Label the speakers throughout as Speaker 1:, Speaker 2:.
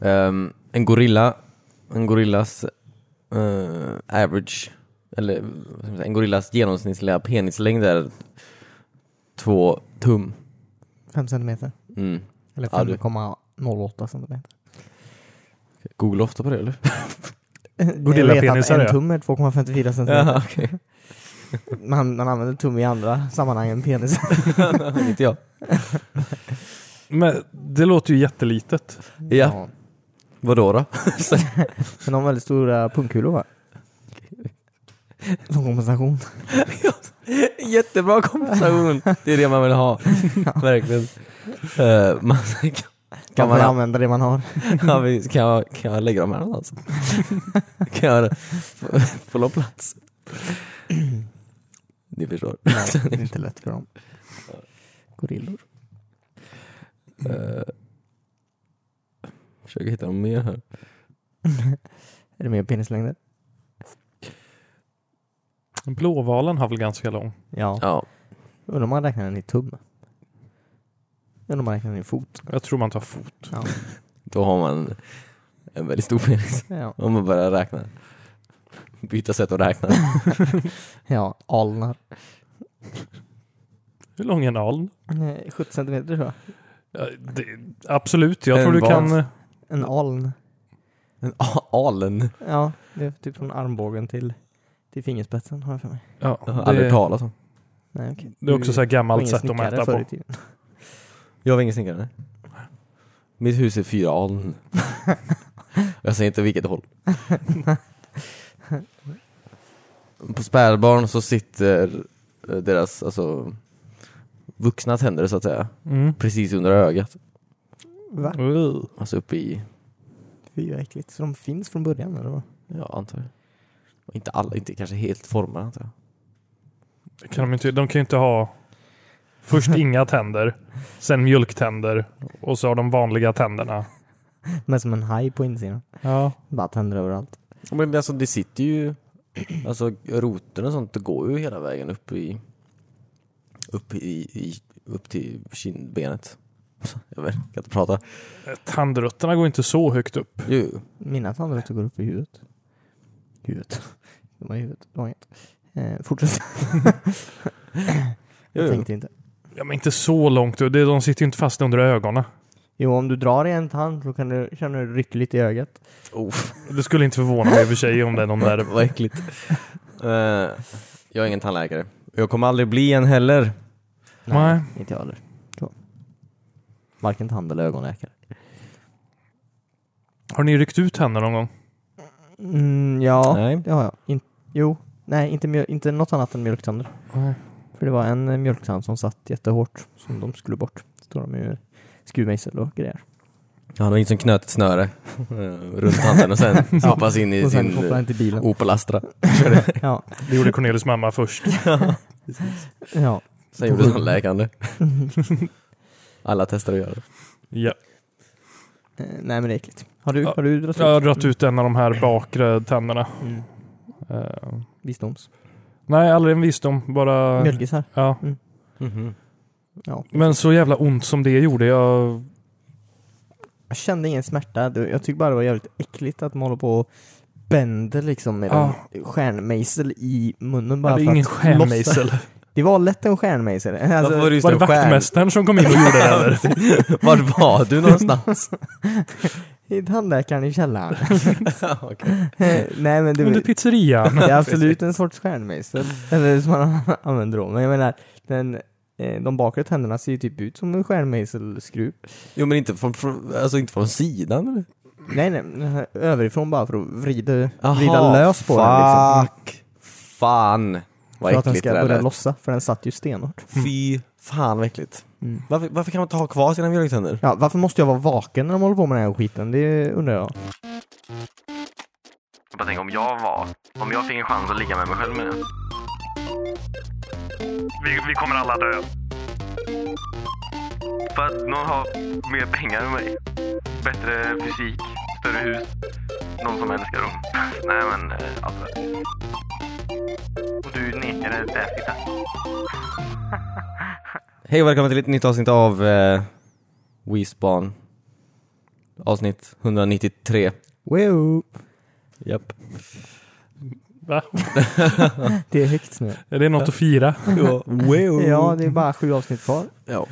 Speaker 1: Ehm, en gorilla, en gorillas eh, average, eller vad ska man säga, en gorillas genomsnittliga penislängd är två tum.
Speaker 2: Fem centimeter.
Speaker 1: Mm.
Speaker 2: Eller
Speaker 1: Ja, du-
Speaker 2: 5,08 centimeter.
Speaker 1: Googla ofta på det eller?
Speaker 2: jag vet
Speaker 3: Gorillapenisar,
Speaker 2: att en
Speaker 3: ja.
Speaker 2: tum är 2,54 centimeter.
Speaker 1: Jaha, okej.
Speaker 2: Man, man använder tum i andra sammanhang än penis.
Speaker 1: Inte jag.
Speaker 3: Men det låter ju jättelitet.
Speaker 1: Ja, vadå då?
Speaker 2: Men de har väldigt stora pungkulor va? Som kompensation.
Speaker 1: Jättebra kompensation! Det är det man vill ha. Verkligen. Eh, man, kan,
Speaker 2: Kan man
Speaker 1: man,
Speaker 2: får använda det man har.
Speaker 1: ja, visst. kan, jag, kan jag lägga dem här någonstans? kan jag få- få någon plats? Ni förstår.
Speaker 2: Nej, det är inte lätt för dem. Gorillor.
Speaker 1: Uh, försöker hitta något mer här.
Speaker 2: Är det mer penislängder?
Speaker 3: Blåvalen har väl ganska lång?
Speaker 2: Ja.
Speaker 1: Ja,
Speaker 2: Undrar om man räknar den i tum. Undrar om man räknar den i fot.
Speaker 3: Jag tror man tar fot.
Speaker 2: Ja.
Speaker 1: då har man en väldigt stor penis.
Speaker 2: Ja,
Speaker 1: Om man börjar räkna. Byta sätt att räkna.
Speaker 2: ja alnar.
Speaker 3: Hur lång är en aln?
Speaker 2: Eh, 70 centimeter tror jag.
Speaker 3: Ja, det, absolut, jag
Speaker 1: En
Speaker 3: tror du
Speaker 1: vad?
Speaker 3: kan... eh,
Speaker 2: En aln.
Speaker 1: En a- alen.
Speaker 2: Ja, det är typ från armbågen till, till fingerspetsen har jag för mig.
Speaker 3: Ja,
Speaker 1: Jag har
Speaker 3: det,
Speaker 1: aldrig hört talas om.
Speaker 2: Nej, okej.
Speaker 3: det är också så här
Speaker 2: var
Speaker 3: gammalt
Speaker 2: ingen
Speaker 3: sätt att
Speaker 2: snickare
Speaker 3: mäta
Speaker 2: förr i
Speaker 3: på.
Speaker 2: tiden.
Speaker 1: Jag var ingen snickare. nej. Mitt hus är fyra aln. jag säger inte vilket håll. På spädbarn så sitter eh, deras alltså, vuxna tänder så att säga
Speaker 3: Mm.
Speaker 1: precis under ögat.
Speaker 2: Va?
Speaker 3: Uh,
Speaker 1: Alltså uppe i,
Speaker 2: Fy vad äckligt. Så de finns från början eller vad?
Speaker 1: ja antar jag. Och Inte alla, inte kanske helt formade antar jag.
Speaker 3: Kan de, inte, de kan ju inte ha först inga tänder, sen mjölktänder och så har de vanliga tänderna.
Speaker 2: Men som en haj på insidan.
Speaker 3: Ja.
Speaker 2: Bara tänder överallt.
Speaker 1: Ja, Men alltså det sitter ju, alltså roten och sånt det går ju hela vägen upp i, upp i, i upp till kindbenet. Jag vet, kan inte prata.
Speaker 3: Tandrötterna går inte så högt upp.
Speaker 1: Jo, jo.
Speaker 2: Mina tandrötter går upp i huvudet. Huvudet. De har huvudet. De har inget. Eh, fortsätt.
Speaker 1: Jo,
Speaker 2: jag
Speaker 1: jo.
Speaker 2: tänkte inte.
Speaker 3: Ja, men inte så långt upp. Det- De sitter ju inte fast under ögonen.
Speaker 2: Jo, om du drar i en tand så kan du känna hur det rycker lite i ögat.
Speaker 1: Oh,
Speaker 3: Det skulle inte förvåna mig i och för sig om det är någon där.
Speaker 1: vad äckligt. Eh, jag är ingen tandläkare. Jag kommer aldrig bli en heller.
Speaker 3: Nej.
Speaker 2: Inte jag heller. Så. Varken tand eller ögonläkare.
Speaker 3: Har ni ryckt ut henne någon gång?
Speaker 2: Mm, ja,
Speaker 1: Nej.
Speaker 2: det har jag. In- jo, nej, inte, mjöl- inte något annat än mjölktänder.
Speaker 3: Nej.
Speaker 2: För det var en eh, mjölktand som satt jättehårt som de skulle bort. Så Står de ju skruvmejsel och grejer.
Speaker 1: Han har inte som knöt ett snöre eh, runt tanden och sen hoppas in i
Speaker 2: Och sen
Speaker 1: sin
Speaker 2: hoppade
Speaker 1: eh,
Speaker 2: han till bilen.
Speaker 1: Opel Astra.
Speaker 2: Ja,
Speaker 3: Det gjorde Cornelis mamma först.
Speaker 2: ja.
Speaker 1: Sen gjorde tandläkaren det. Alla testar att göra det.
Speaker 3: Ja.
Speaker 2: Eh, nej men det är äckligt. Har du,
Speaker 3: Ja.
Speaker 2: har du dragit
Speaker 3: Jag har dragit ut en av de här bakre tänderna.
Speaker 2: Mm.
Speaker 3: Eh,
Speaker 2: Visdoms.
Speaker 3: nej, aldrig en visdom. Bara...
Speaker 2: Mjölkisar.
Speaker 3: Ja.
Speaker 1: Mm-hmm.
Speaker 2: Ja.
Speaker 3: Men så jävla ont som det gjorde. Jag...
Speaker 2: Jag kände ingen smärta. Det- Jag tyckte bara det var jävligt äckligt att man håller på och bänder liksom med
Speaker 3: Ja.
Speaker 2: en stjärnmejsel i munnen bara
Speaker 3: Det är
Speaker 2: för
Speaker 3: ingen
Speaker 2: att lossa.
Speaker 3: stjärnmejsel.
Speaker 2: Det var lätt en stjärnmejsel. Alltså,
Speaker 1: Varför var du
Speaker 3: Var det
Speaker 1: en stjärn?
Speaker 3: vaktmästaren som kom in och gjorde det? Eller?
Speaker 1: Var var du någonstans?
Speaker 2: I tandläkaren i källaren.
Speaker 1: Okej.
Speaker 2: Nej men det,
Speaker 3: Under pizzerian.
Speaker 2: det är absolut en sorts stjärnmejsel. Eller som man använder då. Men jag menar, den, eh, de bakre tänderna ser ju typ ut som en stjärnmejselskruv.
Speaker 1: Jo men inte från, från, alltså inte från sidan eller?
Speaker 2: Nej nej, den här överifrån bara för att vrida, vrida
Speaker 1: Aha,
Speaker 2: lös på den liksom.
Speaker 1: Fuck! Fan! Vad
Speaker 2: För att den
Speaker 1: äckligt
Speaker 2: ska
Speaker 1: det där
Speaker 2: börja Mm.
Speaker 1: lät.
Speaker 2: lossa, för den satt ju stenhårt.
Speaker 1: Fy fan vad äckligt.
Speaker 2: Mm.
Speaker 1: Varför, varför kan man inte ha kvar sina mjölktänder?
Speaker 2: Ja, varför måste jag vara vaken när de håller på med den här skiten? Det undrar jag.
Speaker 4: Jag bara tänker om jag var, om jag fick en chans att ligga med mig själv med det. Vi, vi kommer alla dö. För att någon har mer pengar än mig. Bättre fysik, större hus. Någon som älskar dem. Nej men, eh, alltså. Och du nekade det fitta.
Speaker 1: Hej och välkommen till ett nytt avsnitt av eh, WeSpan. Avsnitt 193.
Speaker 2: Wow.
Speaker 1: Japp.
Speaker 3: Va?
Speaker 2: Det är högt nu.
Speaker 3: Är det något att fira?
Speaker 1: wow.
Speaker 2: Ja, det är bara sju avsnitt kvar.
Speaker 1: Ja.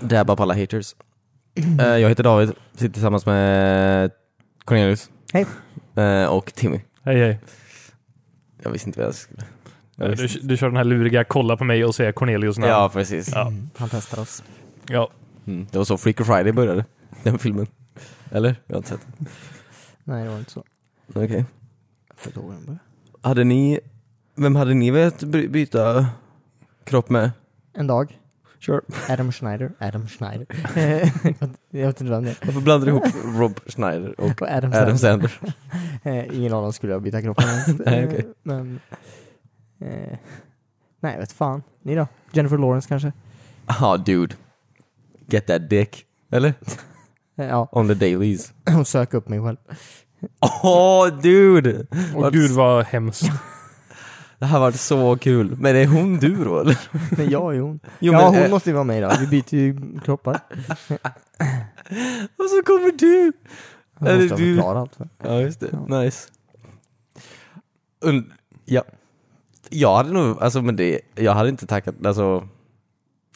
Speaker 1: Dabba på alla haters. Eh, Jag heter David, sitter tillsammans med Cornelius.
Speaker 2: Hej.
Speaker 1: Eh, Och Timmy.
Speaker 3: Hej hej.
Speaker 1: Jag visste inte vad jag skulle... Jag
Speaker 3: Du,
Speaker 1: visste inte.
Speaker 3: du kör den här luriga kolla på mig och säga Cornelius namn.
Speaker 1: Ja, precis.
Speaker 3: Ja.
Speaker 2: Mm, han testar oss.
Speaker 3: ja.
Speaker 1: Mm. Det var så Freaky Friday började, den filmen. Eller? Jag har inte sett.
Speaker 2: Nej, det var inte så.
Speaker 1: Okej.
Speaker 2: Jag får inte ihåg hur den började.
Speaker 1: Hade ni... Vem hade ni velat by- byta kropp med?
Speaker 2: En dag.
Speaker 1: Sure.
Speaker 2: Adam Schneider. Adam Schneider. jag vet inte vem det är.
Speaker 1: Varför blandar du ihop Rob Schneider och
Speaker 2: Och Adam
Speaker 1: Adam
Speaker 2: Sandler.
Speaker 1: Sandler?
Speaker 2: Eh, ingen av dem skulle jag byta kroppen ens.
Speaker 1: Nej, okej.
Speaker 2: Eh, Men... Eh, nej, jag vet fan. Ni då? Jennifer Lawrence kanske?
Speaker 1: Ah, dude. Get that dick. Eller?
Speaker 2: Eh, ja,
Speaker 1: On the dailies.
Speaker 2: hon söker upp mig själv.
Speaker 1: Oh, dude!
Speaker 3: Och gud vad hemskt.
Speaker 1: Det här var så kul. Men är hon du då eller?
Speaker 2: Men jag är hon.
Speaker 1: Jo,
Speaker 2: ja,
Speaker 1: men,
Speaker 2: hon
Speaker 1: eh,
Speaker 2: måste ju vara med idag. Vi byter ju kroppar.
Speaker 1: Och så kommer du!
Speaker 2: Hon
Speaker 1: Eller
Speaker 2: måste ha
Speaker 1: du-
Speaker 2: förklarat allt. För.
Speaker 1: Ja, just det. Nice. Und, ja. Jag hade nog, alltså men det, jag hade inte tackat, alltså.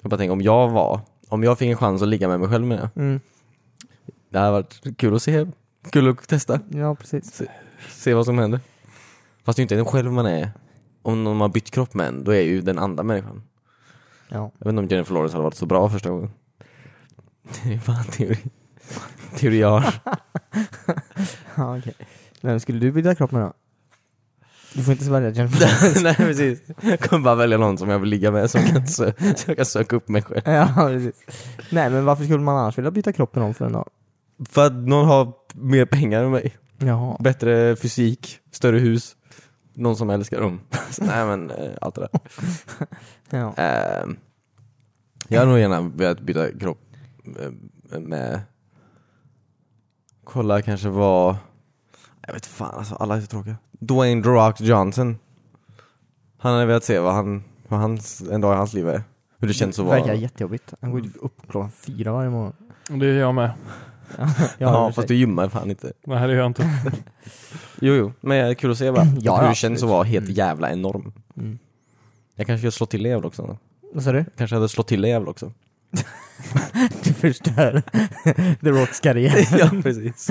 Speaker 1: Jag bara tänker om jag var, om jag fick en chans att ligga med mig själv med det.
Speaker 2: Mm.
Speaker 1: Det hade varit kul att se, kul att testa,
Speaker 2: Ja, precis.
Speaker 1: se vad som händer. Fast det är ju inte en själv man är, om någon har bytt kropp med en, då är ju den andra människan.
Speaker 2: Ja.
Speaker 1: Jag vet inte om Jennifer Lawrence hade varit så bra första gången. Det är bara en teori. Teori jag har.
Speaker 2: ja okej. Vem skulle du byta kropp med då? Du får inte svälja Jennifer.
Speaker 1: Nej precis. Jag kommer bara välja någon som jag vill ligga med som kan sö- så jag kan söka upp mig själv.
Speaker 2: ja, precis. Nej, men varför skulle man annars vilja byta kropp med någon för en dag?
Speaker 1: För att någon har mer pengar än mig.
Speaker 2: Jaha.
Speaker 1: Bättre fysik, större hus. Någon som älskar dem. Så, Nej men eh, allt det där.
Speaker 2: Ja.
Speaker 1: Eh, Jag hade nog gärna velat byta kropp eh, med... Kolla kanske vad... Jag vet fan alltså, alla är så tråkiga. Dwayne The Rock Johnson. Han hade velat se vad han... Vad hans, en dag i hans liv är. Hur det känns att vara...
Speaker 2: Verkar jättejobbigt. Han går ju typ upp klockan fyra varje morgon.
Speaker 3: Det gör jag med.
Speaker 2: Ja,
Speaker 1: Ja,
Speaker 2: i och för
Speaker 1: fast
Speaker 2: sig.
Speaker 1: du gymmar fan inte.
Speaker 3: Nej det gör jag inte.
Speaker 1: Jo, jo, men det är kul att se bara
Speaker 2: Ja,
Speaker 1: hur det
Speaker 2: absolut.
Speaker 1: känns att vara helt
Speaker 2: Mm.
Speaker 1: jävla enorm.
Speaker 2: Mm.
Speaker 1: Jag kanske skulle slå till en jävel också. då.
Speaker 2: Vad sa du?
Speaker 1: Kanske hade slått till en jävel också.
Speaker 2: Du förstör The Rocks karriär.
Speaker 1: ja, precis.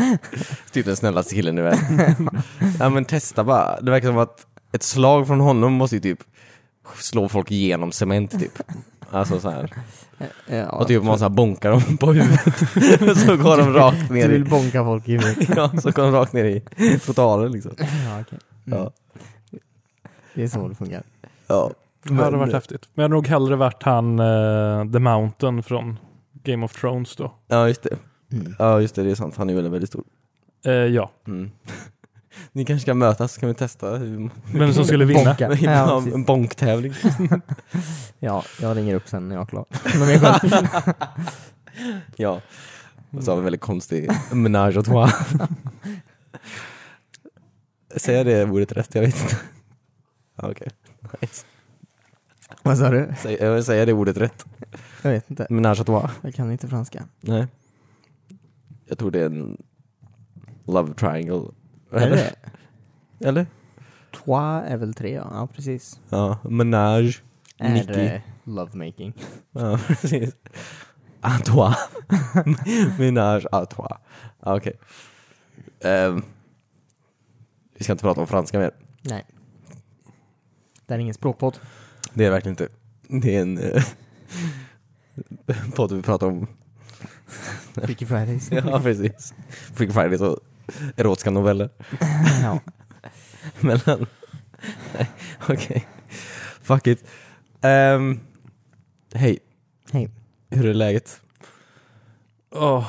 Speaker 1: typ den snällaste killen i världen. ja, men testa bara. Det verkar som att ett slag från honom måste ju typ slå folk igenom cement typ. Alltså så här.
Speaker 2: Ja,
Speaker 1: Och typ man så här bonkar dem på huvudet. så går de rakt
Speaker 2: du
Speaker 1: ner i,
Speaker 2: vill bonka folk i huvudet.
Speaker 1: ja, så går de rakt ner i totalen liksom.
Speaker 2: Ja, okej. Mm.
Speaker 1: Ja.
Speaker 2: Det är så det fungerar.
Speaker 1: ja.
Speaker 3: Det hade varit häftigt. Men jag hade nog hellre varit han eh, The Mountain från Game of Thrones då.
Speaker 1: Ja, just det.
Speaker 2: Mm.
Speaker 1: Ja, just det. Det är sant. Han är ju väldigt, väldigt stor.
Speaker 3: Eh, ja.
Speaker 1: Mm. Ni kanske ska mötas så kan vi testa hur
Speaker 3: Vem som skulle vinna.
Speaker 2: Bonka. Ja,
Speaker 1: ja,
Speaker 2: precis.
Speaker 1: en bonktävling.
Speaker 2: ja, jag ringer upp sen när jag är klar. Men jag är klar.
Speaker 1: ja. Och så har vi en väldigt konstig menage à trois. Säger jag det ordet rätt? Jag vet inte. Ja, Okej. Nice.
Speaker 2: Vad sa du?
Speaker 1: Säg- jag vill säga det ordet rätt?
Speaker 2: Jag vet inte.
Speaker 1: Menage à trois?
Speaker 2: Jag kan inte franska.
Speaker 1: Nej. Jag tror det är en love triangle.
Speaker 2: Är det
Speaker 1: Eller?
Speaker 2: Trois är väl tre, ja. Ja, precis.
Speaker 1: Ja, menage.
Speaker 2: Är
Speaker 1: Nicky.
Speaker 2: det lovemaking?
Speaker 1: Ja, precis. À toi. Ménage à toi. Ah, Okej. Ehm, vi ska inte prata om franska mer.
Speaker 2: Nej. Det här är ingen språkpodd.
Speaker 1: Det är det verkligen inte. Det är en eh, podd vi pratar om,
Speaker 2: Freaky Fridays.
Speaker 1: ja precis, Freaky Fridays och erotiska noveller.
Speaker 2: ja.
Speaker 1: Mellan... Nej, Okej. Fuck it. Ehm, Hej,
Speaker 2: Hej.
Speaker 1: hur är läget?
Speaker 3: Åh,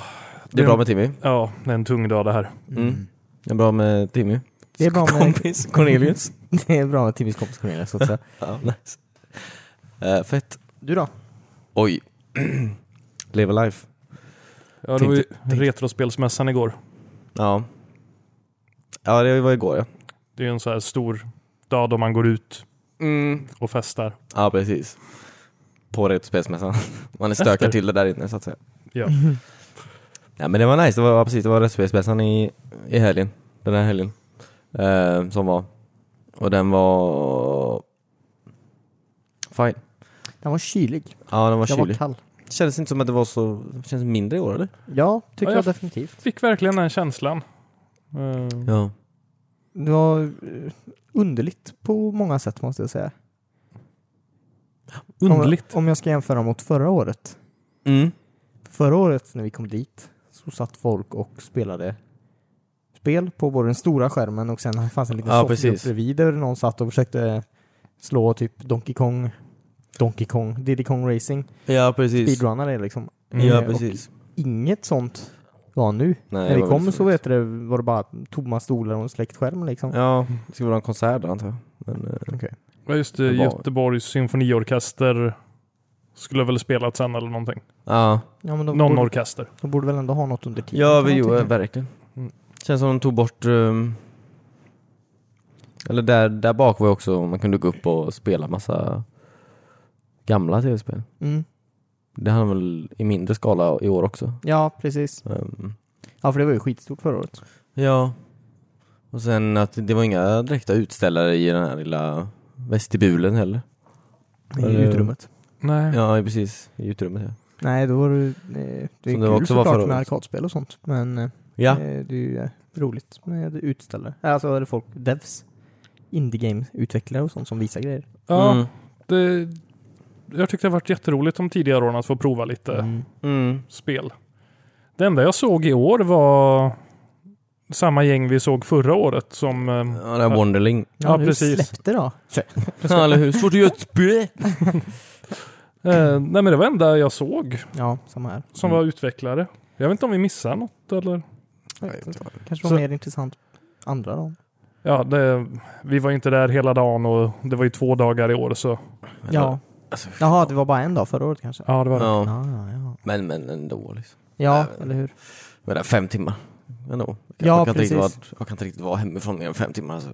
Speaker 1: Det är bra med Timmy.
Speaker 3: Ja, det är en tung dag det här.
Speaker 1: Mm. Det är bra med Timmy.
Speaker 2: Det är bra med,
Speaker 1: Kompis, Cornelius.
Speaker 2: det är bra med Timmys kompis Cornelius också.
Speaker 1: Ja, nice. Eh, fett.
Speaker 2: Du då?
Speaker 1: Oj. Live a life.
Speaker 3: Ja, det var ju Retrospelsmässan igår.
Speaker 1: Ja. Ja, det var igår ja.
Speaker 3: Det är ju en så här stor dag då man går ut
Speaker 1: Mm.
Speaker 3: och festar.
Speaker 1: Ja, precis. På Retrospelsmässan. Man är stökad
Speaker 3: Efter.
Speaker 1: till det där inne så att säga.
Speaker 3: Ja.
Speaker 1: Ja, men det var nice, det var ja, precis, det var Rättsspelsmässan i, i helgen. Den här helgen. Eh, som var. Och den var... Fine.
Speaker 2: Den var kylig.
Speaker 1: Ja, den var
Speaker 2: Den var
Speaker 1: kylig.
Speaker 2: kall.
Speaker 1: Kändes inte som att det var så... Känns mindre i år eller?
Speaker 2: Ja, tycker
Speaker 3: Ja,
Speaker 2: jag
Speaker 3: jag-
Speaker 2: definitivt.
Speaker 3: Fick verkligen den känslan. Eh,
Speaker 1: Ja.
Speaker 2: Det var eh, underligt på många sätt måste jag säga.
Speaker 3: Underligt.
Speaker 2: Om, om jag ska jämföra mot förra året.
Speaker 1: Mm.
Speaker 2: Förra året när vi kom dit så satt folk och spelade spel på både den stora skärmen och sen fanns en liten
Speaker 1: Ja,
Speaker 2: soffgrupp
Speaker 1: precis.
Speaker 2: bredvid där någon satt och försökte slå typ Donkey Kong, Donkey Kong, Diddy Kong Racing,
Speaker 1: Ja, precis.
Speaker 2: speedrunna det liksom.
Speaker 1: Ja,
Speaker 2: Eh,
Speaker 1: precis.
Speaker 2: Och inget sånt var nu.
Speaker 1: Nej,
Speaker 2: när vi
Speaker 1: det var liksom
Speaker 2: kom
Speaker 1: väldigt
Speaker 2: så
Speaker 1: fint.
Speaker 2: vet du, var det bara tomma stolar och en släckt skärm liksom.
Speaker 1: Ja, det ska vara en konsert då antar jag. Men, eh,
Speaker 3: Ja, just det,
Speaker 1: Det var-
Speaker 3: Göteborgs symfoniorkester skulle väl spelat sen eller någonting.
Speaker 1: ja.
Speaker 2: Ja, men de
Speaker 3: Någon
Speaker 2: borde,
Speaker 3: orkester.
Speaker 2: de borde väl ändå ha något under tiden.
Speaker 1: Ja,
Speaker 2: kan
Speaker 1: vi
Speaker 2: man
Speaker 1: gjorde
Speaker 2: tycka.
Speaker 1: verkligen.
Speaker 3: Mm.
Speaker 1: Känns som de tog bort... ehm, eller där, där bak var ju också, man kunde gå upp och spela massa gamla tv-spel.
Speaker 2: Mm.
Speaker 1: Det hann väl i mindre skala i år också.
Speaker 2: Ja, precis.
Speaker 1: Ehm,
Speaker 2: Ja, för det var ju skitstort förra året.
Speaker 1: ja. Och sen att det var inga direkta utställare i den här lilla vestibulen heller.
Speaker 2: I
Speaker 1: Eller-
Speaker 2: utrymmet.
Speaker 3: Nej.
Speaker 1: Ja, precis. I utrymmet ja.
Speaker 2: Nej, då var det, eh, det
Speaker 1: Som
Speaker 2: är kul
Speaker 1: det också var
Speaker 2: såklart
Speaker 1: förra
Speaker 2: med
Speaker 1: året.
Speaker 2: arkadspel och sånt, men eh,
Speaker 1: Ja,
Speaker 2: eh, det är ju eh, roligt med utställare. Eh, Alltså, är det folk, devs, indie game utvecklare och sånt som visar grejer.
Speaker 3: Ja,
Speaker 1: Mm.
Speaker 3: det, jag tyckte det varit jätteroligt de tidigare åren att få prova lite
Speaker 2: Mm.
Speaker 1: Mm.
Speaker 3: spel. Det enda jag såg i år var samma gäng vi såg förra året som... eh,
Speaker 1: ja det här Wonderling.
Speaker 2: Ja,
Speaker 3: Ja,
Speaker 2: nu
Speaker 3: precis.
Speaker 2: Släppte då.
Speaker 1: Ja, eller hur? Svårt att göra ett spel!
Speaker 3: eh, nej men det var det enda jag såg
Speaker 2: Ja, samma här.
Speaker 3: som var utvecklare. Jag vet inte om vi missar något eller?
Speaker 2: Jag vet inte. Kanske
Speaker 3: Så-
Speaker 2: var mer intressant andra dagen.
Speaker 3: Ja, det, vi var ju inte där hela dagen och det var ju två dagar i år så...
Speaker 2: Ja.
Speaker 1: Alltså,
Speaker 2: Jaha, det var bara en dag förra året kanske?
Speaker 3: Ja, det var det.
Speaker 1: ja.
Speaker 2: Ja, ja.
Speaker 1: Men, men ändå liksom.
Speaker 2: ja
Speaker 1: Nej, men-
Speaker 2: eller hur?
Speaker 1: Men det är fem timmar. Ändå. Jag,
Speaker 2: Ja,
Speaker 1: jag, kan inte riktigt
Speaker 2: precis.
Speaker 1: vara, jag kan inte riktigt vara hemifrån mer än fem timmar. Alltså.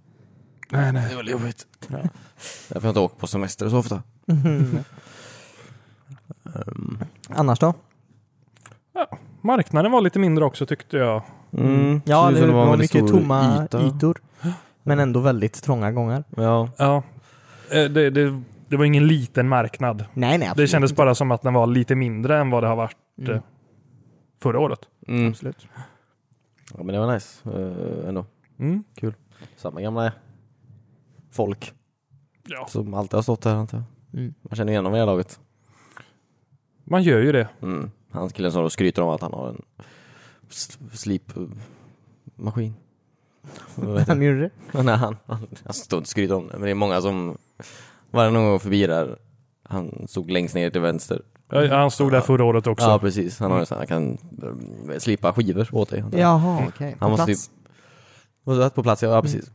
Speaker 3: Nej, nej.
Speaker 1: Det är väl jobbigt.
Speaker 2: Ja.
Speaker 1: Därför har jag inte åkt på semester så ofta. Ehm,
Speaker 2: Mm. Annars då?
Speaker 3: Marknaden var lite mindre också tyckte jag.
Speaker 1: mm,
Speaker 2: Ja,
Speaker 1: så
Speaker 2: det,
Speaker 1: som en
Speaker 2: var
Speaker 1: väldigt
Speaker 2: mycket
Speaker 1: stor
Speaker 2: tomma
Speaker 1: yta.
Speaker 2: ytor. Men ändå väldigt trånga gångar.
Speaker 1: Ja.
Speaker 3: Ja. Eh, Det, det, det var ingen liten marknad.
Speaker 2: Nej, nej.
Speaker 3: Det
Speaker 2: absolut
Speaker 3: kändes
Speaker 2: inte.
Speaker 3: bara som att den var lite mindre än vad det har varit
Speaker 2: Mm,
Speaker 3: förra året.
Speaker 1: Mm.
Speaker 2: Absolut.
Speaker 1: ja, men det var nice eh, ändå.
Speaker 3: Mm.
Speaker 1: Samma gamla folk
Speaker 3: Ja.
Speaker 1: som alltid har stått här antar jag.
Speaker 2: Mm.
Speaker 1: Man känner igen dem i det här laget.
Speaker 3: Man gör ju det.
Speaker 1: Mm. Han killen som då skryter om att han har en s- slipmaskin. Vad heter det?
Speaker 2: Vem gjorde det?
Speaker 1: Men nej, han, han, han stod inte och skryter om det, men det är många som varje någon gång förbi där, han stod längst ner till vänster.
Speaker 3: Ja, Han stod där förra året också.
Speaker 1: Ja, precis. Han, har ju så här, han kan mm, slipa skivor åt dig. antar jag.
Speaker 2: Jaha, okej.
Speaker 1: Han
Speaker 2: På
Speaker 1: måste
Speaker 2: plats.
Speaker 1: Och så att på plats, ja, ja precis.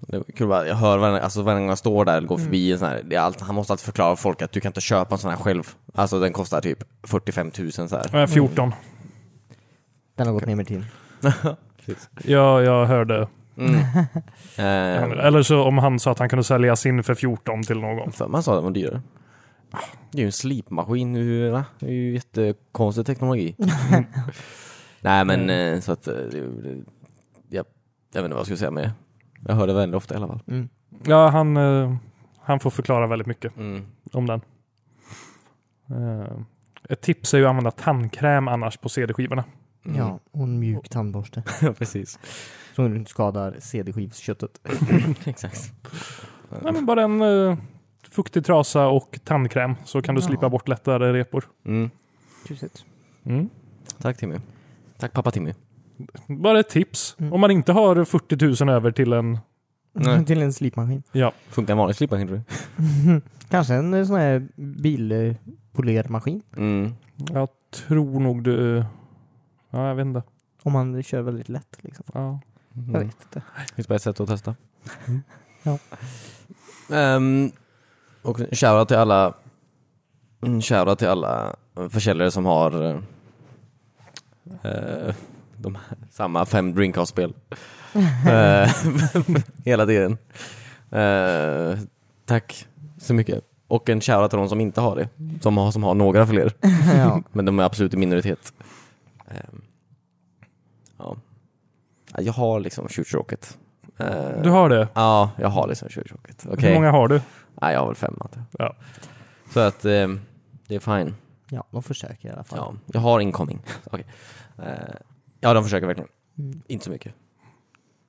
Speaker 1: Det var kul, bara, jag hör varje, alltså, varje gång jag står där eller går förbi en sån här, det är allt, han måste alltid förklara för folk att du kan inte köpa en sån här själv. Alltså den kostar typ 45 000 så här.
Speaker 3: Eh, 14.
Speaker 2: Den har gått ner med tiden.
Speaker 3: Ja, jag hörde.
Speaker 1: Mm.
Speaker 3: Han-
Speaker 1: eh,
Speaker 3: Eller så om han sa att han kunde sälja sin för 14 till någon.
Speaker 1: för man sa den var dyrare. Det är ju en slipmaskin, hur- va? det är ju jättekonstig teknologi. Mm. Nej men eh, så att, eh, det- det- ja, jag vet inte vad jag skulle säga med det. Jag hör det väldigt ofta i alla fall.
Speaker 2: Mm.
Speaker 3: Ja, han, eh, han får förklara väldigt mycket
Speaker 1: Mm.
Speaker 3: om den. Eh, Ett tips är ju att använda tandkräm annars på CD-skivorna.
Speaker 2: Ja, och en mjuk tandborste.
Speaker 1: precis.
Speaker 2: Så du inte skadar CD-skivsköttet.
Speaker 1: Exakt.
Speaker 3: Nej, men bara en eh, fuktig trasa och tandkräm så kan du
Speaker 2: Ja.
Speaker 3: slipa bort lättare repor.
Speaker 1: Mm.
Speaker 2: Tjusigt.
Speaker 3: Mm.
Speaker 1: Tack Timmy. Tack pappa Timmy.
Speaker 3: Bara ett tips.
Speaker 2: Mm.
Speaker 3: Om man inte har 40 000 över till en...
Speaker 1: Nej.
Speaker 2: Till en slipmaskin.
Speaker 1: Funkar en vanlig slipmaskin tror du?
Speaker 2: Kanske en eh, sån här bilpolermaskin.
Speaker 1: Mm.
Speaker 3: Jag tror nog du... Ja, jag vet inte.
Speaker 2: Om man kör väldigt lätt liksom.
Speaker 3: Ja.
Speaker 1: Mm.
Speaker 2: Jag vet inte.
Speaker 1: Finns bara ett sätt att testa.
Speaker 2: Ja.
Speaker 1: Ehm, och shoutout till alla mm, shoutout till alla försäljare som har eh, de här, samma fem Dreamcast-spel Eh, hela tiden. Eh, tack så mycket. Och en shoutout till de som inte har det, som har, som har några fler,
Speaker 2: ja.
Speaker 1: men de är absolut i minoritet. Ehm, Jag har liksom shootstråket. Eh,
Speaker 3: Du har det?
Speaker 1: Ja, jag har liksom shootstråket. Okej.
Speaker 3: Hur många har du?
Speaker 1: Nej, jag har väl fem antar jag.
Speaker 3: Ja.
Speaker 1: Så att ehm, det är fine.
Speaker 2: Ja, de försöker i alla fall.
Speaker 1: Ja, jag har incoming. Okej. Eh, ja, de försöker verkligen.
Speaker 2: Mm.
Speaker 1: Inte så mycket.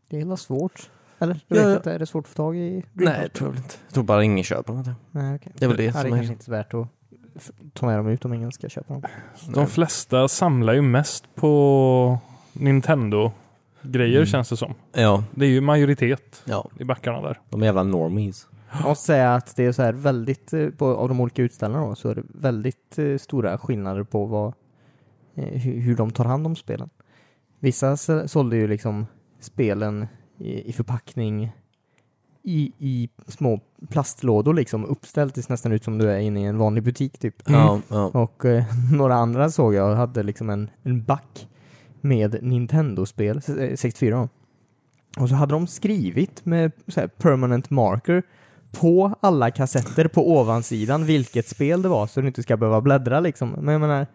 Speaker 2: Det är hela svårt. Eller? Jag
Speaker 1: Ja,
Speaker 2: vet
Speaker 1: ja.
Speaker 2: inte, är det svårt att få tag i?
Speaker 1: Nej, jag tror väl inte. Jag tror bara ingen kör på dem. antar jag.
Speaker 2: Nej, okej.
Speaker 1: Det är väl det
Speaker 2: Ja, det är
Speaker 1: som
Speaker 2: kanske
Speaker 1: är...
Speaker 2: inte så värt att f- ta med dem ut om ingen ska köpa dem.
Speaker 3: De flesta samlar ju mest på Nintendo-grejer
Speaker 1: Mm.
Speaker 3: känns det som.
Speaker 1: Ja,
Speaker 3: Det är ju majoritet
Speaker 1: ja,
Speaker 3: i backarna där.
Speaker 1: de är jävla normies.
Speaker 2: Jag måste säga att det är så här väldigt, eh, på, av de olika utställarna då, så är det väldigt eh, stora skillnader på vad, eh, hur, hur de tar hand om spelen. Vissa så- sålde ju liksom spelen i, i förpackning i, i små plastlådor liksom uppställt. Det ser nästan ut som du är inne i en vanlig butik typ.
Speaker 3: Mm.
Speaker 1: Ja, ja.
Speaker 2: Och eh, några andra såg jag hade liksom en, en back med Nintendo-spel, s- eh, 64 då. Och så hade de skrivit med så här, permanent marker på alla kassetter på ovansidan vilket spel det var så du inte ska behöva bläddra liksom. Men jag menar,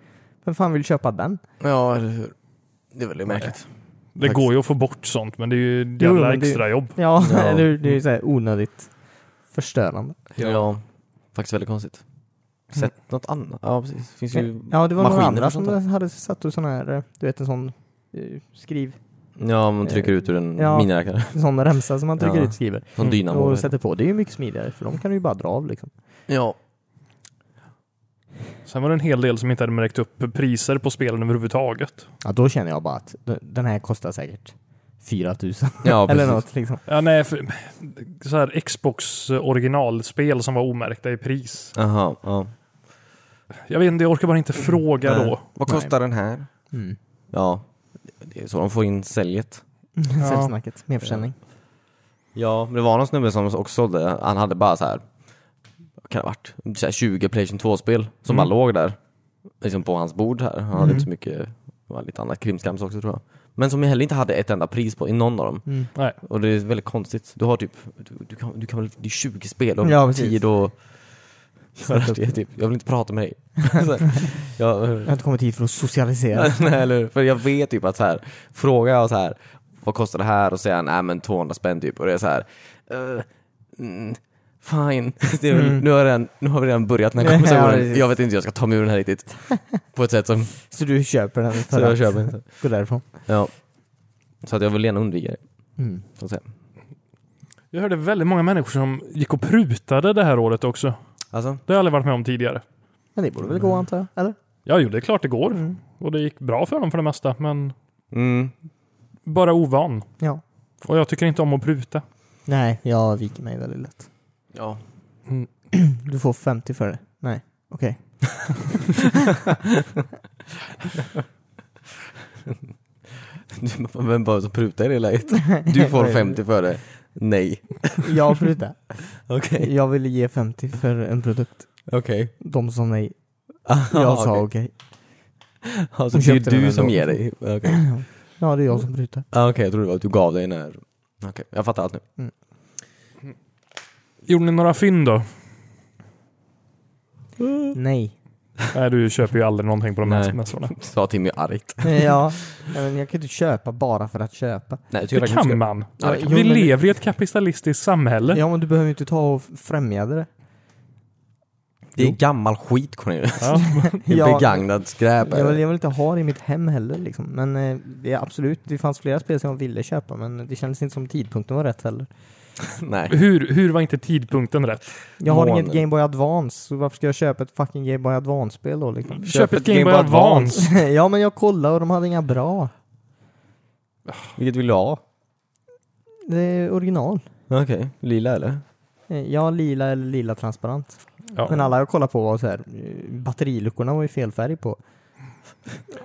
Speaker 2: vem fan vill köpa den?
Speaker 1: Ja, eller hur. Det är väldigt märkligt.
Speaker 3: Det
Speaker 1: Faktiskt.
Speaker 3: går ju att få bort sånt, men det är ju ett jävla
Speaker 2: men det-
Speaker 3: extra jobb.
Speaker 2: Ja, Mm.
Speaker 1: Ja.
Speaker 2: eller hur? det är ju så här onödigt förstörande.
Speaker 1: Ja. faktiskt väldigt konstigt. Sett något annat? Ja, precis. Finns ju...
Speaker 2: Ja, det var några
Speaker 1: maskiner
Speaker 2: andra
Speaker 1: för sånt
Speaker 2: som hade satt upp sån här, eh, du vet en sån eh, skriv,
Speaker 1: Ja, Mm. man trycker ut ur en
Speaker 2: Ja.
Speaker 1: miniräknare.
Speaker 2: en sån remsa som man trycker
Speaker 1: Ja.
Speaker 2: ut skriver.
Speaker 1: Som
Speaker 3: Mm.
Speaker 1: dynamo.
Speaker 2: och sätter på. Det är ju mycket smidigare för de kan du ju bara dra av liksom.
Speaker 1: Ja.
Speaker 3: Sen var det en hel del som inte hade märkt upp priser på spelen överhuvudtaget.
Speaker 2: Ja, då känner jag bara att d- den här kostar säkert 4000
Speaker 1: ja precis.
Speaker 2: eller något liksom.
Speaker 3: Ja, nej, för, så här Xbox originalspel som var omärkta i pris.
Speaker 1: Aha, ja.
Speaker 3: Jag vet inte, jag orkar bara inte fråga
Speaker 1: Nej.
Speaker 3: då.
Speaker 1: Vad
Speaker 2: Nej.
Speaker 1: kostar den här?
Speaker 2: Mm.
Speaker 1: Ja, det är så de får in säljet.
Speaker 3: Ja.
Speaker 2: Säljsnacket, merförsäljning.
Speaker 1: Ja, men det var någon snubbe som också sålde, han hade bara så här, vad kan det ha varit, så här 20 Playstation 2-spel som
Speaker 3: Mm.
Speaker 1: bara låg där. Liksom på hans bord här. Han hade
Speaker 2: Mm.
Speaker 1: inte så mycket, det var lite annat krimskrams också tror jag. Men som jag heller inte hade ett enda pris på i någon av dem.
Speaker 2: Mm.
Speaker 3: Nej.
Speaker 1: Och det är väldigt konstigt. Du har typ, du, du kan, du kan väl, det är 20 spel och
Speaker 2: Ja, precis.
Speaker 1: tid och göra
Speaker 2: Sätta upp.
Speaker 1: det, typ. Jag vill inte prata med dig. Så här, jag,
Speaker 2: Jag har inte kommit hit för att socialisera.
Speaker 1: nej, eller hur? För jag vet typ att så här, frågar jag så här, vad kostar det här? Och säger han, nej men 200 spänn typ. Och det är så här, "Eh, mm, fine. Det är väl,
Speaker 2: Mm.
Speaker 1: nu, har jag redan, nu har vi redan börjat den här
Speaker 2: Ja,
Speaker 1: konversationen.
Speaker 2: precis.
Speaker 1: jag vet inte hur jag ska ta mig ur den här riktigt. På ett sätt som,
Speaker 2: Så du köper den för
Speaker 1: så jag
Speaker 2: att
Speaker 1: köper inte.
Speaker 2: gå därifrån.
Speaker 1: Ja. Så att jag vill gärna undvika det.
Speaker 2: Mm.
Speaker 1: så att säga.
Speaker 3: Jag hörde väldigt många människor som gick och prutade det här året också.
Speaker 1: Alltså,
Speaker 3: Det har jag aldrig varit med om tidigare.
Speaker 2: Men det borde väl gå antar jag, eller?
Speaker 3: Ja, jo, det är klart det går.
Speaker 2: Mm.
Speaker 3: Och det gick bra för dem för det mesta, men
Speaker 1: mm,
Speaker 3: bara ovan.
Speaker 2: Ja.
Speaker 3: Och jag tycker inte om att pruta.
Speaker 2: Nej, jag viker mig väldigt lätt.
Speaker 1: ja.
Speaker 2: Du får 50 för det. Nej, okej.
Speaker 1: Vem bara som prutar i det läget? Du får 50 för det. Nej.
Speaker 2: Jag prutar.
Speaker 1: Okej.
Speaker 2: Jag ville ge 50 för en produkt.
Speaker 1: Okej.
Speaker 2: De sa nej. Jag sa okej.
Speaker 1: Alltså,
Speaker 2: Hon
Speaker 1: det är ju
Speaker 2: köpte den
Speaker 1: du
Speaker 2: ändå.
Speaker 1: som ger dig. Okej.
Speaker 2: Ja, det är jag som prutar.
Speaker 1: Ah, Okej, jag trodde det var att du gav dig när... Okej, jag fattar allt nu.
Speaker 3: Gjorde ni några fynd då?
Speaker 2: Nej.
Speaker 3: Nej, du köper ju aldrig någonting på de här
Speaker 1: Nej.
Speaker 3: mässorna.
Speaker 1: Sa Timmy argt.
Speaker 2: ja, nej, men jag kan inte köpa bara för att köpa.
Speaker 1: Nej, jag tycker
Speaker 3: Det
Speaker 1: verkligen
Speaker 3: kan
Speaker 1: inte
Speaker 3: man.
Speaker 1: Ja, det kan
Speaker 3: Vi
Speaker 2: Jo, men-
Speaker 3: lever i ett kapitalistiskt samhälle.
Speaker 2: Ja, men du behöver ju inte ta och främja det.
Speaker 1: ska- Det är gammal skit Cornelius.
Speaker 3: Ja.
Speaker 1: Det är Begagnad skräp. är
Speaker 2: Jag vill,
Speaker 1: det.
Speaker 2: jag vill inte ha det i mitt hem heller liksom. Men eh, det är absolut, det fanns flera spel som jag ville köpa men det kändes inte som tidpunkten var rätt heller.
Speaker 1: Nej.
Speaker 3: Hur, hur var inte tidpunkten rätt?
Speaker 2: Jag har
Speaker 1: Månen.
Speaker 2: inget Game Boy Advance, så varför ska jag köpa ett fucking Game Boy Advance-spel då liksom?
Speaker 3: Köp, ett Game Boy Advance.
Speaker 2: ja men jag kollade och de hade inga bra.
Speaker 1: Vilket vill du ha?
Speaker 2: Det är original.
Speaker 1: Okej, lila eller?
Speaker 2: Eh, Ja, lila eller lila transparent.
Speaker 3: Ja.
Speaker 2: Men alla jag kollade på var så här, eh, batteriluckorna var ju fel färg på.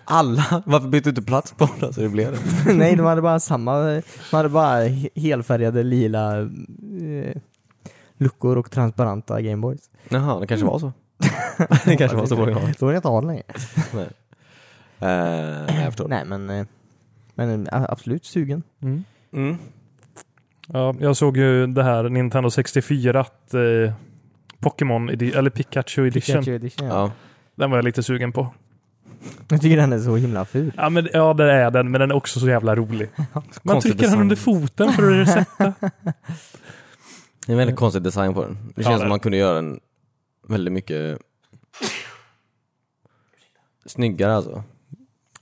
Speaker 1: Alla? Varför bytte du inte plats på den så det blev det?
Speaker 2: Nej, de hade bara samma, de hade bara he- helfärgade lila eh, luckor och transparenta Gameboys.
Speaker 1: Jaha, det kanske var så. det kanske var så på originalet.
Speaker 2: Då vill jag inte ha den längre.
Speaker 1: Nej. Eh, nej, jag förstår.
Speaker 2: Nej, men, eh, men eh, absolut sugen.
Speaker 3: Mm.
Speaker 1: Mm.
Speaker 3: Ja, jag såg ju det här Nintendo 64 att eh, Pokémon, edi- eller Pikachu edition.
Speaker 2: Pikachu edition, ja.
Speaker 1: Ja.
Speaker 3: Den var jag lite sugen på.
Speaker 2: Jag tycker den är så himla ful.
Speaker 3: Ja, men, ja, det är den, men den är också så jävla rolig. Man
Speaker 1: Konstig
Speaker 3: trycker den
Speaker 1: design.
Speaker 3: under foten för att resetta.
Speaker 1: Det är en väldigt konstig design på den. Mm. Det
Speaker 3: Ja,
Speaker 1: känns
Speaker 3: det är
Speaker 1: som man kunde göra den väldigt mycket snyggare alltså.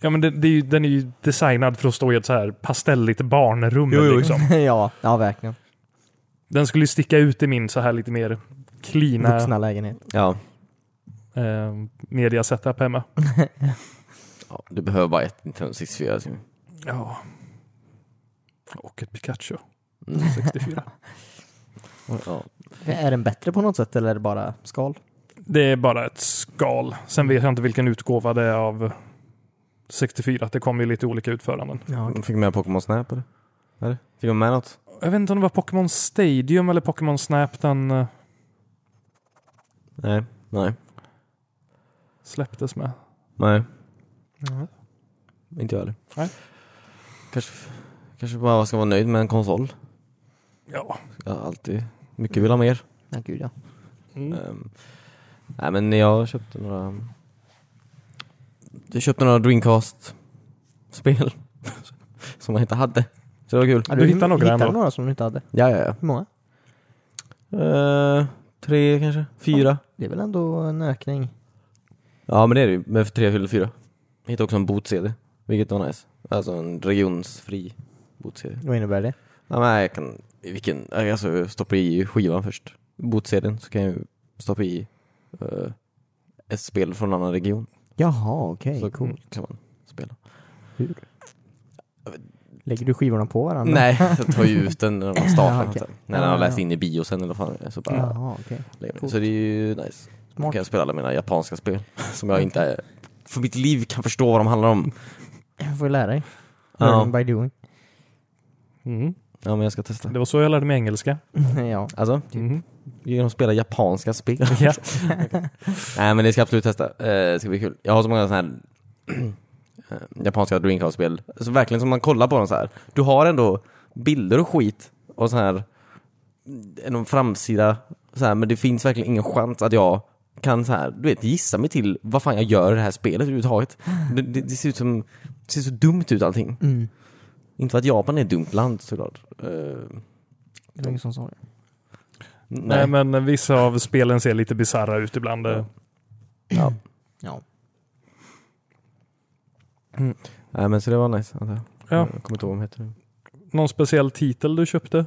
Speaker 3: Ja, men det, det är ju, den är ju designad för att stå i ett så här pastelligt barnrum.
Speaker 1: Jo, jo.
Speaker 3: Liksom.
Speaker 2: ja, ja verkligen.
Speaker 3: Den skulle ju sticka ut i min så här lite mer cleana
Speaker 2: Vuxna lägenhet.
Speaker 1: Ja,
Speaker 3: eh, media-setup hemma.
Speaker 1: ja du behöver bara ett Nintendo 64. Tim.
Speaker 3: Ja. Och ett Pikachu.
Speaker 1: Mm.
Speaker 3: 64.
Speaker 1: Ja.
Speaker 2: Är den bättre på något sätt eller är det bara skal?
Speaker 3: Det är bara ett skal. Sen vet jag inte vilken utgåva det är av 64. Det kommer ju lite olika utföranden.
Speaker 2: Ja,
Speaker 1: Mm. Fick man med Pokémon Snap eller? eller? Fick man med något?
Speaker 3: Jag vet inte om det var Pokémon Stadium eller Pokémon Snap den eh,
Speaker 1: Nej. Nej.
Speaker 3: släpptes med.
Speaker 1: Nej.
Speaker 3: Mm.
Speaker 1: Inte jag heller.
Speaker 3: Nej.
Speaker 1: Kanske, kanske bara ska vara nöjd med en konsol.
Speaker 3: Ja.
Speaker 1: Jag har alltid mycket vill ha mer.
Speaker 2: ja gud ja.
Speaker 1: Ehm, nej men jag köpte några Jag köpte några Dreamcast-spel som jag inte hade. Så det var kul.
Speaker 2: ja
Speaker 3: Du hittar några
Speaker 2: hittade
Speaker 3: ändå.
Speaker 2: några som du inte hade.
Speaker 1: Ja, ja, ja.
Speaker 2: Hur många?
Speaker 1: Eh, tre kanske? Fyra?
Speaker 2: Det är väl ändå en ökning.
Speaker 1: Ja men det är det ju, med tre eller fyra. Jag hittade också en bot-CD, vilket var nice. Alltså en regionsfri bot-CD.
Speaker 2: Vad innebär det?
Speaker 1: Ja, men jag kan, vilken, alltså stoppa i skivan först. Bot-CDn, så kan jag ju stoppa i eh, ett spel från en annan region.
Speaker 2: Jaha, okej.
Speaker 1: så
Speaker 2: Cool.
Speaker 1: kan man spela.
Speaker 2: Lägger du skivorna på varandra?
Speaker 1: Nej, jag tar ju ut den när man startar.
Speaker 2: Ja, okej.
Speaker 1: När den har
Speaker 2: Ja,
Speaker 1: läst
Speaker 2: ja.
Speaker 1: in i biosen eller vad fan det är, så bara
Speaker 2: Jaha, okej.
Speaker 1: lägger jag den.
Speaker 2: coolt.
Speaker 1: Så det är ju nice. Då
Speaker 2: Smart.
Speaker 1: kan jag spela alla mina japanska spel som jag inte för mitt liv kan förstå vad de handlar om.
Speaker 2: Jag får ju lära dig.
Speaker 1: Ja.
Speaker 2: Learning by doing.
Speaker 3: Mm.
Speaker 1: Ja men jag ska testa.
Speaker 3: Det var så jag lärde mig engelska.
Speaker 2: ja.
Speaker 1: Alltså,
Speaker 3: Mm.
Speaker 1: genom att spela japanska spel.
Speaker 3: Ja.
Speaker 1: Nej men det ska jag absolut testa. Eh, det ska bli kul. Jag har så många sådana här eh, japanska Dreamcast-spel. Så verkligen som man kollar på dem så här. Du har ändå bilder och skit och så här eh, någon framsida så här, men det finns verkligen ingen chans att jag kan så här, du vet, gissa mig till vad fan jag gör i det här spelet överhuvudtaget. Det, det, det ser ut som, det ser så dumt ut allting.
Speaker 2: Mm.
Speaker 1: Inte för att Japan är ett dumt land såklart. Eh,
Speaker 2: Det var ingen som sa det.
Speaker 3: Nej,
Speaker 1: nej.
Speaker 3: men vissa av spelen ser lite bisarra ut ibland. eh.
Speaker 1: Ja.
Speaker 2: Ja. Mm.
Speaker 1: nej men så det var nice. antar jag.
Speaker 3: Ja.
Speaker 1: Jag kommer inte ihåg vad de heter nu.
Speaker 3: Någon speciell titel du köpte?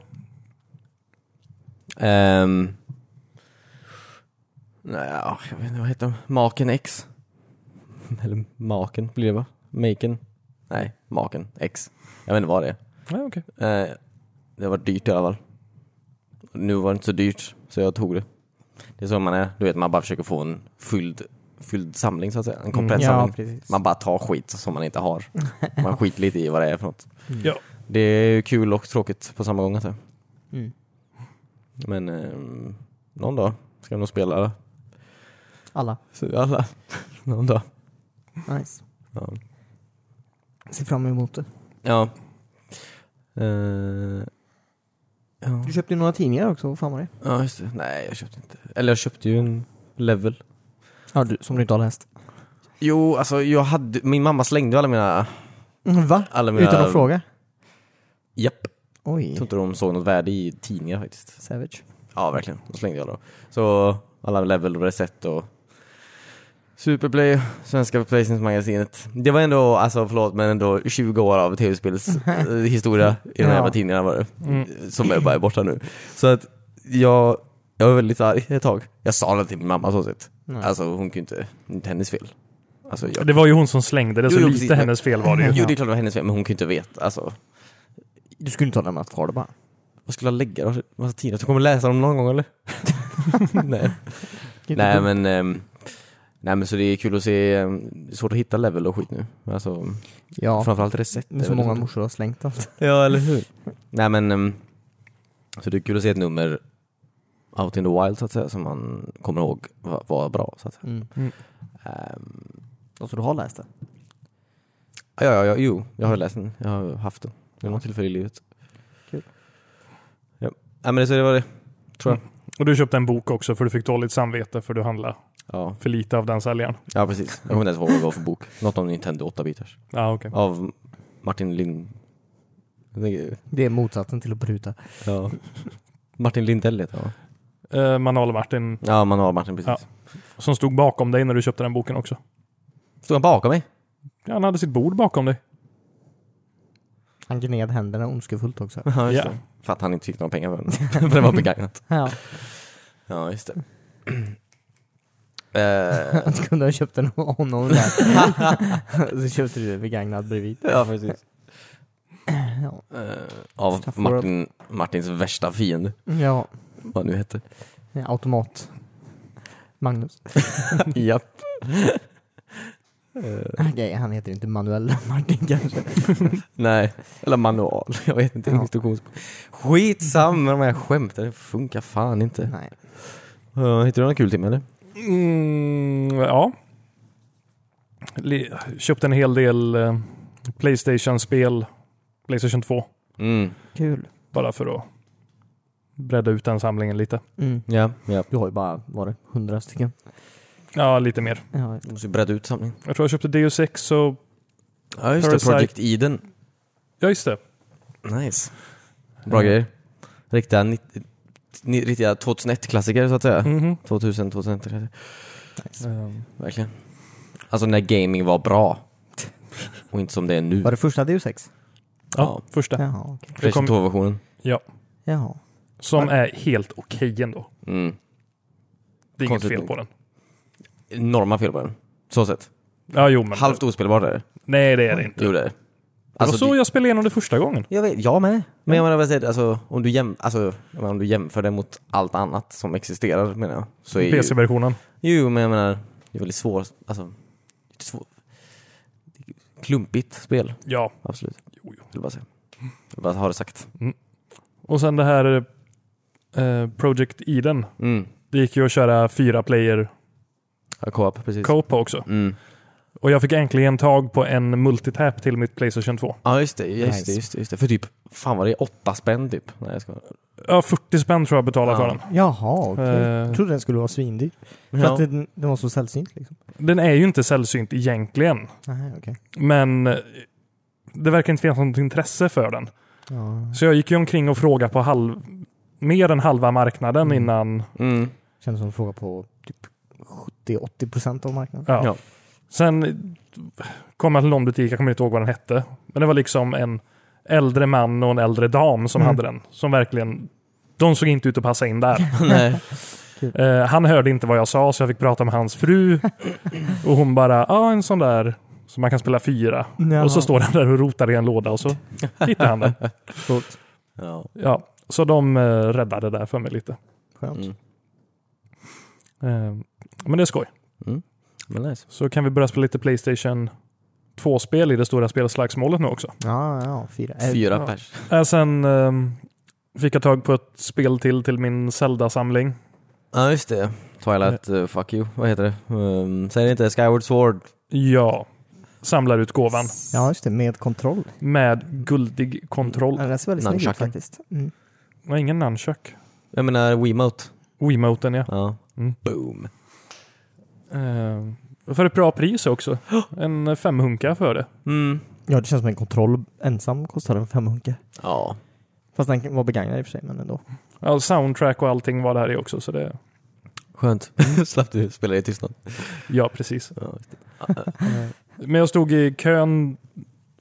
Speaker 1: Um, nej, ja, jag vet inte vad heter de? Maken X? Eller Maken blir det va? Maken? Nej, Maken X. Jag vet inte vad det
Speaker 3: Ja, okay.
Speaker 1: är. Eh, det var dyrt i alla fall. Nu var det inte så dyrt, så jag tog det. Det är så man är, du vet man bara försöker få en fylld, fylld samling så att säga. En komplett
Speaker 2: Mm, Ja,
Speaker 1: samling.
Speaker 2: precis.
Speaker 1: Man bara tar skit som man inte har. Man skiter lite i vad det är för något.
Speaker 3: ja.
Speaker 1: Det är ju kul och tråkigt på samma gång antar jag.
Speaker 2: Mm.
Speaker 1: Men ehm, någon dag ska jag nog spela
Speaker 2: Alla.
Speaker 1: så alla. någon dag.
Speaker 2: Nice.
Speaker 1: Ja.
Speaker 2: Ser fram emot det.
Speaker 1: Ja. Eh, ja.
Speaker 2: Du köpte ju några tidningar också, vad fan var det?
Speaker 1: ja, just det. Nej, jag köpte inte. Eller jag köpte ju en level.
Speaker 2: Ja, du, som du inte har läst.
Speaker 1: Jo, alltså jag hade, min mamma slängde alla mina...
Speaker 2: Mm, Va?
Speaker 1: Alla mina
Speaker 2: Utan att fråga?
Speaker 1: Japp. Jag
Speaker 2: Oj.
Speaker 1: tror inte de såg något värde i tidningar faktiskt.
Speaker 2: Savage.
Speaker 1: Ja, verkligen. De slängde jag då. Så alla level och reset och Superplay, Svenska Playstation-magasinet. Det var ändå, alltså förlåt, men ändå 20 år av tv-spels eh, historia i de här
Speaker 2: Ja.
Speaker 1: jävla tidningarna var det.
Speaker 3: Mm.
Speaker 1: Som är bara är borta nu. Så att jag, jag var väldigt arg ett tag. Jag sa det till min mamma så sett.
Speaker 2: Nej.
Speaker 1: Alltså hon kunde inte, inte hennes fel. Alltså, jag,
Speaker 3: Det var ju hon som slängde det, så
Speaker 1: Jo, jo,
Speaker 3: lite
Speaker 1: precis, men-
Speaker 3: hennes fel var det ju.
Speaker 1: jo, det är klart det var hennes fel, men hon kunde inte veta. Alltså,
Speaker 2: Du skulle inte ha lämnat kvar det bara?
Speaker 1: vad skulle jag lägga då? Massa tidningar? Du kommer läsa dem någon gång eller? Nej. Nej men, ehm, nej men så det är kul att se, ehm, det är svårt att hitta level och skit nu. Alltså,
Speaker 2: Ja,
Speaker 1: framförallt recept.
Speaker 2: men
Speaker 1: är
Speaker 2: så
Speaker 1: väl
Speaker 2: många
Speaker 1: svårt.
Speaker 2: morsor har slängt allt.
Speaker 1: Ja eller hur. nej men, ehm, så det är kul att se ett nummer out in the wild så att säga, som man kommer ihåg var, var bra. Så att säga.
Speaker 2: Mm.
Speaker 3: Mm.
Speaker 1: Ehm,
Speaker 2: Alltså du har läst det?
Speaker 1: ja, ja, ja, jo, jag har läst den, jag har haft den vid något tillfälle i livet.
Speaker 2: Kul.
Speaker 1: Ja, nej men det, så det var det.
Speaker 3: Och du köpte en bok också för du fick dåligt samvete för du handlade
Speaker 1: Ja,
Speaker 3: för lite av den säljaren.
Speaker 1: ja precis. Jag kommer inte ens ihåg vad det var för bok. Något om Nintendo 8-bitars.
Speaker 3: Ja, okej.
Speaker 1: Av Martin Lind... Jag tänker-
Speaker 2: Det är motsatsen till att pruta.
Speaker 1: Ja. Martin Lindell heter han va?
Speaker 3: Eh, Manuel Martin,
Speaker 1: Ja, man har Martin precis.
Speaker 3: Ja. som stod bakom dig när du köpte den boken också.
Speaker 1: Stod han bakom mig?
Speaker 3: Ja, han hade sitt bord bakom dig.
Speaker 2: Han gned händerna ondskefullt också.
Speaker 1: Ja,
Speaker 3: just
Speaker 1: det. För att han inte fick några pengar för den. för den var begagnat.
Speaker 2: Ja,
Speaker 1: Ja, just det. Eh,
Speaker 2: att du kunde ha köpt en av honom där. så köpte du en begagnad bredvid.
Speaker 1: ja, precis.
Speaker 2: Ja.
Speaker 1: Eh, av
Speaker 2: Stafford.
Speaker 1: Martin, Martins värsta fiende,
Speaker 2: ja,
Speaker 1: vad han nu hette.
Speaker 2: automat. Magnus.
Speaker 1: Japp.
Speaker 2: Okej, han heter inte Manuel Martin kanske.
Speaker 1: Nej, eller manual. Jag vet inte.
Speaker 2: Ja.
Speaker 1: Instruktionsbok. Skitsamma de här skämten, det funkar fan inte.
Speaker 2: Nej.
Speaker 1: Uh, hittade du något kul Tim eller?
Speaker 3: Mm, ja. Le- köpte en hel del eh, Playstation-spel, Playstation 2,
Speaker 1: Mm,
Speaker 2: Kul.
Speaker 3: bara för att bredda ut den samlingen lite.
Speaker 2: Mm.
Speaker 1: ja. ja.
Speaker 2: Du har ju bara, var det, hundra stycken?
Speaker 3: Ja, lite mer.
Speaker 2: Ja,
Speaker 1: Du måste ju bredda ut samlingen.
Speaker 3: Jag tror jag köpte Deus Ex och...
Speaker 1: Ja, just det.
Speaker 3: Parasite.
Speaker 1: Project Eden.
Speaker 3: Ja, just det.
Speaker 1: Nice. Bra
Speaker 3: Mm.
Speaker 1: grejer. Riktiga, nitt- ni- riktiga 2001-klassiker så att säga.
Speaker 3: Mhm.
Speaker 1: 2000, 2001.
Speaker 3: Ehm,
Speaker 1: Verkligen. Alltså när gaming var bra. Och inte som det är nu.
Speaker 2: Var det första Deus Ex?
Speaker 3: ja,
Speaker 1: Ja.
Speaker 3: första.
Speaker 2: Jaha, okej.
Speaker 3: Det kom-
Speaker 1: Playstation 2-versionen.
Speaker 3: Ja,
Speaker 2: Jaha.
Speaker 3: som är helt okej ändå.
Speaker 1: Mm.
Speaker 3: Det är
Speaker 1: Konstigt
Speaker 3: inget
Speaker 1: nog.
Speaker 3: fel på den.
Speaker 1: Enorma fel på den. Så sett.
Speaker 3: Ja, jo, men...
Speaker 1: Halvt ospelbart är det.
Speaker 3: Nej, det är det inte.
Speaker 1: Jo det är det.
Speaker 3: Det var
Speaker 1: Alltså,
Speaker 3: så
Speaker 1: det-
Speaker 3: jag spelade igenom det första gången.
Speaker 1: jag, vet, jag med. Men jag menar, vad jag säger, alltså, om, du jäm, alltså, jag menar, om du jämför det mot allt annat som existerar menar jag. Så är ju,
Speaker 3: PC-versionen.
Speaker 1: jo men jag menar, det är väldigt svårt. Alltså, det är svår, klumpigt spel.
Speaker 3: Ja.
Speaker 1: Absolut.
Speaker 3: Jo, jo.
Speaker 1: Vill bara säga. Jag bara har det sagt.
Speaker 3: Och sen det här eh, Project Eden.
Speaker 1: Mm.
Speaker 3: Det gick ju att köra fyra player
Speaker 1: Ja, Co-op, precis.
Speaker 3: co-op på också.
Speaker 1: Mm.
Speaker 3: Och jag fick äntligen tag på en multitap till mitt Playstation 2.
Speaker 1: Ja just det, just,
Speaker 2: Nice.
Speaker 1: det, just, det, just det. För typ, fan var det åtta spänn typ? Nej jag skojar.
Speaker 3: Ja, 40 spänn tror jag betalade
Speaker 1: Ja.
Speaker 3: för den.
Speaker 2: Jaha, okej.
Speaker 3: Eh.
Speaker 2: Jag trodde den skulle vara svindyr. För
Speaker 1: Ja.
Speaker 2: att den, den var så sällsynt liksom.
Speaker 3: Den är ju inte sällsynt egentligen,
Speaker 2: Nej, okej.
Speaker 3: men eh, det verkar inte finnas något intresse för den.
Speaker 2: Ja,
Speaker 3: Så jag gick ju omkring och frågade på halv, mer än halva marknaden
Speaker 2: Mm.
Speaker 3: innan.
Speaker 1: Mm.
Speaker 2: kändes som en fråga på typ 70-80 procent av marknaden.
Speaker 3: Ja.
Speaker 1: Ja.
Speaker 3: Sen kom jag till någon butik, jag kommer inte ihåg vad den hette. Men det var liksom en äldre man och en äldre dam som
Speaker 2: Mm.
Speaker 3: hade den. Som verkligen, de såg inte ut att passa in där.
Speaker 1: Nej.
Speaker 3: Eh, han hörde inte vad jag sa så jag fick prata med hans fru. och hon bara, ja ah, en sån där som man kan spela fyra.
Speaker 2: Jaha.
Speaker 3: Och så står han där och rotar i en låda och så hittar han den.
Speaker 2: Coolt.
Speaker 1: Ja.
Speaker 3: Ja, så de eh, räddade det där för mig lite.
Speaker 2: Skönt.
Speaker 1: Mm.
Speaker 3: Eh, men det är skoj.
Speaker 1: Men nice.
Speaker 3: Så kan vi börja spela lite Playstation 2-spel i det stora spelslagsmålet nu också.
Speaker 2: Ja, ja, fyra. Eh,
Speaker 1: Fyra
Speaker 3: ja.
Speaker 1: pers.
Speaker 3: Eh, sen eh, fick jag tag på ett spel till till min Zelda-samling.
Speaker 1: Ja just det. Twilight, eh, fuck you. Vad heter det? Um, säg det inte Skyward Sword.
Speaker 3: Ja, samlarutgåvan
Speaker 2: Ja, just det. Med kontroll.
Speaker 3: med guldig kontroll.
Speaker 2: Den ser väldigt snygg ut
Speaker 1: Nunchucken.
Speaker 2: faktiskt. Mm.
Speaker 3: Och ingen nunchuck.
Speaker 1: Jag menar Wiimote.
Speaker 3: Wiimoten ja.
Speaker 1: Ja.
Speaker 3: Mm.
Speaker 1: Boom.
Speaker 3: Eh, för ett bra pris också. En femhunka för det.
Speaker 1: Mm.
Speaker 2: Ja, det känns som en kontroll ensam kostar en femhunke.
Speaker 1: Ja.
Speaker 2: Fast den var begagnad i och för sig, men ändå.
Speaker 3: Ja, soundtrack och allting var där i också. Så det,
Speaker 1: Skönt. Slapp du spela i tystnad.
Speaker 3: ja, precis. Ehm,
Speaker 1: Ja, just
Speaker 3: Men jag stod i kön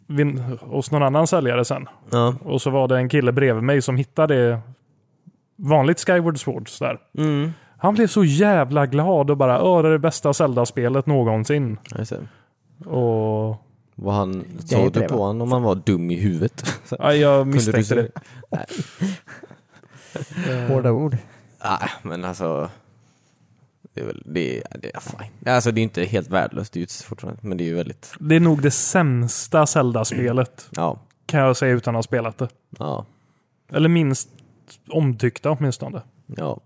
Speaker 3: vid, hos någon annan säljare sen.
Speaker 1: Ja.
Speaker 3: Och så var det en kille bredvid mig som hittade vanligt Skyward Swords där.
Speaker 1: Mm.
Speaker 3: Han blev så jävla glad och bara Åh, det är det bästa Zelda-spelet någonsin.
Speaker 1: Ja, just det.
Speaker 3: Och
Speaker 1: Vad han,
Speaker 2: är
Speaker 1: såg
Speaker 2: inte
Speaker 1: du
Speaker 2: det,
Speaker 1: på
Speaker 2: va?
Speaker 1: honom om han var dum i huvudet?
Speaker 3: ja, jag
Speaker 1: Kunde du
Speaker 3: misstänkte
Speaker 1: se
Speaker 3: det.
Speaker 2: Hårda ord.
Speaker 1: Nej, men alltså. Det är väl, det är, det är fine. Alltså det är inte helt värdelöst, det är ju fortfarande, men det är ju väldigt,
Speaker 3: Det är nog det sämsta Zelda-spelet
Speaker 1: ja.
Speaker 3: kan jag säga utan att ha spelat det.
Speaker 1: Ja.
Speaker 3: Eller minst omtyckta åtminstone.
Speaker 1: Ja.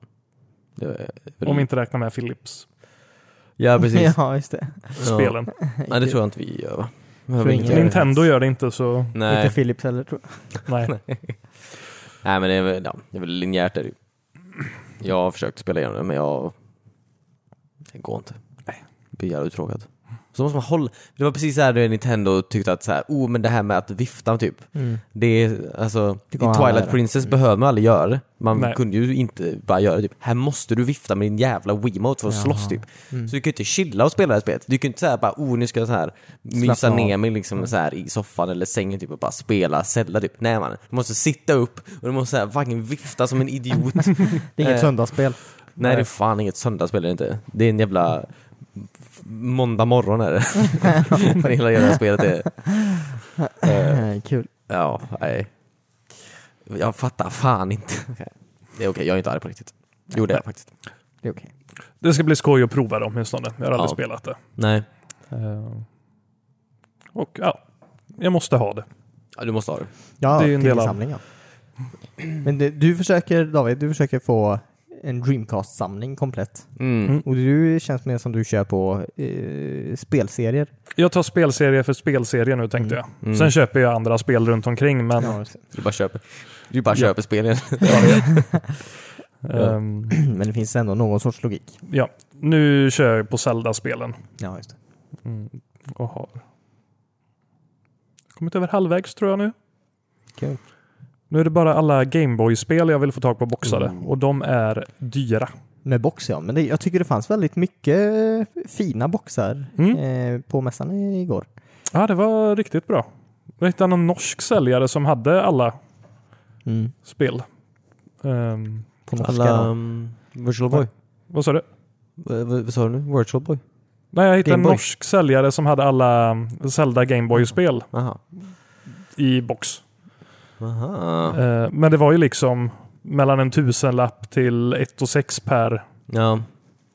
Speaker 1: Det är väl-
Speaker 3: Om vi inte räknar med Philips
Speaker 1: Ja, precis.
Speaker 2: ja, just det.
Speaker 3: spelen.
Speaker 1: Nej, det tror jag inte vi gör va? Men
Speaker 2: Tror
Speaker 1: vi
Speaker 2: ingen
Speaker 1: inte gör det.
Speaker 3: Nintendo gör det inte så
Speaker 1: Nej.
Speaker 2: Inte Philips heller tror jag.
Speaker 3: nej.
Speaker 1: Nej men det är väl, ja, det är väl linjärt är det ju. Jag har försökt spela igenom det men jag det går inte. Det blir jävla uttråkad. Så måste man hålla, det var precis så här då Nintendo tyckte att så här, oh men det här med att vifta typ.
Speaker 2: Mm.
Speaker 1: Det är, alltså, i
Speaker 2: Det kommer alla
Speaker 1: Twilight
Speaker 2: göra.
Speaker 1: Princess behöver man aldrig göra det. Man
Speaker 3: Nej.
Speaker 1: kunde ju inte bara göra det. Typ. Här måste du vifta med din jävla Wiimote för att
Speaker 2: Jaha.
Speaker 1: slåss typ.
Speaker 2: Mm.
Speaker 1: Så du kan ju inte chilla och spela det här spelet. Du kan ju inte säga bara oh nu ska jag så här mysa
Speaker 2: av.
Speaker 1: ner mig liksom så här i soffan eller sängen typ och bara spela Zelda typ. Nej man, du måste sitta upp och du måste så här fucking vifta som en idiot.
Speaker 2: Det är inget
Speaker 1: Eh.
Speaker 2: söndagsspel.
Speaker 1: Nej det är fan inget söndagsspel är det inte. Det är en jävla f- måndag morgon är det. Vad hela jävla spelet är. Eh,
Speaker 2: Eh, Kul.
Speaker 1: Ja, nej. Jag fattar fan inte. Det är okej, jag är inte arg på riktigt. Jo, det är jag faktiskt.
Speaker 2: Det är okej.
Speaker 3: Det ska bli skoj att prova det åtminstone. Jag har aldrig
Speaker 1: Ja.
Speaker 3: spelat det.
Speaker 1: Nej,
Speaker 3: Eh, Och ja, jag måste ha det.
Speaker 1: ja, du måste ha det.
Speaker 2: Ja,
Speaker 3: Det är ju en
Speaker 2: till
Speaker 3: del av-
Speaker 2: samlingen. Men det, du försöker, David, du försöker få en Dreamcast-samling komplett.
Speaker 1: Mm.
Speaker 2: Och du känns mer som du kör på eh, spelserier.
Speaker 3: Jag tar spelserie för spelserie nu tänkte
Speaker 1: Mm.
Speaker 3: jag. Sen köper jag andra spel runt omkring men
Speaker 2: Ja, just det.
Speaker 1: Du bara köper, du bara köper spelen.
Speaker 3: ehm,
Speaker 2: Men det finns ändå någon sorts logik.
Speaker 3: ja. nu kör jag på Zelda-spelen.
Speaker 2: Ja, just det.
Speaker 3: och har kommit över halvvägs tror jag nu.
Speaker 2: Kul.
Speaker 3: Nu är det bara alla Gameboy-spel jag vill få tag på boxade och de är dyra.
Speaker 2: Med box ja, men det, jag tycker det fanns väldigt mycket fina boxar
Speaker 3: Mm.
Speaker 2: eh, på mässan i- igår.
Speaker 3: Ja, det var riktigt bra. Jag hittade någon norsk säljare som hade alla spel. Ehm,
Speaker 2: På norska
Speaker 1: Alla
Speaker 2: Alla...
Speaker 1: um, Virtual Boy.
Speaker 3: vad sa du?
Speaker 1: V- v- vad sa du nu? Virtual Boy?
Speaker 3: Nej, jag hittade en
Speaker 1: Gameboy.
Speaker 3: norsk säljare som hade alla mm, Zelda Gameboy-spel
Speaker 1: Aha.
Speaker 3: i box.
Speaker 1: Aha.
Speaker 3: Ehm, men det var ju liksom mellan en tusenlapp till ett och sex per,
Speaker 1: Ja.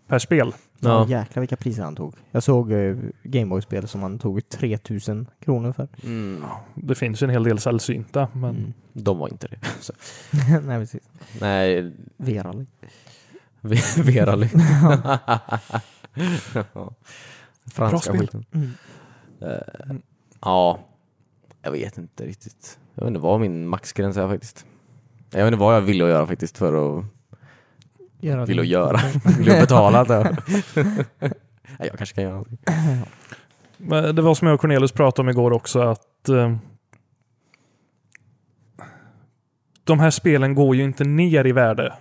Speaker 3: per spel.
Speaker 1: Ja.
Speaker 2: Jäklar vilka priser han tog. Jag såg eh, Gameboy-spel som han tog 3000 kronor för.
Speaker 1: Mm.
Speaker 3: Det finns ju en hel del sällsynta, men
Speaker 2: Mm.
Speaker 1: De var inte det. Så.
Speaker 2: Nej precis.
Speaker 1: Nej,
Speaker 2: VR-rally.
Speaker 1: V- Vera Ly. Ja. Franska
Speaker 3: Bra spel.
Speaker 1: skiten.
Speaker 2: Mm.
Speaker 1: Eh, ja, jag vet inte riktigt. Jag vet inte vad min maxgräns är faktiskt. Jag vet inte vad jag ville göra faktiskt för att
Speaker 2: Göra
Speaker 1: Vill
Speaker 2: det.
Speaker 1: att göra. ville betala. det. Nej, jag kanske kan göra någonting.
Speaker 3: Men Det var som jag och Cornelius pratade om igår också att eh, de här spelen går ju inte ner i värde.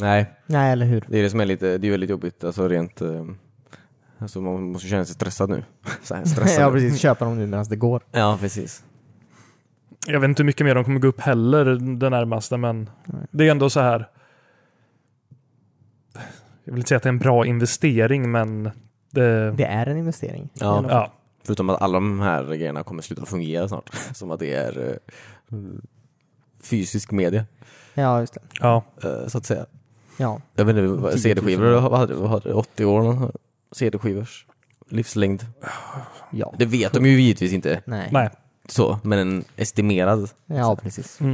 Speaker 1: Nej,
Speaker 2: Nej, eller hur?
Speaker 1: det är det som är lite, det är väldigt jobbigt. Alltså rent, eh, alltså man måste känna sig stressad nu. Så här, stressad.
Speaker 2: ja, precis. Köpa dem nu medan det går.
Speaker 1: ja, precis.
Speaker 3: Jag vet inte hur mycket mer de kommer gå upp heller det närmaste, men det är ändå så här. Jag vill inte säga att det är en bra investering, men det,
Speaker 2: Det är en investering.
Speaker 1: Ja.
Speaker 2: Eller-
Speaker 3: ja,
Speaker 1: Förutom att alla de här grejerna kommer sluta fungera snart. Som att det är eh, fysisk media,
Speaker 2: ja, just det.
Speaker 3: ja,
Speaker 1: eh, så att säga.
Speaker 2: Ja.
Speaker 1: Jag vet inte, vad-
Speaker 2: 10 000.
Speaker 1: CD-skivor, vad hade, vad hade 80 år? någon här? CD-skivors livslängd.
Speaker 2: ja.
Speaker 1: Det vet de ju givetvis inte
Speaker 2: Nej.
Speaker 3: nej.
Speaker 1: så, men en estimerad.
Speaker 2: Ja, precis.
Speaker 1: Det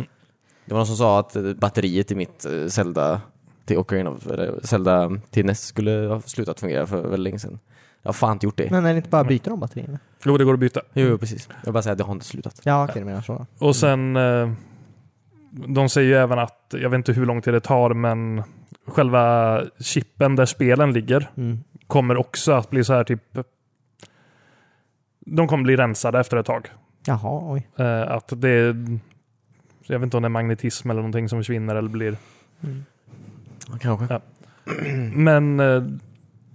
Speaker 1: var någon som sa att eh, batteriet i mitt eh, Zelda till Ocarina of, eller Zelda till NES skulle ha slutat fungera för väldigt länge sedan. Jag har fan inte gjort det.
Speaker 2: Men är det inte bara byta de batterierna?
Speaker 3: Jo, det går att byta.
Speaker 1: Jo, jo, precis. Jag bara säger att det har inte slutat.
Speaker 2: Ja, okej, du menar så.
Speaker 3: Och sen, eh, de säger ju även att, jag vet inte hur lång tid det tar, men själva chippen där spelen ligger
Speaker 2: Mm.
Speaker 3: kommer också att bli så här typ. De kommer bli rensade efter ett tag.
Speaker 2: Jaha, oj.
Speaker 3: Eh, att det är, jag vet inte om det är magnetism eller någonting som försvinner eller blir.
Speaker 2: Mm.
Speaker 1: Kanske. Ja.
Speaker 3: Men eh,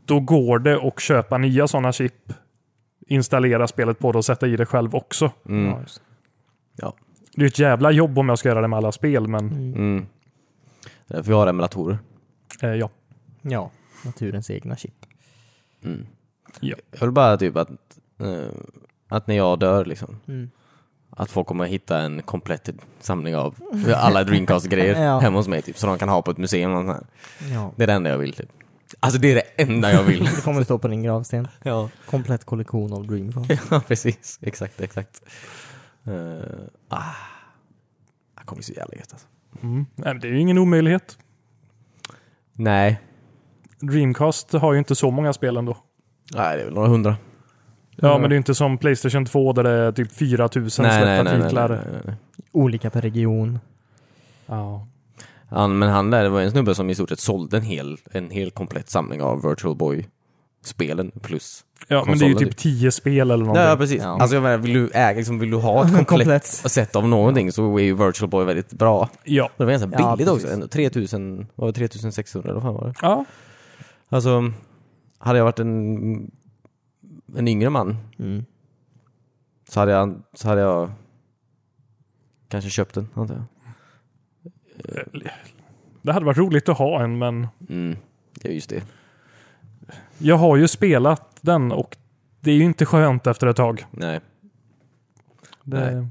Speaker 3: då går det att köpa nya sådana chip, installera spelet på det och sätta i det själv också.
Speaker 1: Mm.
Speaker 2: Ja, just.
Speaker 3: Det är ju ett jävla jobb om jag ska göra det med alla spel, men
Speaker 2: Mm.
Speaker 1: Mm. Det är därför jag har emulatorer.
Speaker 3: eh, ja.
Speaker 2: ja, naturens egna chip.
Speaker 1: Mm.
Speaker 3: Ja.
Speaker 1: Jag vill bara typ att, eh, att när jag dör liksom,
Speaker 2: Mm.
Speaker 1: Att folk kommer hitta en komplett samling av alla Dreamcast-grejer
Speaker 2: Ja.
Speaker 1: hemma hos mig typ, så de kan ha på ett museum. Och sånt här.
Speaker 2: Ja.
Speaker 1: Det är det enda jag vill typ. Alltså det är det enda jag vill.
Speaker 2: Det kommer stå på din gravsten.
Speaker 1: ja.
Speaker 2: Komplett kollektion av Dreamcast.
Speaker 1: ja, precis. Exakt, exakt. Eh, ah. Det kommer bli så jävla gött alltså.
Speaker 3: Mm. Nej, men Det är ju ingen omöjlighet.
Speaker 1: Nej.
Speaker 3: Dreamcast har ju inte så många spel ändå.
Speaker 1: Nej, det är väl några hundra.
Speaker 3: Ja,
Speaker 2: Ja.
Speaker 3: men det är inte som Playstation 2 där det är typ 4000
Speaker 1: Nej, nej,
Speaker 3: släppta
Speaker 1: nej, nej,
Speaker 3: titlar.
Speaker 1: nej, nej, nej.
Speaker 2: Olika per region.
Speaker 3: Ja.
Speaker 1: Ja, Han, men han där var en snubbe som i stort sett sålde en hel, en hel komplett samling av Virtual Boy-spelen plus.
Speaker 3: Ja, men det är ju
Speaker 1: Konsolen,
Speaker 3: typ tio spel eller någonting.
Speaker 1: Ja, ja, precis.
Speaker 2: Ja.
Speaker 1: Alltså jag menar, vill du äga, liksom, vill du ha ett komplett
Speaker 2: Komplett.
Speaker 1: set av någonting så är ju Virtual Boy väldigt bra.
Speaker 3: Ja.
Speaker 1: Det var ganska
Speaker 2: Ja,
Speaker 1: billigt
Speaker 2: precis.
Speaker 1: också, ändå. 3000, vad var det 3600 eller vad fan var det?
Speaker 3: ja.
Speaker 1: Alltså, hade jag varit en, en yngre man
Speaker 2: Mm.
Speaker 1: så hade jag, så hade jag kanske köpt den, antar jag.
Speaker 3: Det hade varit roligt att ha en, men
Speaker 1: Mm, det är just det.
Speaker 3: jag har ju spelat den och det är ju inte skönt efter ett tag.
Speaker 1: Nej.
Speaker 3: Det...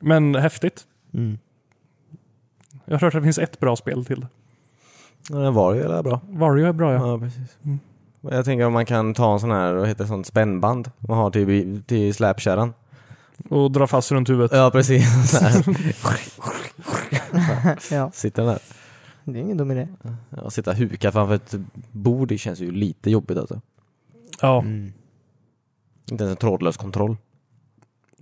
Speaker 3: Men häftigt.
Speaker 2: Mm.
Speaker 3: Jag har hört att det finns ett bra spel till.
Speaker 1: Ja, Den var ju jävla bra.
Speaker 3: Vario är bra ja.
Speaker 1: Ja, precis.
Speaker 3: Mm.
Speaker 1: Men Jag tänker om man kan ta en sån här, vad heter det, sånt spännband man har till, till släpkärran.
Speaker 3: Och dra fast runt huvudet.
Speaker 1: Ja, precis. Så här,
Speaker 2: Ja,
Speaker 1: Sitta där.
Speaker 2: det är ingen dum idé.
Speaker 1: Ja, sitta huka framför ett bord, det känns ju lite jobbigt alltså.
Speaker 3: Ja.
Speaker 2: Mm.
Speaker 1: Inte ens en trådlös kontroll.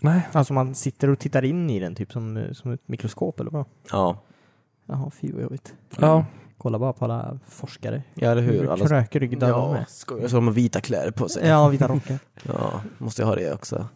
Speaker 3: Nej.
Speaker 2: Alltså man sitter och tittar in i den typ som, som ett mikroskop eller vad?
Speaker 1: Ja.
Speaker 2: Jaha, fy vad jobbigt.
Speaker 3: Ja.
Speaker 2: Kolla bara på alla forskare.
Speaker 1: Ja, eller hur?
Speaker 2: Hur
Speaker 1: Alla
Speaker 2: krökryggda de
Speaker 1: ja,
Speaker 2: är.
Speaker 1: skojar. Så de har vita kläder på sig.
Speaker 2: Ja, vita rockar.
Speaker 1: Ja, måste jag ha det också.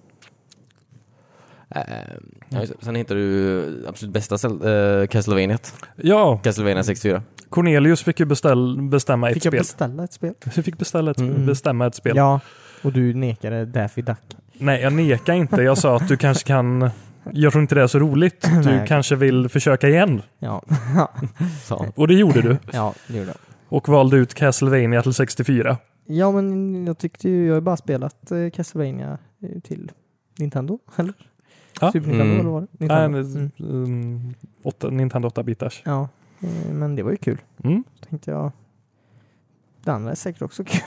Speaker 1: Ehm, ja, just det. sen hittar du absolut bästa äh, Castlevania.
Speaker 3: ja.
Speaker 1: Castlevania 64.
Speaker 3: Cornelius fick ju beställ, bestämma ett
Speaker 2: Fick jag
Speaker 3: spel.
Speaker 2: beställa ett spel?
Speaker 3: Du fick beställa ett,
Speaker 1: Mm.
Speaker 3: bestämma ett spel.
Speaker 2: Ja, och du nekade Daffy Duck.
Speaker 3: Nej, jag nekar inte. Jag sa att du kanske kan... Jag tror inte det är så roligt. Du
Speaker 2: Nej.
Speaker 3: kanske vill försöka igen.
Speaker 2: Ja,
Speaker 1: sa han.
Speaker 3: Och det gjorde du.
Speaker 2: ja det gjorde jag.
Speaker 3: Och valde ut Castlevania till 64.
Speaker 2: Ja, men jag tyckte ju, jag har ju bara spelat eh, Castlevania eh, till Nintendo, eller?
Speaker 3: Ja.
Speaker 2: Super Nintendo
Speaker 1: Mm.
Speaker 2: eller vad det var?
Speaker 3: Nej,
Speaker 2: Nintendo.
Speaker 3: men,
Speaker 2: Mm.
Speaker 3: mm. åtta, Nintendo 8-bitars.
Speaker 2: Ja, eh, men det var ju kul.
Speaker 3: Mm.
Speaker 2: Så tänkte jag, det andra är säkert också kul.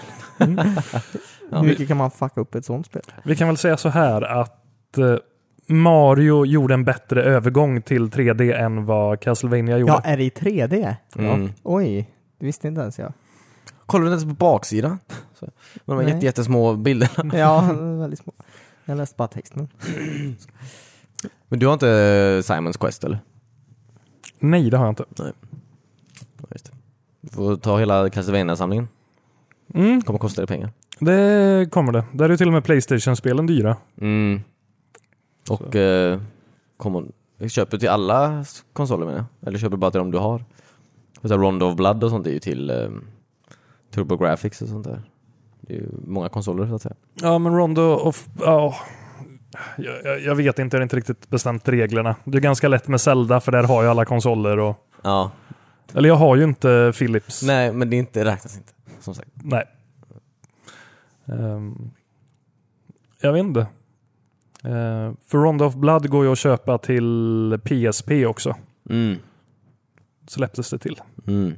Speaker 1: Ja.
Speaker 2: Hur mycket kan man fucka upp ett sånt spel?
Speaker 3: Mm. Vi kan väl säga så här att eh, Mario gjorde en bättre övergång till 3D än vad Castlevania gjorde.
Speaker 2: Ja, är det i 3D?
Speaker 1: Mm.
Speaker 2: Oj, det visste inte ens jag.
Speaker 1: Kollar du inte ens på baksidan? Så. Men de
Speaker 2: Nej.
Speaker 1: här jätte, jättesmå bilder.
Speaker 2: Ja, väldigt små. Jag läste bara texten.
Speaker 1: Men du har inte eh, Simons Quest eller?
Speaker 3: Nej, det har jag inte.
Speaker 1: Ja, just det. Du får ta hela Castlevania-samlingen.
Speaker 3: Mm,
Speaker 1: kommer kosta dig pengar.
Speaker 3: det kommer det. Där är till och med Playstation-spelen dyra.
Speaker 1: Mm. Och eh, kommer, köper du till alla s- konsoler menar jag? Eller köper du bara till de du har? Och så här Rondo of Blood och sånt är ju till eh, Turbo Graphics och sånt där. Det är ju många konsoler så att säga.
Speaker 3: Ja, men Rondo of... Ja. Jag, jag, jag vet inte, jag har inte riktigt bestämt reglerna. Det är ganska lätt med Zelda, för där har jag alla konsoler. Och,
Speaker 1: Ja,
Speaker 3: eller jag har ju inte Philips.
Speaker 1: nej men det är inte, räknas inte. Som sagt.
Speaker 3: Nej. Ehm, jag vet inte. Ehm, för Rondo of Blood går ju att köpa till PSP också.
Speaker 1: Mm.
Speaker 3: Släpptes det till.
Speaker 1: Mm.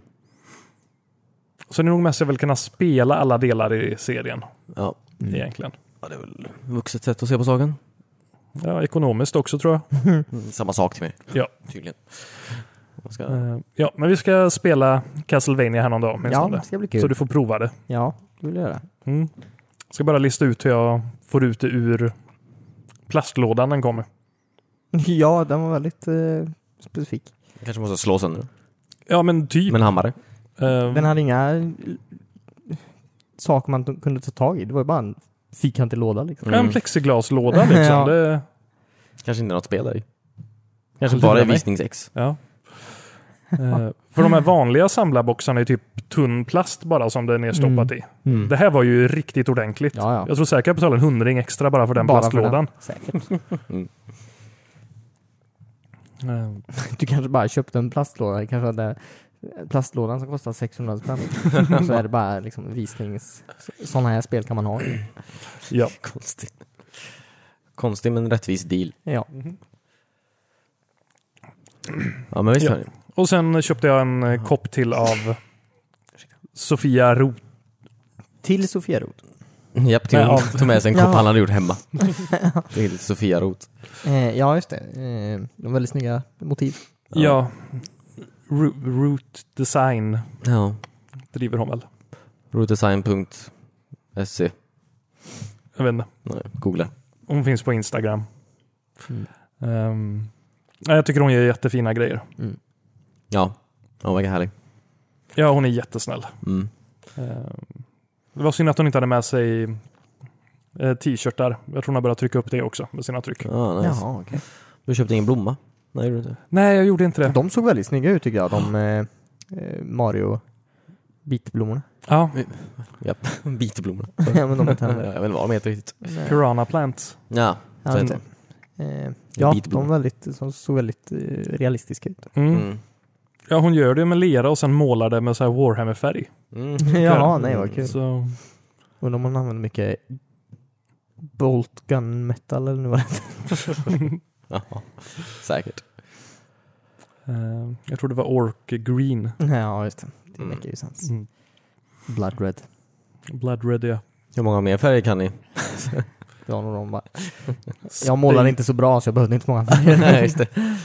Speaker 3: Så det är nog mest jag vill kunna spela alla delar i serien
Speaker 1: Ja.
Speaker 2: Mm.
Speaker 3: egentligen.
Speaker 1: ja, det är väl vuxet sätt att se på saken.
Speaker 3: Ja, ekonomiskt också tror jag.
Speaker 1: Mm, Samma sak till mig.
Speaker 3: Ja.
Speaker 1: Tydligen. Man ska...
Speaker 3: Ehm, ja, men vi ska spela Castlevania här någon dag
Speaker 2: Ja,
Speaker 3: åtminstone.
Speaker 2: det ska bli
Speaker 3: Så
Speaker 2: kul.
Speaker 3: du får prova det.
Speaker 2: Ja, det vill jag göra.
Speaker 3: Mm. Ska bara lista ut hur jag får ut det ur plastlådan den kommer.
Speaker 2: Ja, den var väldigt eh, specifik.
Speaker 1: Kanske måste slå sönder den.
Speaker 3: Ja, men typ.
Speaker 1: Med en hammare.
Speaker 3: Ehm,
Speaker 2: Den hade inga l- saker man t- kunde ta tag i. Det var ju bara en fyrkantig låda liksom.
Speaker 3: En plexiglaslåda liksom.
Speaker 2: Ja.
Speaker 3: Det,
Speaker 1: Kanske inte är något spel där i. Kanske
Speaker 3: Lurar
Speaker 1: bara är
Speaker 3: mig.
Speaker 1: visningsex.
Speaker 3: ja. Eh, För de här vanliga samlarboxarna är typ tunn plast bara som den är stoppat i. Det här var ju riktigt ordentligt.
Speaker 2: Ja, Mm. ja.
Speaker 3: Jag tror säkert jag betalade en hundring extra bara för den
Speaker 2: Bara för
Speaker 3: plastlådan.
Speaker 2: den. Säkert.
Speaker 3: Eh,
Speaker 2: Du kanske bara köpte en plastlåda. Det Kanske hade plastlådan som kostar 600 spänn. Och så är det bara liksom visnings... Sådana här spel kan man ha.
Speaker 3: Ja.
Speaker 1: Konstig. Konstig men rättvis deal.
Speaker 2: Ja.
Speaker 1: Ja men visst
Speaker 3: Ja.
Speaker 1: hörni.
Speaker 3: Och sen köpte jag en eh, kopp till av Sofia Roth.
Speaker 2: Till Sofieroth.
Speaker 1: Japp, till
Speaker 3: Nej,
Speaker 1: hon
Speaker 3: av-
Speaker 1: tog med sig en kopp
Speaker 2: Jaha.
Speaker 1: han hade gjort hemma. till Sofia Roth.
Speaker 2: Eh, ja, just det. Eh, de har väldigt snygga motiv.
Speaker 1: Ja.
Speaker 3: Ja. Ru- Root Design
Speaker 1: Ja.
Speaker 3: driver hon väl?
Speaker 1: Rootdesign.se.
Speaker 3: Jag vet inte.
Speaker 1: E. Nej, Googla.
Speaker 3: Hon finns på Instagram.
Speaker 2: Mm. Mm.
Speaker 3: Ehm, nej, jag tycker hon gör jättefina grejer.
Speaker 1: Ja. Hon verkar härlig.
Speaker 3: Ja, hon är jättesnäll.
Speaker 1: Mm.
Speaker 3: Eh, Det var synd att hon inte hade med sig eh, t-shirtar. Jag tror hon har börjat trycka upp det också med sina tryck.
Speaker 1: Ah, nice.
Speaker 2: Jaha, okej.
Speaker 1: Du köpte ingen blomma? Nej, gjorde du inte.
Speaker 3: Nej, jag gjorde inte det.
Speaker 2: De såg väldigt snygga ut tycker jag, de eh, eh, Mario bitblommorna.
Speaker 3: Ja,
Speaker 1: Bitblommorna.
Speaker 2: ja, men de är
Speaker 1: Jag
Speaker 2: tända.
Speaker 1: vet inte vad de heter riktigt.
Speaker 2: Nej.
Speaker 3: Piranha Plant.
Speaker 1: Ja,
Speaker 2: Ja,
Speaker 1: så
Speaker 2: men-
Speaker 1: heter
Speaker 2: Eh, ja,
Speaker 1: Bitblom.
Speaker 2: de, var väldigt, de såg väldigt eh, realistiska ut.
Speaker 1: de.
Speaker 3: Mm.
Speaker 1: Mm.
Speaker 3: Ja, hon gör det med lera och sen målar det med så här Warhammer-färg.
Speaker 1: Mm.
Speaker 2: Jaha, nej vad kul.
Speaker 3: Så,
Speaker 2: Undrar om man använder mycket Bolt Gun Metal eller vad det heter.
Speaker 1: Jaha. Säkert.
Speaker 3: eh, jag tror det var Ork Green.
Speaker 2: Nej, Ja, just det. Det
Speaker 1: Mm.
Speaker 2: make ju sens.
Speaker 3: Mm.
Speaker 2: Blood Red.
Speaker 3: Blood Red, ja.
Speaker 1: Hur många mer färger kan ni?
Speaker 2: Det var nog de bara. Jag målar inte så bra så jag behövde inte så många färger.
Speaker 1: Nej, just det.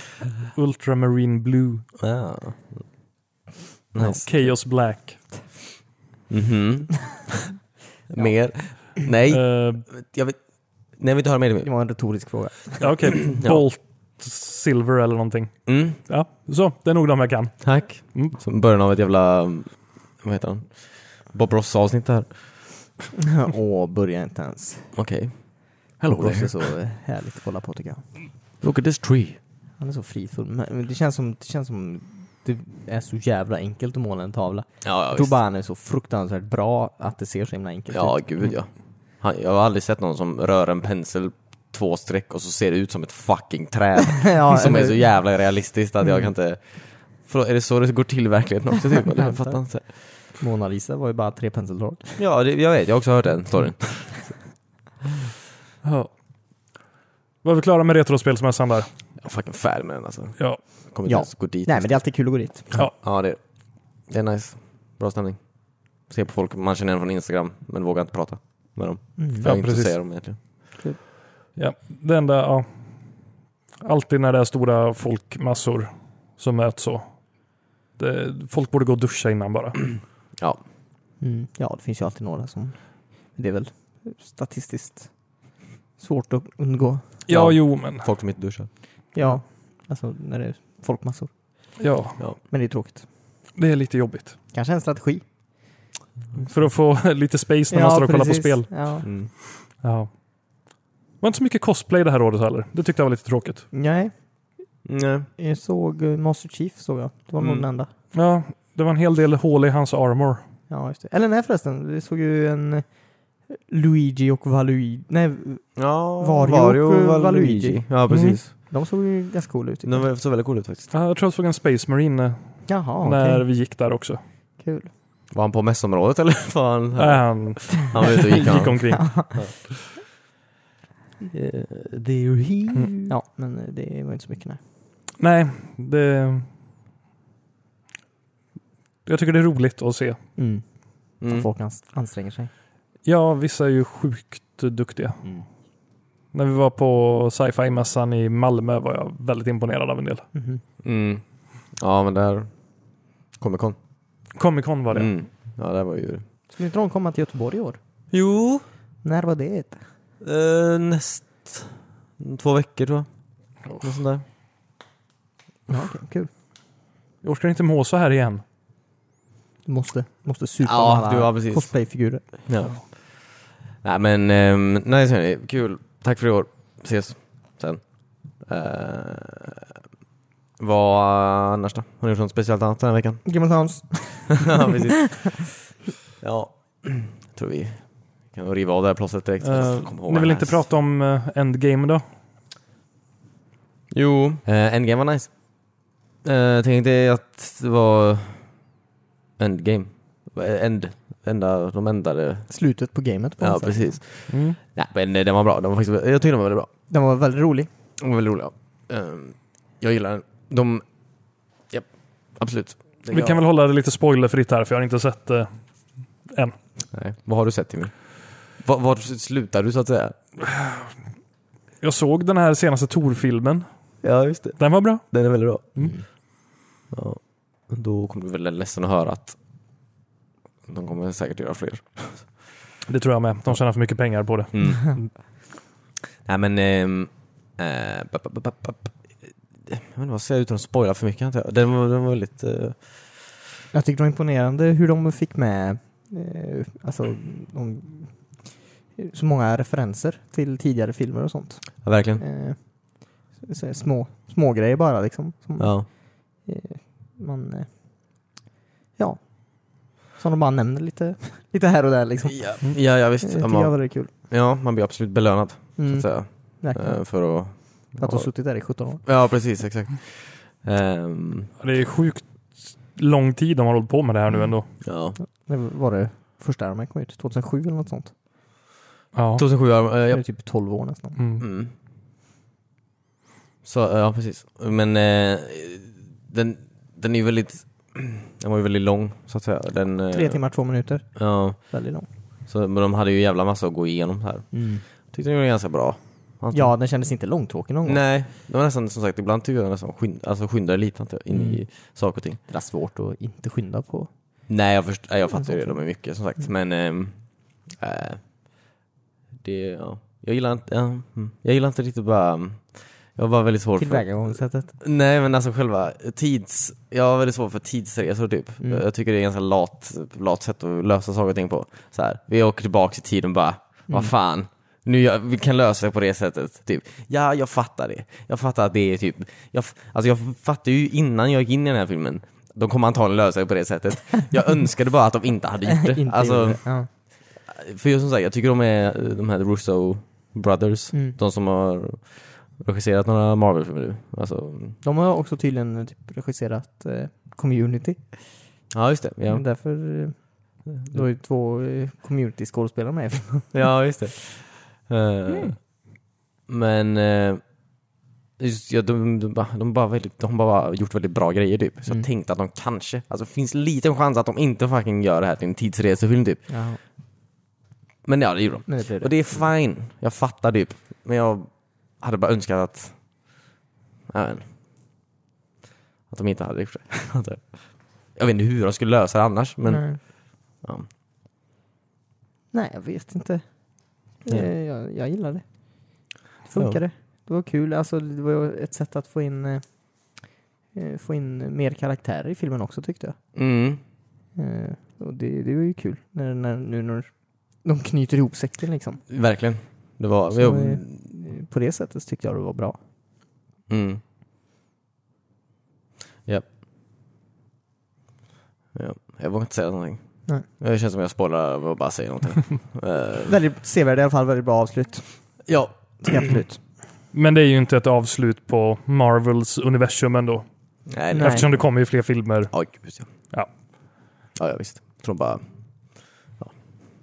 Speaker 3: Ultramarine Blue.
Speaker 1: Ja. Nice.
Speaker 3: Chaos Black.
Speaker 1: Mhm. mer? Nej,
Speaker 3: Eh,
Speaker 1: jag vet... Nej, vi inte höra mer.
Speaker 2: Det var en retorisk fråga.
Speaker 3: ja, Okej,
Speaker 1: Ja.
Speaker 3: Bolt Silver eller någonting.
Speaker 1: Mm.
Speaker 3: Ja, så. Det är nog de jag kan.
Speaker 1: Tack.
Speaker 3: Mm.
Speaker 1: Som början av ett jävla, mm, vad heter han? Bob Ross-avsnitt här.
Speaker 2: Åh, börja inte ens.
Speaker 1: Okej.
Speaker 2: Det är så härligt att kolla på tycker jag.
Speaker 1: Look at this tree.
Speaker 2: Han är så frifull. Men men det känns som, det känns som det är så jävla enkelt att måla en tavla.
Speaker 1: Ja, ja
Speaker 2: Jag tror bara han är så fruktansvärt bra att det ser så himla enkelt
Speaker 1: Ja,
Speaker 2: ut.
Speaker 1: gud ja. Han, jag har aldrig sett någon som rör en pensel två streck och så ser det ut som ett fucking träd.
Speaker 2: ja,
Speaker 1: som är
Speaker 2: eller- Mm.
Speaker 1: så jävla realistiskt att jag kan inte... Förlåt, är det så det går till i verkligheten också? Typ? Eller, Jag fattar inte.
Speaker 2: Mona Lisa var ju bara tre penseldrag.
Speaker 1: Ja, det, jag vet. Jag har också hört den storyn.
Speaker 2: Mm.
Speaker 3: Ja. Var vi klara med Retrospelsmässan där?
Speaker 1: Jag är fucking färdig med den alltså.
Speaker 3: Ja.
Speaker 1: Jag kommer inte
Speaker 2: Ja.
Speaker 1: ens gå dit.
Speaker 2: Nej, men det är alltid kul att gå dit.
Speaker 3: ja.
Speaker 1: Ja, det, det är nice. Bra stämning. Se på folk man känner igen från Instagram, men vågar inte prata med dem.
Speaker 2: Mm.
Speaker 1: För jag
Speaker 3: Ja,
Speaker 1: vill inte
Speaker 3: precis.
Speaker 1: säga dem egentligen.
Speaker 3: ja. Det enda, ja. Alltid när det är stora folkmassor som möts så. Det, folk borde gå och duscha innan bara.
Speaker 1: Ja,
Speaker 2: Mm. Ja, det finns ju alltid några som... Det är väl statistiskt svårt att undgå.
Speaker 3: Ja, jo, men.
Speaker 1: folk som inte duschar.
Speaker 2: Ja, alltså när det är folkmassor.
Speaker 3: Ja,
Speaker 2: Men det är tråkigt.
Speaker 3: det är lite jobbigt.
Speaker 2: Kanske en strategi.
Speaker 3: För att få lite space när man står och kollar på spel.
Speaker 2: Ja.
Speaker 1: Mm.
Speaker 3: Ja. Det var inte så mycket cosplay det här året heller. Det tyckte jag var lite tråkigt.
Speaker 2: Nej,
Speaker 1: Nej.
Speaker 2: jag såg eh, Master Chief såg jag. Det var nog
Speaker 1: Mm.
Speaker 2: den enda.
Speaker 3: Ja, det var en hel del hål i hans armor.
Speaker 2: Ja, just det. Eller nej förresten, vi såg ju en eh, Luigi och Valuigi. Nej,
Speaker 1: Ja,
Speaker 2: Vario och Valuigi.
Speaker 1: Ja, precis.
Speaker 2: de såg ju ganska coola ut. tycker jag.
Speaker 1: De såg väldigt coola ut faktiskt.
Speaker 3: Ja, Jag tror jag såg en Space Marine eh,
Speaker 2: Jaha, okej.
Speaker 3: när vi gick där också.
Speaker 2: Kul.
Speaker 1: Var han på mässområdet eller var han
Speaker 3: Nej, han
Speaker 1: Han var ute och gick.
Speaker 3: gick
Speaker 1: han.
Speaker 3: omkring. Eh,
Speaker 1: they're here. Mm.
Speaker 2: Ja, men eh, det var inte så mycket nej.
Speaker 3: Nej, det... Jag tycker det är roligt att se.
Speaker 2: Mm. Folk ans- anstränger sig.
Speaker 3: Ja, vissa är ju sjukt duktiga.
Speaker 1: Mm.
Speaker 3: När vi var på sci-fi-mässan i Malmö var jag väldigt imponerad av en del.
Speaker 2: Mhm.
Speaker 1: Mm. Ja, men där... Comic Con.
Speaker 3: Comic Con var det.
Speaker 1: Mm. Ja, det var ju...
Speaker 2: Skulle inte de komma till Göteborg i år?
Speaker 1: Jo, eh,
Speaker 2: När var det?
Speaker 1: näst... Två veckor tror jag. Något sånt där.
Speaker 2: Ja, okej, kul.
Speaker 3: Jag orkar inte må så här igen.
Speaker 2: Du måste, måste supa
Speaker 1: Ja,
Speaker 2: med alla
Speaker 1: du, ja, precis.
Speaker 2: cosplayfigurer.
Speaker 1: Ja. Nej men, um, nice hörni. Kul. Tack för i år. Ses sen. Uh, vad annars då? Har ni gjort något speciellt annat den här veckan?
Speaker 2: Game of Thrones.
Speaker 1: ja, precis. Ja, tror vi kan nog riva av det här plåstret direkt.
Speaker 3: Eh,
Speaker 1: Kom ihåg
Speaker 3: ni
Speaker 1: vad
Speaker 3: vill
Speaker 1: det
Speaker 3: inte
Speaker 1: här.
Speaker 3: prata om eh, Endgame då?
Speaker 1: Jo. Eh, Endgame var nice. Uh, tänkte att det var Endgame. Eh, End. Enda, de ändade.
Speaker 2: Slutet på gamet på
Speaker 1: Ja,
Speaker 2: något sätt.
Speaker 1: precis. Nej, men eh, den var bra. Den var faktiskt, jag tyckte den var väldigt bra.
Speaker 2: Den var väldigt rolig.
Speaker 1: De var väldigt roliga. Ehm, jag gillar den. De... Japp, absolut. Det
Speaker 3: Vi
Speaker 1: gör
Speaker 3: kan
Speaker 1: jag.
Speaker 3: väl hålla det lite spoilerfritt här för jag har inte sett eh,
Speaker 1: Nej. Vad har du sett Timmy? Var, var slutar du så att säga?
Speaker 3: Jag såg den här senaste Tor-filmen.
Speaker 1: Ja, just det.
Speaker 3: Den var bra.
Speaker 1: Den är väldigt bra.
Speaker 3: Mm.
Speaker 1: Ja. Då kommer du väl ledsen att höra att de kommer säkert göra fler.
Speaker 3: Det tror jag med. De tjänar för mycket pengar på det.
Speaker 1: Nej men... ehm, eh, papp, papp, papp, papp. jag vet inte vad jag ska säga utan att spoila för mycket antar jag. Den var, den var väldigt... eh,
Speaker 2: Jag tyckte det var imponerande hur de fick med eh, alltså, de, så många referenser till tidigare filmer och sånt.
Speaker 1: ja, verkligen.
Speaker 2: Eh, så- så, små, små grejer bara liksom. Som
Speaker 1: Ja.
Speaker 2: eh, man, eh, ja, som de bara nämner lite, lite här och där liksom.
Speaker 1: Ja, ja, ja
Speaker 2: Det
Speaker 1: visst. Ja,
Speaker 2: tycker jag var
Speaker 1: man,
Speaker 2: väldigt kul.
Speaker 1: ja, man blir absolut belönad så
Speaker 2: Mm,
Speaker 1: att säga.
Speaker 2: verkligen.
Speaker 1: eh, För att...
Speaker 2: För att de har suttit där i 17 år.
Speaker 1: Ja, precis. Exakt. Ehm,
Speaker 3: Det är sjukt lång tid de har hållit på med det här
Speaker 1: Mm.
Speaker 3: nu ändå.
Speaker 1: ja.
Speaker 2: Det var det första armen kom ut, 2007 eller något sånt.
Speaker 3: Ja.
Speaker 1: 2007, ja. eh,
Speaker 2: Det
Speaker 1: ja.
Speaker 2: är typ 12 år nästan.
Speaker 3: Mm.
Speaker 1: Mm. Så, eh, ja precis. Men eh, den, den är ju väldigt, den var ju väldigt lång så att säga. Den, eh,
Speaker 2: Tre timmar, två minuter.
Speaker 1: Ja,
Speaker 2: Väldigt lång.
Speaker 1: så, men de hade ju jävla massa att gå igenom här. Tyckte den gjorde ganska bra. Anton.
Speaker 2: Ja, den kändes inte långtråkig någon gång.
Speaker 1: Nej, det var nästan som sagt, ibland tycker jag nästan skynd, alltså skyndar lite antar jag, in
Speaker 2: Mm.
Speaker 1: i saker och ting.
Speaker 2: Det är svårt att inte skynda på.
Speaker 1: Nej jag, först, nej, jag fattar ju det,
Speaker 2: sån
Speaker 1: de är mycket som sagt. Men ehm, eh, det, ja. jag, gillar inte, ja, mm. jag gillar inte riktigt bara, mm, jag var väldigt svår för
Speaker 2: Tillvägagångssättet.
Speaker 1: Nej men alltså själva tids, jag har väldigt svårt för tidsresor typ.
Speaker 2: Mm.
Speaker 1: Jag tycker det är ganska lat, lat sätt att lösa saker och ting på. Så här, vi åker tillbaka i tiden och bara,
Speaker 2: Mm.
Speaker 1: vad fan, nu gör- vi kan lösa det på det sättet. Typ. Ja, jag fattar det. Jag fattar att det är typ, jag, f- alltså jag fattade ju innan jag gick in i den här filmen, de kommer antagligen lösa det på det sättet. Jag önskade bara att de inte hade gjort det.
Speaker 2: inte
Speaker 1: Alltså,
Speaker 2: gjorde det. ja.
Speaker 1: för jag som sagt, jag tycker de är eh, de här Russo Brothers,
Speaker 2: Mm.
Speaker 1: de som har regisserat några Marvel-filmer nu. Alltså,
Speaker 2: De har också tydligen typ regisserat eh, Community.
Speaker 1: ja just det. Ja.
Speaker 2: Därför eh, då är ju två eh, community-skådespelare med.
Speaker 1: Ja, just det. Eh,
Speaker 2: Mm.
Speaker 1: Men eh, just, ja, de, de, bara- de, bara väldigt, de har bara gjort väldigt bra grejer typ. Så
Speaker 2: Mm.
Speaker 1: jag tänkte att de kanske, alltså finns liten chans att de inte fucking gör det här till en tidsresefilm typ.
Speaker 2: ja,
Speaker 1: Men ja, det gjorde de.
Speaker 2: men det blir det.
Speaker 1: Och det är fine, jag fattar typ. Men jag hade bara önskat att, jag vet inte, att de inte hade gjort det. antar jag. jag vet inte hur de skulle lösa det annars, men
Speaker 2: Nej.
Speaker 1: ja.
Speaker 2: Nej, jag vet inte.
Speaker 1: Nej.
Speaker 2: Eh, Jag, jag gillar det. Det funkade. Det var kul. Alltså, det var ju ett sätt att få in, eh, eh, få in mer karaktärer i filmen också tyckte jag.
Speaker 1: Mm.
Speaker 2: Eh, och det, det var ju kul när, när, nu när de knyter ihop säcken liksom.
Speaker 1: verkligen. Det var,
Speaker 2: Så,
Speaker 1: jag,
Speaker 2: eh, På det sättet tyckte jag det var bra.
Speaker 1: Mm. Japp. Ja, jag vågar inte säga någonting.
Speaker 2: Nej.
Speaker 1: Det känns som jag spoilar och bara säger någonting. Eh,
Speaker 2: Väldigt sevärd i alla fall, väldigt bra avslut.
Speaker 1: ja,
Speaker 2: Tycker jag Absolut.
Speaker 3: Men det är ju inte ett avslut på Marvels universum ändå.
Speaker 1: nej,
Speaker 2: Nej.
Speaker 1: nej.
Speaker 3: Eftersom det kommer ju fler filmer.
Speaker 1: Ja, gud ja.
Speaker 3: Ja.
Speaker 1: Ja, ja visst. Jag tror bara,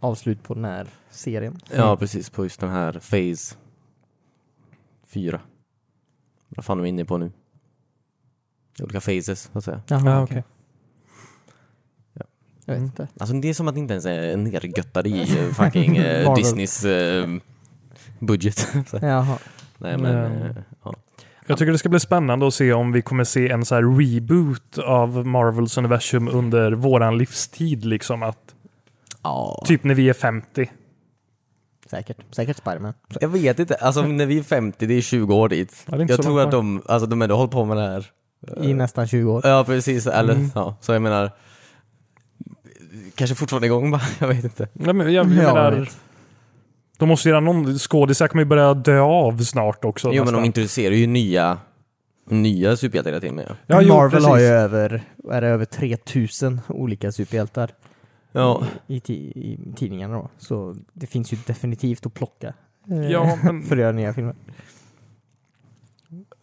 Speaker 2: Avslut på den här serien.
Speaker 1: ja precis, på just den här Phase 4. Vad fan är vi inne på nu? Olika phases, så att säga.
Speaker 2: Jaha,
Speaker 3: Ja,
Speaker 2: okej.
Speaker 3: okej.
Speaker 2: Jag vet inte.
Speaker 1: Alltså det är som att det inte ens är nergöttade i eh, fucking eh,
Speaker 2: Marvel.
Speaker 1: Disneys eh, budget. Så,
Speaker 2: Jaha.
Speaker 1: nej men,
Speaker 3: Nej.
Speaker 1: eh, ja.
Speaker 3: Jag tycker det ska bli spännande att se om vi kommer se en så här reboot av Marvels universum under våran livstid. Liksom att,
Speaker 1: ja.
Speaker 3: Typ när vi är 50.
Speaker 2: Säkert. Säkert Spiderman.
Speaker 1: Jag vet inte, alltså när vi är 50, det är 20 år dit.
Speaker 3: Ja, det är inte
Speaker 1: jag
Speaker 3: så
Speaker 1: tror
Speaker 3: långt
Speaker 1: att de, alltså de ändå hållit på med det här. Eh,
Speaker 2: I nästan 20 år. Mm.
Speaker 1: Ja precis, eller ja, så jag menar Kanske fortfarande igång bara, jag vet inte.
Speaker 3: Nej, men jag, jag
Speaker 2: Ja,
Speaker 3: menar,
Speaker 2: jag vet.
Speaker 3: de måste göra någon. Skådisar kommer ju börja dö av snart också.
Speaker 1: Jo men
Speaker 3: nästan.
Speaker 1: de introducerar ju nya, nya superhjältar hela tiden. Ja.
Speaker 3: Ja, jo,
Speaker 2: Marvel har ju
Speaker 3: precis.
Speaker 2: över, är det över 3000 olika superhjältar
Speaker 1: ja.
Speaker 2: i, ti- i tidningarna då. Så det finns ju definitivt att plocka eh,
Speaker 3: Ja, men
Speaker 2: för att göra nya filmer.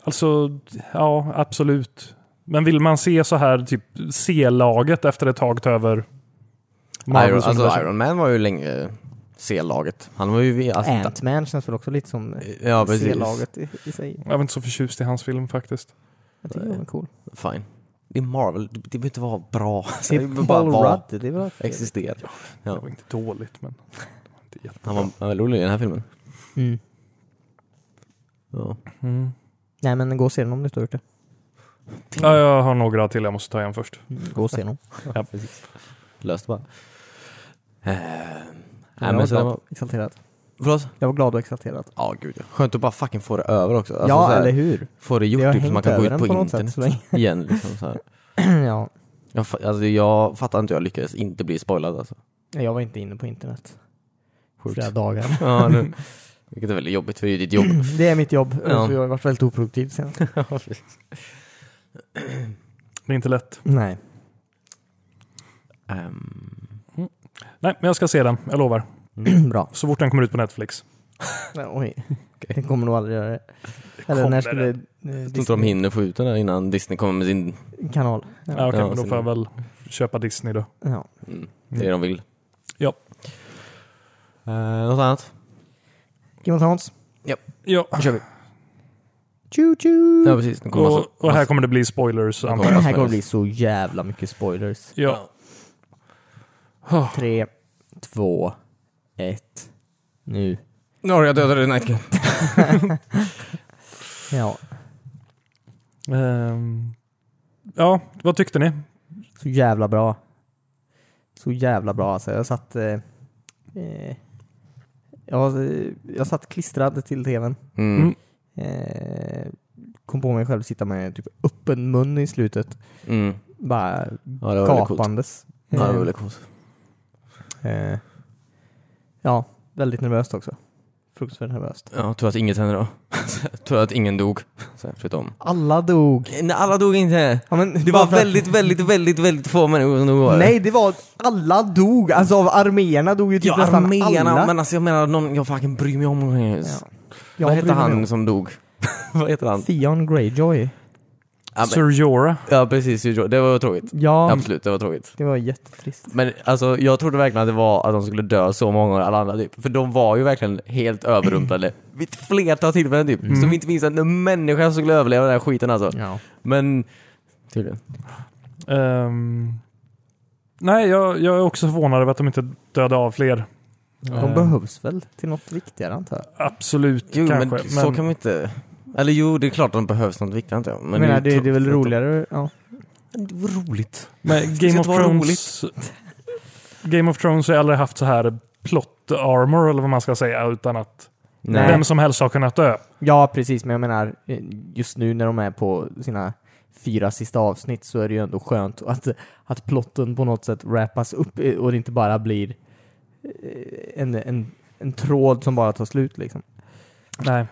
Speaker 3: Alltså, ja, absolut. Men vill man se så här, typ C-laget efter ett tag ta över
Speaker 1: Iron,
Speaker 3: Marvels
Speaker 1: alltså
Speaker 3: universum?
Speaker 1: Iron Man var ju länge C-laget. Han var ju... Alltså,
Speaker 2: Ant-Man känns väl också lite som eh,
Speaker 1: Ja precis.
Speaker 2: C-laget i, i sig.
Speaker 3: Jag var inte så förtjust i hans film faktiskt.
Speaker 2: Jag tycker den var cool.
Speaker 1: Fine. Det är Marvel, det behöver inte vara bra. Alltså,
Speaker 2: Det
Speaker 1: Det
Speaker 2: är
Speaker 1: behöver
Speaker 2: Paul
Speaker 1: bara vara,
Speaker 2: Rudd, det är väl fel.
Speaker 1: existera.
Speaker 3: Det
Speaker 1: Ja.
Speaker 3: var inte dåligt, men... det var inte jätte-
Speaker 1: Han var han var väldigt rolig i den här filmen.
Speaker 2: Mm.
Speaker 1: Ja.
Speaker 3: Mm.
Speaker 2: Nej men gå och se den om du inte har gjort det.
Speaker 3: Ja, jag har några till jag måste ta igen först.
Speaker 1: Mm.
Speaker 2: Gå och se den.
Speaker 3: Ja.
Speaker 1: Löst bara. Eh, nej,
Speaker 2: Jag
Speaker 1: men
Speaker 2: var
Speaker 1: så det
Speaker 2: glad,
Speaker 1: var,
Speaker 2: exalterad.
Speaker 1: Förlåt?
Speaker 2: Jag var glad och exalterad.
Speaker 1: Ja, gud ja. Skönt att bara fucking få det över också. Alltså, så
Speaker 2: ja,
Speaker 1: här,
Speaker 2: eller hur?
Speaker 1: Få det
Speaker 2: Jag
Speaker 1: gjort
Speaker 2: har
Speaker 1: typ, så man
Speaker 2: hängt
Speaker 1: kan gå
Speaker 2: över
Speaker 1: ut
Speaker 2: den
Speaker 1: på,
Speaker 2: på något sätt
Speaker 1: internet
Speaker 2: så länge.
Speaker 1: igen. Liksom, så här.
Speaker 2: ja,
Speaker 1: Jag, fa- alltså, jag fattar inte hur jag lyckades inte bli spoilad alltså.
Speaker 2: jag var inte inne på internet
Speaker 1: Sjukt.
Speaker 2: flera dagar.
Speaker 1: Ja, nu. Vilket är väldigt jobbigt, för det är ju ditt jobb.
Speaker 2: Det är mitt jobb.
Speaker 1: Ja.
Speaker 2: Så jag har varit väldigt oproduktiv sen.
Speaker 3: Det är inte lätt.
Speaker 2: Nej.
Speaker 1: Ehm,
Speaker 3: Nej, men jag ska se den. Jag lovar.
Speaker 2: Bra.
Speaker 3: Så fort den kommer ut på Netflix.
Speaker 2: Nej, Mm. Oj. Det kommer nog aldrig göra det. Eller
Speaker 3: kommer
Speaker 2: när
Speaker 3: det.
Speaker 2: skulle... eh,
Speaker 1: jag tror inte de hinner få ut den där innan Disney kommer med sin...
Speaker 2: Kanal. Ja.
Speaker 3: Ja, okej,
Speaker 1: Ja,
Speaker 3: men då
Speaker 1: sen-
Speaker 3: får jag väl köpa Disney då.
Speaker 2: Ja.
Speaker 1: Mm, det de vill.
Speaker 3: Ja.
Speaker 1: Eh, något annat?
Speaker 2: Game of Thrones.
Speaker 3: Ja,
Speaker 1: Nu kör vi.
Speaker 2: Choo choo!
Speaker 1: Ja, precis. Nu kommer massa,
Speaker 3: och, och här
Speaker 1: massa-
Speaker 3: kommer det bli spoilers.
Speaker 1: kommer
Speaker 3: antar jag.
Speaker 2: Det
Speaker 1: massa-
Speaker 2: här kommer bli så jävla mycket spoilers.
Speaker 3: Ja.
Speaker 2: Tre, två, ett. Nu.
Speaker 1: Norge dödade Night King.
Speaker 2: Ja.
Speaker 3: Ehm, ja, vad tyckte ni?
Speaker 2: Så jävla bra. Så jävla bra alltså. Jag satt... Eh, eh, jag, jag satt klistrad till tvn.
Speaker 1: Mm.
Speaker 3: Mm.
Speaker 2: Eh, kom på mig själv sitta med typ öppen mun i slutet.
Speaker 1: Mm.
Speaker 2: Bara
Speaker 1: Ja, det var väldigt coolt.
Speaker 2: gapandes.
Speaker 1: Ja, det var
Speaker 2: Eh,
Speaker 1: väldigt coolt.
Speaker 2: eh, ja, väldigt nervöst också. Fruktansvärt nervöst.
Speaker 1: Ja, tur att inget hände då. tur att ingen dog. Så här, förutom...
Speaker 2: Alla dog.
Speaker 1: Nej, alla dog inte.
Speaker 2: Ja, men
Speaker 1: Det
Speaker 2: bara
Speaker 1: var
Speaker 2: för att-
Speaker 1: väldigt, väldigt, väldigt, väldigt få människor som dog. var det?
Speaker 2: Nej, det var alla dog. Alltså av arméerna dog ju typ
Speaker 1: Ja,
Speaker 2: nästan
Speaker 1: arméerna.
Speaker 2: alla.
Speaker 1: Men alltså jag menar, någon, jag fucking bryr mig om
Speaker 2: Ja.
Speaker 1: ja.
Speaker 2: Jag
Speaker 1: Vad hette
Speaker 2: bryr mig
Speaker 1: han
Speaker 2: om-
Speaker 1: som dog? Vad heter han?
Speaker 2: Theon Greyjoy.
Speaker 1: Ja, men,
Speaker 3: Sir Jorah?
Speaker 1: ja precis, det var tråkigt.
Speaker 2: Ja,
Speaker 1: Absolut, det var tråkigt.
Speaker 2: det var jättetrist.
Speaker 1: Men alltså jag trodde verkligen att det var att de skulle dö så många och alla andra typ. För de var ju verkligen helt överrumplade vid ett flertal tillfällen typ. Så vi inte minns att en människa som skulle överleva den här skiten alltså.
Speaker 2: Ja.
Speaker 1: Men tydligen.
Speaker 3: Ehm, nej, jag, jag är också förvånad över att de inte dödade av fler.
Speaker 2: De
Speaker 1: Eh.
Speaker 3: Ehm,
Speaker 2: behövs väl till något viktigare antar jag.
Speaker 3: Absolut,
Speaker 1: Jo
Speaker 3: kanske.
Speaker 1: men, så kan man inte... Eller jo, det är klart att de behövs något viktigt antar jag. Men
Speaker 2: Men menar, det, det är väl
Speaker 1: tråkigt att de-
Speaker 2: roligare? Ja.
Speaker 1: Det var roligt.
Speaker 3: Men
Speaker 1: ska
Speaker 3: Game
Speaker 1: inte
Speaker 3: of
Speaker 1: vara
Speaker 3: Thrones... Game of Thrones har ju aldrig haft så här plot armor eller vad man ska säga utan att
Speaker 2: Nej.
Speaker 3: vem som helst har kunnat dö.
Speaker 2: ja, precis. Men jag menar, eh, just nu när de är på sina fyra sista avsnitt så är det ju ändå skönt att, att plotten på något sätt wrappas upp eh, och det inte bara blir eh, en, en, en tråd som bara tar slut liksom.
Speaker 3: Nej.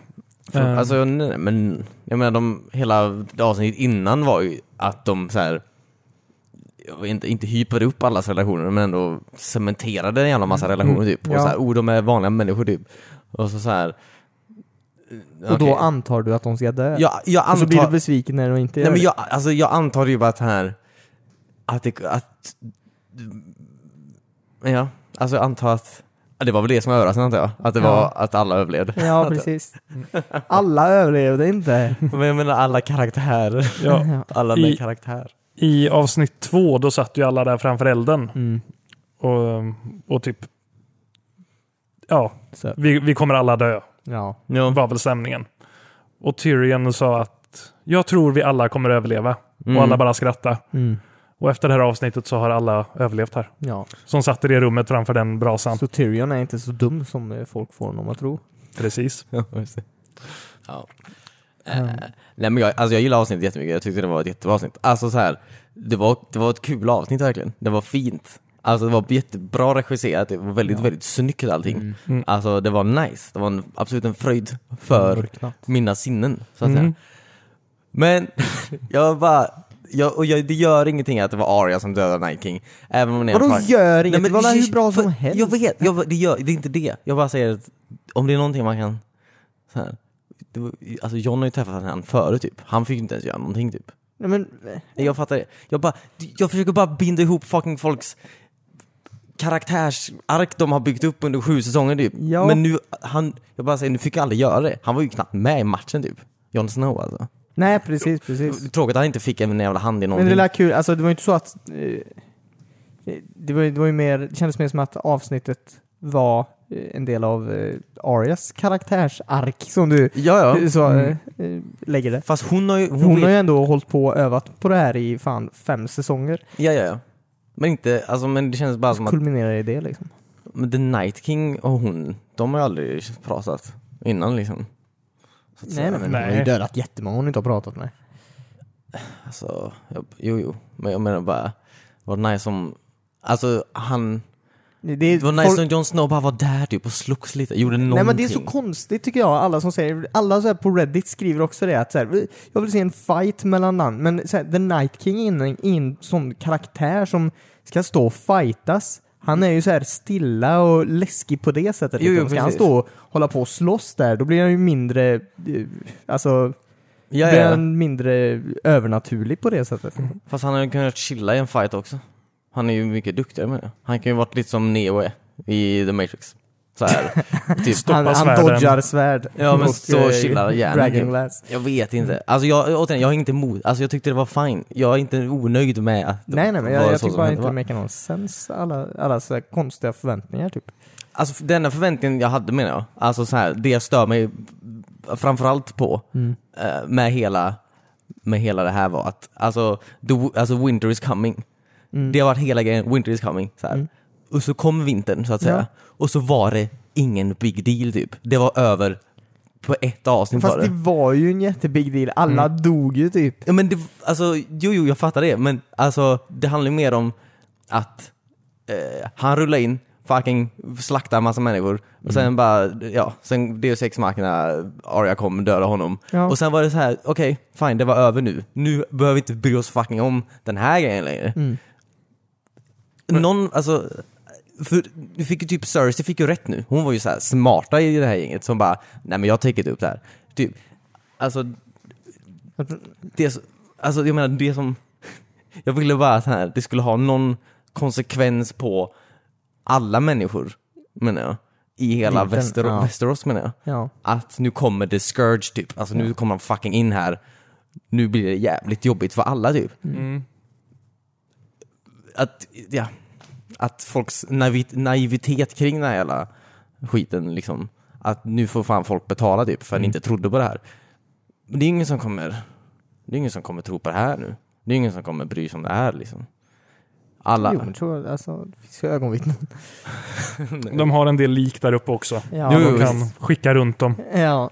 Speaker 3: Ehm,
Speaker 1: Alltså, nej, nej, men jag menar de, hela avsnittet innan var ju att de så här jag vet inte, inte hypade upp allas relationer men ändå cementerade en jävla massa relationer typ. Och
Speaker 2: Mm. Ja.
Speaker 1: så här, oh de är vanliga människor typ. Och så, så här.
Speaker 2: Och då
Speaker 1: okej.
Speaker 2: antar du att de ska dö?
Speaker 1: jag, jag
Speaker 2: Och så blir du
Speaker 1: antar,
Speaker 2: besviken när de inte
Speaker 1: nej,
Speaker 2: gör
Speaker 1: men
Speaker 2: det.
Speaker 1: jag, alltså, jag antar ju bara att här att, det, att men ja, alltså jag antar att ja, det var väl det som var överraskande antar jag. Att det
Speaker 2: Ja.
Speaker 1: var att alla överlevde.
Speaker 2: Ja, precis.
Speaker 1: Mm.
Speaker 2: Alla överlevde inte.
Speaker 1: Men jag menar alla karaktärer.
Speaker 3: ja,
Speaker 2: Ja.
Speaker 1: Alla
Speaker 3: I-
Speaker 1: med karaktär.
Speaker 3: I avsnitt två, då satt ju alla där framför elden
Speaker 2: Mm.
Speaker 3: och, och typ... Ja,
Speaker 2: Så,
Speaker 3: vi, vi kommer alla dö,
Speaker 2: ja.
Speaker 1: Ja.
Speaker 3: var väl stämningen. Och Tyrion sa att jag tror vi alla kommer överleva.
Speaker 1: Mm.
Speaker 3: Och alla bara skrattade.
Speaker 2: Mm.
Speaker 3: Och efter det här avsnittet så har alla överlevt här.
Speaker 2: ja.
Speaker 3: Som satt i det rummet framför den brasan.
Speaker 2: Så Tyrion är inte så dum som eh, folk får honom att tro.
Speaker 3: Precis.
Speaker 1: Ja, just det. Ja. Eh, Nej men jag, alltså jag gillar avsnittet jättemycket, jag tyckte det var ett jättebra avsnitt. Alltså så här, det var, det var ett kul avsnitt verkligen. Det var fint. Alltså det var jättebra regisserat, det var väldigt, väldigt snyggt allting.
Speaker 3: Mm.
Speaker 1: Alltså det var nice, det var en, absolut en fröjd för
Speaker 2: Mörknat.
Speaker 1: mina sinnen. Så att säga.
Speaker 3: Mm.
Speaker 1: Men jag bara, jag, och jag, det gör ingenting att det var Arya som dödade Night King. Även om det är en
Speaker 2: Vadå
Speaker 1: fuck-
Speaker 2: gör inget?
Speaker 1: Nej, men
Speaker 2: det var väl
Speaker 1: det-
Speaker 2: hur bra
Speaker 1: för-
Speaker 2: som helst?
Speaker 1: Jag vet, jag, det, gör, det är inte det. Jag bara säger att om det är någonting man kan... Så här, det, var- alltså John har ju träffat han före typ. Han fick ju inte ens göra någonting typ.
Speaker 2: Nej, men, eh,
Speaker 1: Nej, Jag fattar det. Jag, bara, jag försöker bara binda ihop fucking folks karaktärsark de har byggt upp under sju säsonger typ.
Speaker 2: Ja.
Speaker 1: Men nu, han, jag bara säger, nu fick jag aldrig göra det. Han var ju knappt med i matchen typ. Jon Snow alltså.
Speaker 2: nej, precis, precis.
Speaker 1: Tråkigt att han inte fick en jävla hand i
Speaker 2: Men
Speaker 1: någonting.
Speaker 2: det lär kul, alltså det var ju inte så att... eh, Det, var, det var ju mer, det kändes mer som att avsnittet var eh, en del av eh, Arias karaktärsark som du
Speaker 1: Ja, ja.
Speaker 2: så, eh, eh, lägger det.
Speaker 1: Fast hon har ju... Hon,
Speaker 2: Hon,
Speaker 1: vet-
Speaker 2: har ju ändå hållit på och övat på det här i fan fem säsonger.
Speaker 1: Ja, ja, ja. Men inte, alltså men det känns bara som att
Speaker 2: Kulminerar i det liksom.
Speaker 1: men The Night King och hon, de har ju aldrig pratat innan liksom. Så att
Speaker 2: Nej,
Speaker 1: säga,
Speaker 2: nej, men hon
Speaker 3: Nej.
Speaker 2: har ju dödat jättemånga hon inte har pratat med.
Speaker 1: Alltså, jag, jo, jo. Men jag menar bara, vad nice om... Alltså, han...
Speaker 2: Det, det, är-
Speaker 1: Det var nice
Speaker 2: folk-
Speaker 1: om Jon Snow bara var där typ och slogs lite, gjorde någonting.
Speaker 2: Nej men det är så konstigt tycker jag, alla som säger, alla så här på Reddit skriver också det att så här, "Vi- jag vill se en fight mellan namn, men så här, The Night King är en, är en sån karaktär som ska stå och fightas. Han är ju så här stilla och läskig på det sättet.
Speaker 1: Jo, jo,
Speaker 2: liksom. ska han
Speaker 1: precis.
Speaker 2: stå och hålla på och slåss där, då blir han ju mindre, eh, alltså,
Speaker 1: ja, ja.
Speaker 2: blir
Speaker 1: Mm. ja.
Speaker 2: han mindre övernaturlig på det sättet.
Speaker 1: Fast han har ju kunnat chilla i en fight också. Han är ju mycket duktigare med det. Han kan ju varit lite som Neo är i The Matrix. Så här, typ.
Speaker 2: Han, han
Speaker 3: svärden.
Speaker 2: dodgar svärd.
Speaker 1: Ja, men
Speaker 2: och,
Speaker 1: så
Speaker 2: eh,
Speaker 1: chillar hjärnan,
Speaker 2: Dragon
Speaker 1: typ.
Speaker 2: Glass.
Speaker 1: Jag vet inte. Alltså jag, återigen, jag är inte emot, alltså jag tyckte det var fine. Jag är inte onöjd med att det
Speaker 2: Nej nej men jag,
Speaker 1: var
Speaker 2: jag
Speaker 1: så
Speaker 2: tycker
Speaker 1: som
Speaker 2: bara
Speaker 1: hände,
Speaker 2: inte
Speaker 1: va?
Speaker 2: det make någon sens alla, alla så här konstiga förväntningar typ.
Speaker 1: Alltså för- den enda förväntningen jag hade menar jag, alltså så här, det jag stör mig framförallt på eh, med, hela, med hela det här var att alltså, the, alltså winter is coming. Det har varit hela grejen, winter is coming. Så här. Och så kom vintern så att säga. Och så var det ingen big deal typ. Det var över på ett avsnitt
Speaker 2: Fast
Speaker 1: var
Speaker 2: det
Speaker 1: det. Mm.
Speaker 2: var ju en jättebig deal, alla dog ju typ.
Speaker 1: Ja, men det, alltså, jo, jo, jag fattar det. Men alltså, det handlar ju mer om att eh, han rullar in, fucking slaktar en massa människor och sen bara, ja, sen Deus Ex Machina, Arya kom döda honom.
Speaker 2: Ja.
Speaker 1: Och sen var det så här, okej, fine, det var över nu. Nu behöver vi inte bry oss fucking om den här grejen längre. Någon, alltså, för du fick ju typ Cersei fick ju rätt nu. Hon var ju så här smarta i det här gänget som bara, nej men jag tänker upp det här. Typ, alltså det, s- alltså jag menar det som, jag ville bara att här, det skulle ha någon konsekvens på alla människor, menar jag. I hela
Speaker 2: Vintern,
Speaker 1: Väster,
Speaker 2: ja.
Speaker 1: Västerås menar jag.
Speaker 2: Ja.
Speaker 1: Att nu kommer the scourge typ, alltså nu kommer han fucking in här. Nu blir det jävligt jobbigt för alla typ.
Speaker 3: Mm.
Speaker 1: Att, ja, att folks naivit, naivitet kring den här jävla skiten liksom. Att nu får fan folk betala typ för att ni
Speaker 2: Mm.
Speaker 1: inte trodde på det här. Men det är ingen som kommer det är ingen som kommer tro på det här nu. Det är ingen som kommer bry sig om det här liksom. Alla.
Speaker 2: Jo men tror jag, alltså, det finns ju ögonvittnen.
Speaker 3: De har en del lik där uppe också.
Speaker 2: Ja,
Speaker 1: Jo, jo,
Speaker 3: De kan skicka runt dem.
Speaker 2: Ja.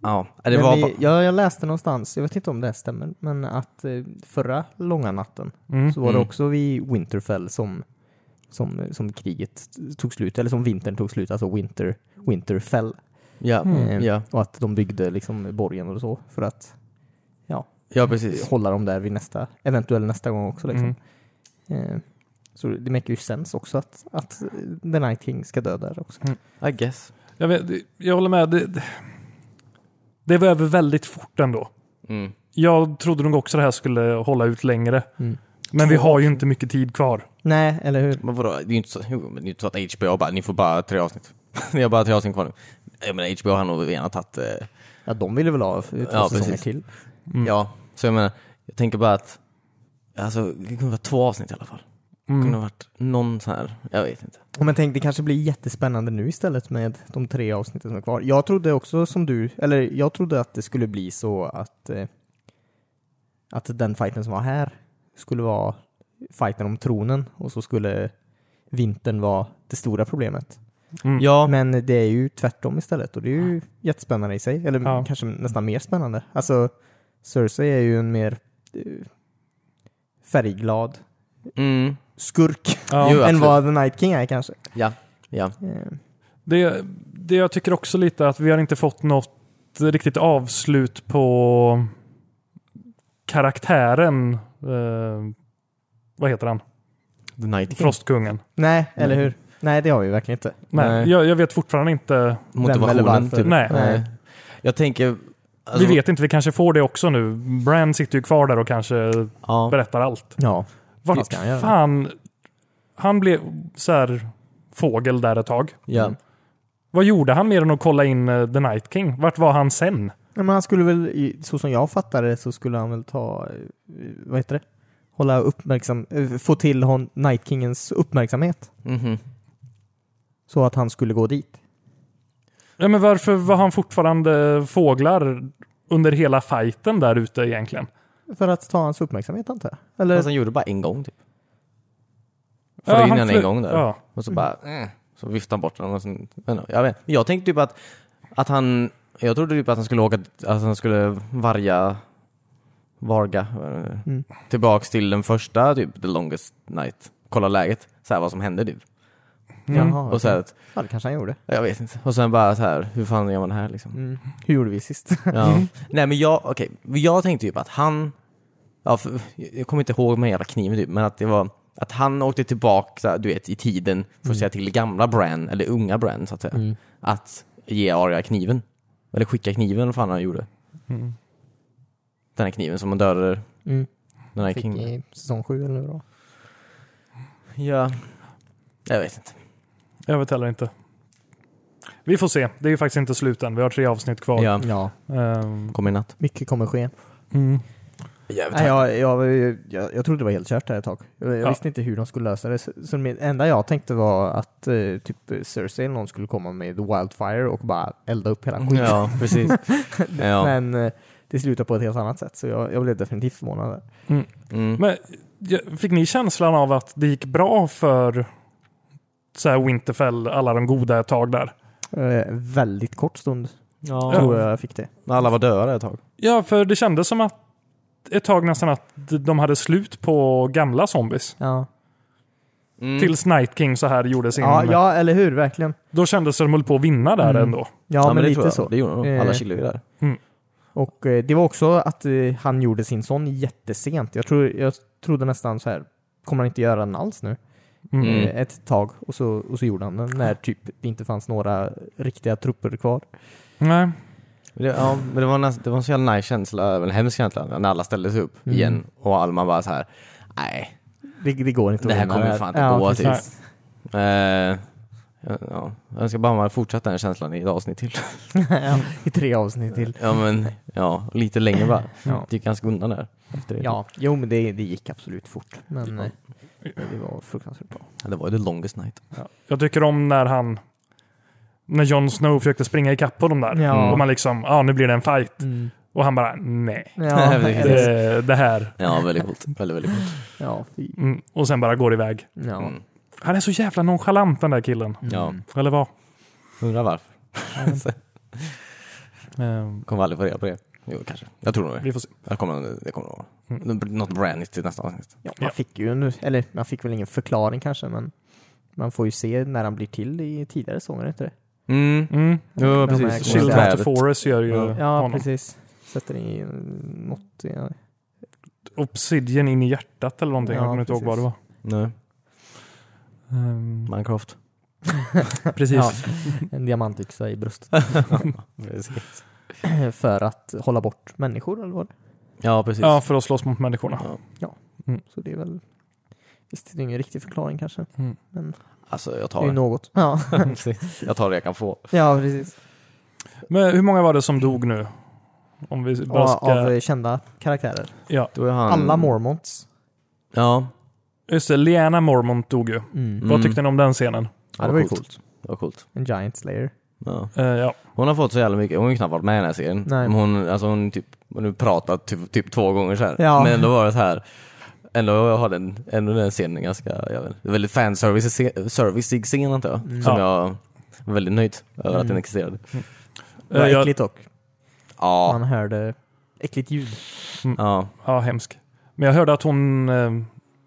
Speaker 1: Ja, det
Speaker 2: Men
Speaker 1: var bara...
Speaker 2: vi, jag, jag läste någonstans, jag vet inte om det här stämmer, men att eh, förra långa natten
Speaker 3: Mm.
Speaker 2: så var det
Speaker 1: Mm.
Speaker 2: också vid Winterfell som, som, som kriget tog slut, eller som vintern tog slut, alltså Winter, Winterfell.
Speaker 1: Ja,
Speaker 2: Eh,
Speaker 1: Mm. ja,
Speaker 2: Och att de byggde liksom borgen och så för att
Speaker 1: ja, precis.
Speaker 2: hålla dem där vid nästa, eventuellt nästa gång också liksom.
Speaker 3: Mm.
Speaker 2: Eh, Så det make ju sens också att, att eh, The Night King ska dö där också.
Speaker 1: I guess.
Speaker 3: Jag, vet, jag håller med. Det, det var över väldigt fort ändå.
Speaker 1: Mm.
Speaker 3: Jag trodde nog också det här skulle hålla ut längre.
Speaker 2: Mm.
Speaker 3: Men vi har ju inte mycket tid kvar.
Speaker 2: Nej, eller hur?
Speaker 1: Men vadå, det är ju inte så, jo, men det är ju inte så att HBO bara, ni får bara tre avsnitt. ni har bara tre avsnitt kvar nu. Jag menar, HBO har nog gärna tagit, eh,
Speaker 2: Ja, de ville väl ha två
Speaker 1: Ja,
Speaker 2: säsonger
Speaker 1: precis.
Speaker 2: till.
Speaker 3: Mm.
Speaker 1: ja, så jag menar, jag tänker bara att, alltså, det kunde vara två avsnitt i alla fall.
Speaker 3: Mm.
Speaker 1: Det kunde ha varit någon sån här, jag vet inte.
Speaker 2: Och men tänk, det kanske blir jättespännande nu istället med de tre avsnitten som är kvar. Jag trodde också som du, eller jag trodde att det skulle bli så att, eh, att den fighten som var här skulle vara fighten om tronen och så skulle vintern vara det stora problemet.
Speaker 3: Mm.
Speaker 1: Ja,
Speaker 2: Men det är ju tvärtom istället och det är ju jättespännande i sig. Eller
Speaker 3: Ja.
Speaker 2: kanske nästan mer spännande. Alltså, Cersei är ju en mer eh, färgglad
Speaker 1: mm,
Speaker 2: skurk
Speaker 3: Ja.
Speaker 1: Jo,
Speaker 2: än
Speaker 1: absolut.
Speaker 2: vad The Night King är kanske.
Speaker 1: ja, ja.
Speaker 2: Eh,
Speaker 3: Det, det jag tycker också lite är att vi har inte fått något riktigt avslut på karaktären. Eh, vad heter han?
Speaker 1: The Night
Speaker 3: Frostkungen.
Speaker 2: Nej, eller hur? Nej, det har vi verkligen inte.
Speaker 3: Nej,
Speaker 1: Nej.
Speaker 3: Jag, jag vet fortfarande inte.
Speaker 2: eller
Speaker 1: Motivationen,
Speaker 2: varför.
Speaker 1: typ.
Speaker 3: Nej.
Speaker 1: Nej. Jag tänker... alltså,
Speaker 3: vi vet inte, vi kanske får det också nu. Bran sitter ju kvar där och kanske
Speaker 1: Ja.
Speaker 3: berättar allt.
Speaker 2: Ja. Visst
Speaker 3: Vart
Speaker 2: kan han göra det.
Speaker 3: fan... Han blev så här fågel där ett tag.
Speaker 1: Ja.
Speaker 3: Vad gjorde han mer än att kolla in eh, The Night King? Vart var han sen?
Speaker 2: Men han skulle väl, i- så som jag fattade det, så skulle han väl ta, eh, vad heter det? Hålla uppmärksam, eh, få till hon, Night Kingens uppmärksamhet.
Speaker 3: Mm.
Speaker 1: Mhm.
Speaker 2: Så att han skulle gå dit.
Speaker 3: Ja, men varför var han fortfarande fåglar under hela fighten där ute egentligen?
Speaker 2: Alltså, För att ta hans uppmärksamhet antar jag. Eller?
Speaker 1: Fast han gjorde det bara en gång typ. flög in
Speaker 3: han
Speaker 1: den en
Speaker 3: flög-
Speaker 1: gång där.
Speaker 3: Ja.
Speaker 1: Och så bara, eh, så viftade han bort den. Och sen, jag, vet, inte, jag, vet. inte. jag tänkte typ att, att han, jag trodde typ att han skulle åka, att han skulle varga, varga, eh,
Speaker 2: Mm.
Speaker 1: tillbaks till den första typ, the longest night. Kolla läget, så här vad som hände typ.
Speaker 3: Mm.
Speaker 2: Jaha,
Speaker 1: Och så här, att,
Speaker 2: ja, det kanske han gjorde.
Speaker 1: jag vet inte. Och sen bara så här, hur fan gör man det här liksom?
Speaker 2: Mm. Hur gjorde vi sist?
Speaker 1: Ja. Nej men jag, okej, jag tänkte typ att han, ja, för, jag kommer inte ihåg med jävla kniven typ, men att det var att han åkte tillbaka, du vet, i tiden för att säga till gamla Bran, eller unga Bran så att säga,
Speaker 2: Mm.
Speaker 1: att ge Arya kniven. Eller skicka kniven, vad fan han gjorde.
Speaker 3: Mm.
Speaker 1: Den här kniven som man dödade
Speaker 2: Mm.
Speaker 1: den här
Speaker 2: Fick
Speaker 1: kingen.
Speaker 2: i säsong sju eller vad?
Speaker 1: Ja. Jag vet inte.
Speaker 3: Jag vet heller inte. Vi får se. Det är ju faktiskt inte slut än. Vi har tre avsnitt kvar.
Speaker 1: Ja,
Speaker 2: Ja,
Speaker 3: Ehm,
Speaker 1: kommer i natt.
Speaker 2: mycket kommer ske.
Speaker 3: mm.
Speaker 1: Jävligt
Speaker 2: Nej, jag, jag, jag, jag trodde det var helt kört där ett tag. Jag, jag
Speaker 3: Ja.
Speaker 2: visste inte hur de skulle lösa det. Så, så det enda jag tänkte var att eh, typ Cersei eller någon skulle komma med The Wildfire och bara elda upp hela skiten.
Speaker 1: Ja, precis. ja.
Speaker 2: Men eh, det slutade på ett helt annat sätt, så jag, jag blev definitivt förvånad. Där.
Speaker 1: Mm.
Speaker 3: Men jag- fick ni känslan av att det gick bra för så här Winterfell, alla de goda ett tag där?
Speaker 2: Eh, väldigt kort stund
Speaker 1: Ja.
Speaker 2: tror jag jag fick det.
Speaker 1: Alla var döda där ett tag.
Speaker 3: Ja, för det kändes som att ett tag nästan att de hade slut på gamla zombies.
Speaker 2: Ja,
Speaker 1: Mm.
Speaker 3: Tills Night King så här gjorde sin...
Speaker 2: ja, ja eller hur, verkligen.
Speaker 3: Då kändes det som att de höll på att vinna där
Speaker 2: Mm.
Speaker 3: ändå.
Speaker 2: Ja,
Speaker 1: Ja,
Speaker 2: men,
Speaker 1: det tror
Speaker 2: lite
Speaker 1: jag.
Speaker 2: så.
Speaker 1: Det gjorde de. Alla
Speaker 2: Eh.
Speaker 1: chillade ju där.
Speaker 2: Och eh, det var också att eh, han gjorde sin sån jättesent. Jag, tror, jag trodde nästan så här, kommer han inte göra den alls nu?
Speaker 3: Mm.
Speaker 1: Mm.
Speaker 2: eh, ett tag och så, och så gjorde han den när typ det inte fanns några riktiga trupper kvar.
Speaker 3: Nej.
Speaker 1: Det, ja, men det var, näst, det var en så jävla nice känsla, eller en hemsk känsla, när alla ställde sig upp
Speaker 2: Mm.
Speaker 1: igen och Alma bara så här. nej.
Speaker 2: Det, det går inte
Speaker 1: Det
Speaker 2: att
Speaker 1: här
Speaker 2: vinna
Speaker 1: kommer
Speaker 2: här."
Speaker 1: fan inte
Speaker 2: ja,
Speaker 1: gå,
Speaker 2: precis.
Speaker 3: typ.
Speaker 1: Eh, ja, jag önskar bara man hade fortsatt den känslan i ett avsnitt till.
Speaker 2: ja, I tre avsnitt till.
Speaker 1: ja, men ja, lite längre bara.
Speaker 2: Ja.
Speaker 1: Det gick ganska undan där. Efter det.
Speaker 2: Ja, jo men det, det gick absolut fort. Men
Speaker 1: Ja.
Speaker 2: eh, det var fruktansvärt bra.
Speaker 1: Ja, Det var ju the longest night.
Speaker 3: Jag tycker om när han... När Jon Snow försökte springa ikapp på dem där.
Speaker 2: Ja.
Speaker 3: Och man liksom, ja ah, nu blir det en fight.
Speaker 2: Mm.
Speaker 3: Och han bara, nej.
Speaker 2: Ja,
Speaker 1: Precis.
Speaker 2: eller-
Speaker 3: Det, det här.
Speaker 1: Ja, väldigt coolt. Väldigt, väldigt coolt.
Speaker 2: ja, fy.
Speaker 3: Mm. Och sen bara går iväg.
Speaker 2: ja.
Speaker 1: Mm.
Speaker 3: Han är så jävla nonchalant den där killen.
Speaker 1: Ja.
Speaker 2: Mm.
Speaker 3: Eller vad?
Speaker 1: Undrar varför.
Speaker 3: Ehm,
Speaker 1: Kommer aldrig få reda på det. Jo, kanske. Jag tror nog det.
Speaker 3: vi får se.
Speaker 1: Jag kommer, det kommer nog
Speaker 3: Mm.
Speaker 1: Något brand till nästa avsnitt.
Speaker 2: Ja, man
Speaker 3: Ja.
Speaker 2: fick ju en, eller man fick väl ingen förklaring kanske men man får ju se när han blir till i tidigare sånger, inte det?
Speaker 1: Mm.
Speaker 3: Mm.
Speaker 1: Ja,
Speaker 2: De här
Speaker 1: precis.
Speaker 2: Shield
Speaker 3: Shield
Speaker 2: Trädet.
Speaker 3: of the Forest gör ju
Speaker 1: Ja.
Speaker 2: Ja,
Speaker 3: honom.
Speaker 2: precis. Sätter i eh, något. Ja.
Speaker 3: Obsidian in i hjärtat eller någonting.
Speaker 2: Ja,
Speaker 3: jag kommer inte ihåg
Speaker 2: precis.
Speaker 3: vad det var.
Speaker 1: Nej,
Speaker 3: Ehm,
Speaker 1: Minecraft.
Speaker 3: precis.
Speaker 2: Ja, en diamantyxa i bröstet.
Speaker 1: Precis.
Speaker 2: för att hålla bort människor eller vad det
Speaker 1: Ja, precis.
Speaker 3: Ja, för att slåss mot människorna.
Speaker 1: Ja.
Speaker 2: är. Så det är väl... Visst, det är ingen riktig förklaring kanske.
Speaker 3: Mm.
Speaker 1: Alltså, jag
Speaker 2: Det
Speaker 1: tar
Speaker 2: är ju
Speaker 1: det.
Speaker 2: något. Ja,
Speaker 1: Precis. jag tar det jag kan få.
Speaker 2: ja precis.
Speaker 3: Men hur många var det som dog nu? Om vi bara
Speaker 2: Och, av
Speaker 3: ska...
Speaker 2: eh, kända karaktärer.
Speaker 3: Ja,
Speaker 1: Då är han...
Speaker 2: Alla mormonts.
Speaker 1: Ja.
Speaker 3: just det. Liana Mormont dog ju.
Speaker 2: Mm.
Speaker 3: Vad tyckte ni om den scenen?
Speaker 1: Ja, det var ju coolt. Det var coolt.
Speaker 2: En giant slayer.
Speaker 1: Ja.
Speaker 3: Eh, ja.
Speaker 1: Hon har fått så jävla mycket, hon har ju knappt varit med i den här serien.
Speaker 2: Nej.
Speaker 1: Men hon, alltså hon typ, hon har pratat typ, typ två gånger så här.
Speaker 2: Ja.
Speaker 1: Men ändå var det så här. Ändå har den, ändå den scenen ganska, jag vet inte, väldigt fanservice- serviceig scen antar jag. Som jag var väldigt nöjd över att den
Speaker 2: Mm.
Speaker 1: existerade.
Speaker 2: Det var
Speaker 3: Eh, jag,
Speaker 2: äckligt dock.
Speaker 1: Ja.
Speaker 2: Man hörde äckligt ljud.
Speaker 1: Ja.
Speaker 3: ja, hemsk. Men jag hörde att hon... eh,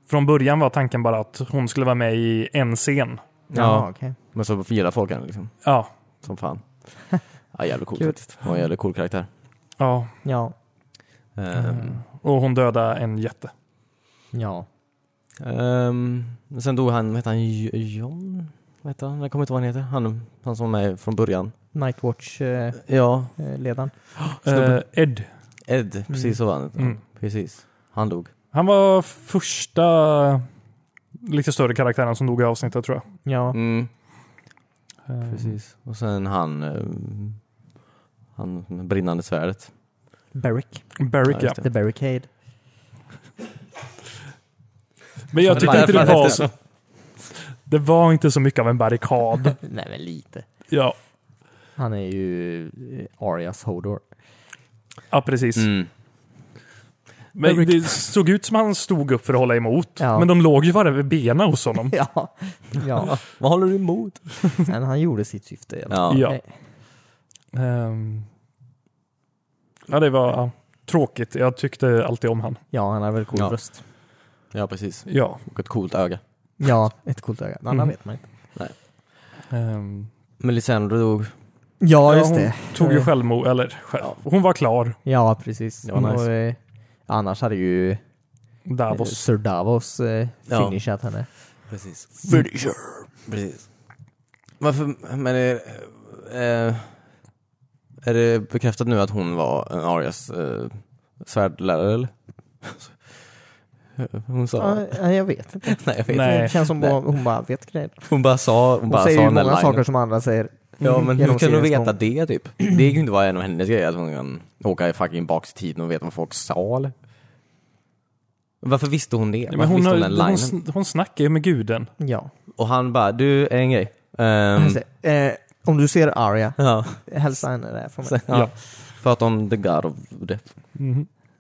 Speaker 3: från början var tanken bara att hon skulle vara med i en scen.
Speaker 1: ja.
Speaker 2: okej.
Speaker 1: Men så gillar folk henne liksom,
Speaker 3: Ja,
Speaker 1: som fan. Ja, jävligt coolt
Speaker 2: Kul.
Speaker 1: faktiskt. Hon var en jävligt cool karaktär.
Speaker 3: ja.
Speaker 2: Ja. Mm.
Speaker 1: Ehm,
Speaker 3: Och hon dödade en jätte.
Speaker 2: Ja.
Speaker 1: Ehm, sen dog han, vad heter han, J- John? Vad heter han? Jag kommer inte ihåg vad han heter. Han, han som var med från början.
Speaker 2: Nightwatch-ledaren.
Speaker 1: Ja,
Speaker 3: Eh,
Speaker 1: Snubben.
Speaker 3: Ed.
Speaker 1: Ed. Precis så var han.
Speaker 3: Mm.
Speaker 1: Precis. Han dog.
Speaker 3: Han var första lite större karaktären som dog i avsnittet tror jag.
Speaker 2: Ja.
Speaker 1: Mm,
Speaker 3: Eh,
Speaker 1: precis. Och sen han, ehm, han med brinnande svärdet.
Speaker 2: Barrick.
Speaker 3: Barrick
Speaker 1: Ja,
Speaker 3: ja.
Speaker 1: just det.
Speaker 2: The Barricade.
Speaker 3: Men jag
Speaker 1: Det
Speaker 3: tyckte
Speaker 1: var
Speaker 3: inte det
Speaker 1: därför han
Speaker 3: var
Speaker 1: hette
Speaker 3: så. Det var inte så mycket av en barrikad.
Speaker 2: Nej men lite.
Speaker 3: Ja,
Speaker 2: Han är ju eh, Arias Hodor.
Speaker 3: ja precis.
Speaker 1: Mm.
Speaker 3: Men
Speaker 2: Rick-
Speaker 3: det såg ut som han stod upp för att hålla emot.
Speaker 2: Ja.
Speaker 3: Men de låg ju bara vid benen hos honom.
Speaker 2: Ja, ja.
Speaker 1: Vad håller du emot?
Speaker 2: men han gjorde sitt syfte i alla fall. Eh,
Speaker 1: Ja.
Speaker 3: Ja.
Speaker 2: Nej.
Speaker 3: Ehm. ja, det var ja, tråkigt. Jag tyckte alltid om han.
Speaker 2: Ja, han har väl cool
Speaker 1: Ja.
Speaker 2: röst.
Speaker 1: Ja, precis.
Speaker 3: Ja.
Speaker 1: Och ett coolt öga.
Speaker 2: Ja, ett coolt öga. Den andra
Speaker 1: Mm.
Speaker 2: vet
Speaker 3: Mhm.
Speaker 2: man inte.
Speaker 3: Ehm.
Speaker 1: Men Lisandro dog.
Speaker 2: Ja, just
Speaker 3: hon
Speaker 2: det.
Speaker 3: tog ju
Speaker 2: Eh.
Speaker 3: självmord, eller själv. hon var klar.
Speaker 2: Ja, precis.
Speaker 1: Det var nice.
Speaker 2: Och, eh, annars hade ju eh,
Speaker 3: Davos.
Speaker 2: Sir Davos eh,
Speaker 1: Ja.
Speaker 2: finishat henne.
Speaker 1: Precis. Finisher! Precis. Varför, men är, eh, är det bekräftat nu att hon var en Arias eh, svärdlärare eller? Hon sa...
Speaker 2: Ja, nej, jag vet inte.
Speaker 1: Nej, jag vet
Speaker 3: Nej.
Speaker 1: inte.
Speaker 2: Det känns som bara, hon bara vet grejer.
Speaker 1: Hon bara sa, hon
Speaker 2: Hon
Speaker 1: bara
Speaker 2: säger
Speaker 1: sa
Speaker 2: ju
Speaker 1: den där
Speaker 2: många
Speaker 1: linen.
Speaker 2: saker som andra säger.
Speaker 1: Ja men
Speaker 2: genom
Speaker 1: hur kan du
Speaker 2: seriens
Speaker 1: veta
Speaker 2: gång.
Speaker 1: det typ? Det kan ju inte vara en av hennes grejer att hon kan åka i fucking bak i tiden och veta vad folk sa eller? Varför visste hon det?
Speaker 3: Men
Speaker 1: Varför
Speaker 3: hon,
Speaker 1: visste hon den
Speaker 3: hon,
Speaker 1: linen?
Speaker 3: sn- hon snackar ju med guden.
Speaker 2: Ja.
Speaker 1: Och han bara, du, en grej. Ehm,
Speaker 2: Just det. Eh, om du ser Arya,
Speaker 1: ja,
Speaker 2: hälsa henne det här från mig.
Speaker 1: så, ja. Prata om the God of Death.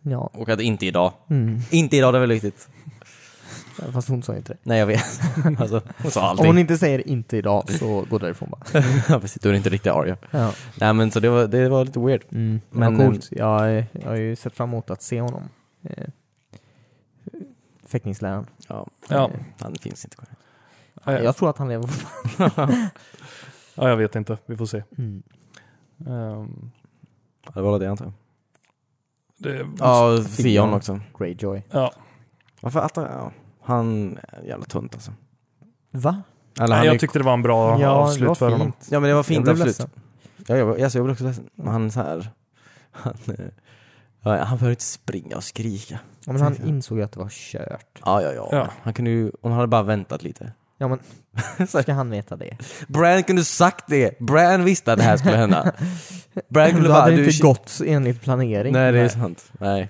Speaker 2: Ja.
Speaker 1: Och att inte idag.
Speaker 2: Mm.
Speaker 1: Inte idag, det är väl viktigt.
Speaker 2: Fast hon sa ju inte det.
Speaker 1: Nej jag vet. alltså, hon sa
Speaker 2: Om
Speaker 1: allting.
Speaker 2: hon inte säger inte idag så går det därifrån bara.
Speaker 1: Ja, precis, du är inte riktigt arg.
Speaker 2: Ja.
Speaker 1: Nej men så det var, det var lite weird.
Speaker 2: Mm.
Speaker 1: Men,
Speaker 2: Men ja, coolt. Jag, eh, jag har ju sett fram emot att se honom. Eh, Fäktningsläraren. Eh,
Speaker 1: Ja,
Speaker 3: Ja.
Speaker 1: han finns inte kvar.
Speaker 3: Ja, ja.
Speaker 2: Jag tror att han lever
Speaker 3: ja, jag vet inte. Vi får se.
Speaker 2: mm.
Speaker 3: Ehm,
Speaker 1: Ja, Det var väl det antar jag.
Speaker 3: det,
Speaker 1: Ja, Fion också.
Speaker 2: Greyjoy.
Speaker 3: ja.
Speaker 1: Varför attra... Ja. Han är en jävla tunt alltså.
Speaker 2: Va?
Speaker 1: Eller,
Speaker 3: Nej,
Speaker 1: han är-
Speaker 3: jag tyckte det var en bra
Speaker 2: det var
Speaker 3: avslut för honom.
Speaker 2: fint.
Speaker 1: Ja men det var fint,
Speaker 2: Jag blev
Speaker 1: absolut.
Speaker 2: ledsen.
Speaker 1: Ja, jag, var- alltså, jag blev också ledsen. Men Han så här, han, eh, ja, han behöver inte springa och skrika.
Speaker 2: Ja, men han insåg ju att det var kört.
Speaker 1: Ja, ja, ja.
Speaker 3: Ja.
Speaker 1: Han kunde ju, hon hade bara väntat lite.
Speaker 2: Ja men, ska han veta det?
Speaker 1: Bran kunde sagt det! Bran visste att det här skulle hända. Bran kunde
Speaker 2: Då
Speaker 1: bara...
Speaker 2: hade
Speaker 1: Du
Speaker 2: det
Speaker 1: shit-
Speaker 2: inte gått enligt planering.
Speaker 1: Nej, det är
Speaker 2: Nej.
Speaker 1: sant. Nej.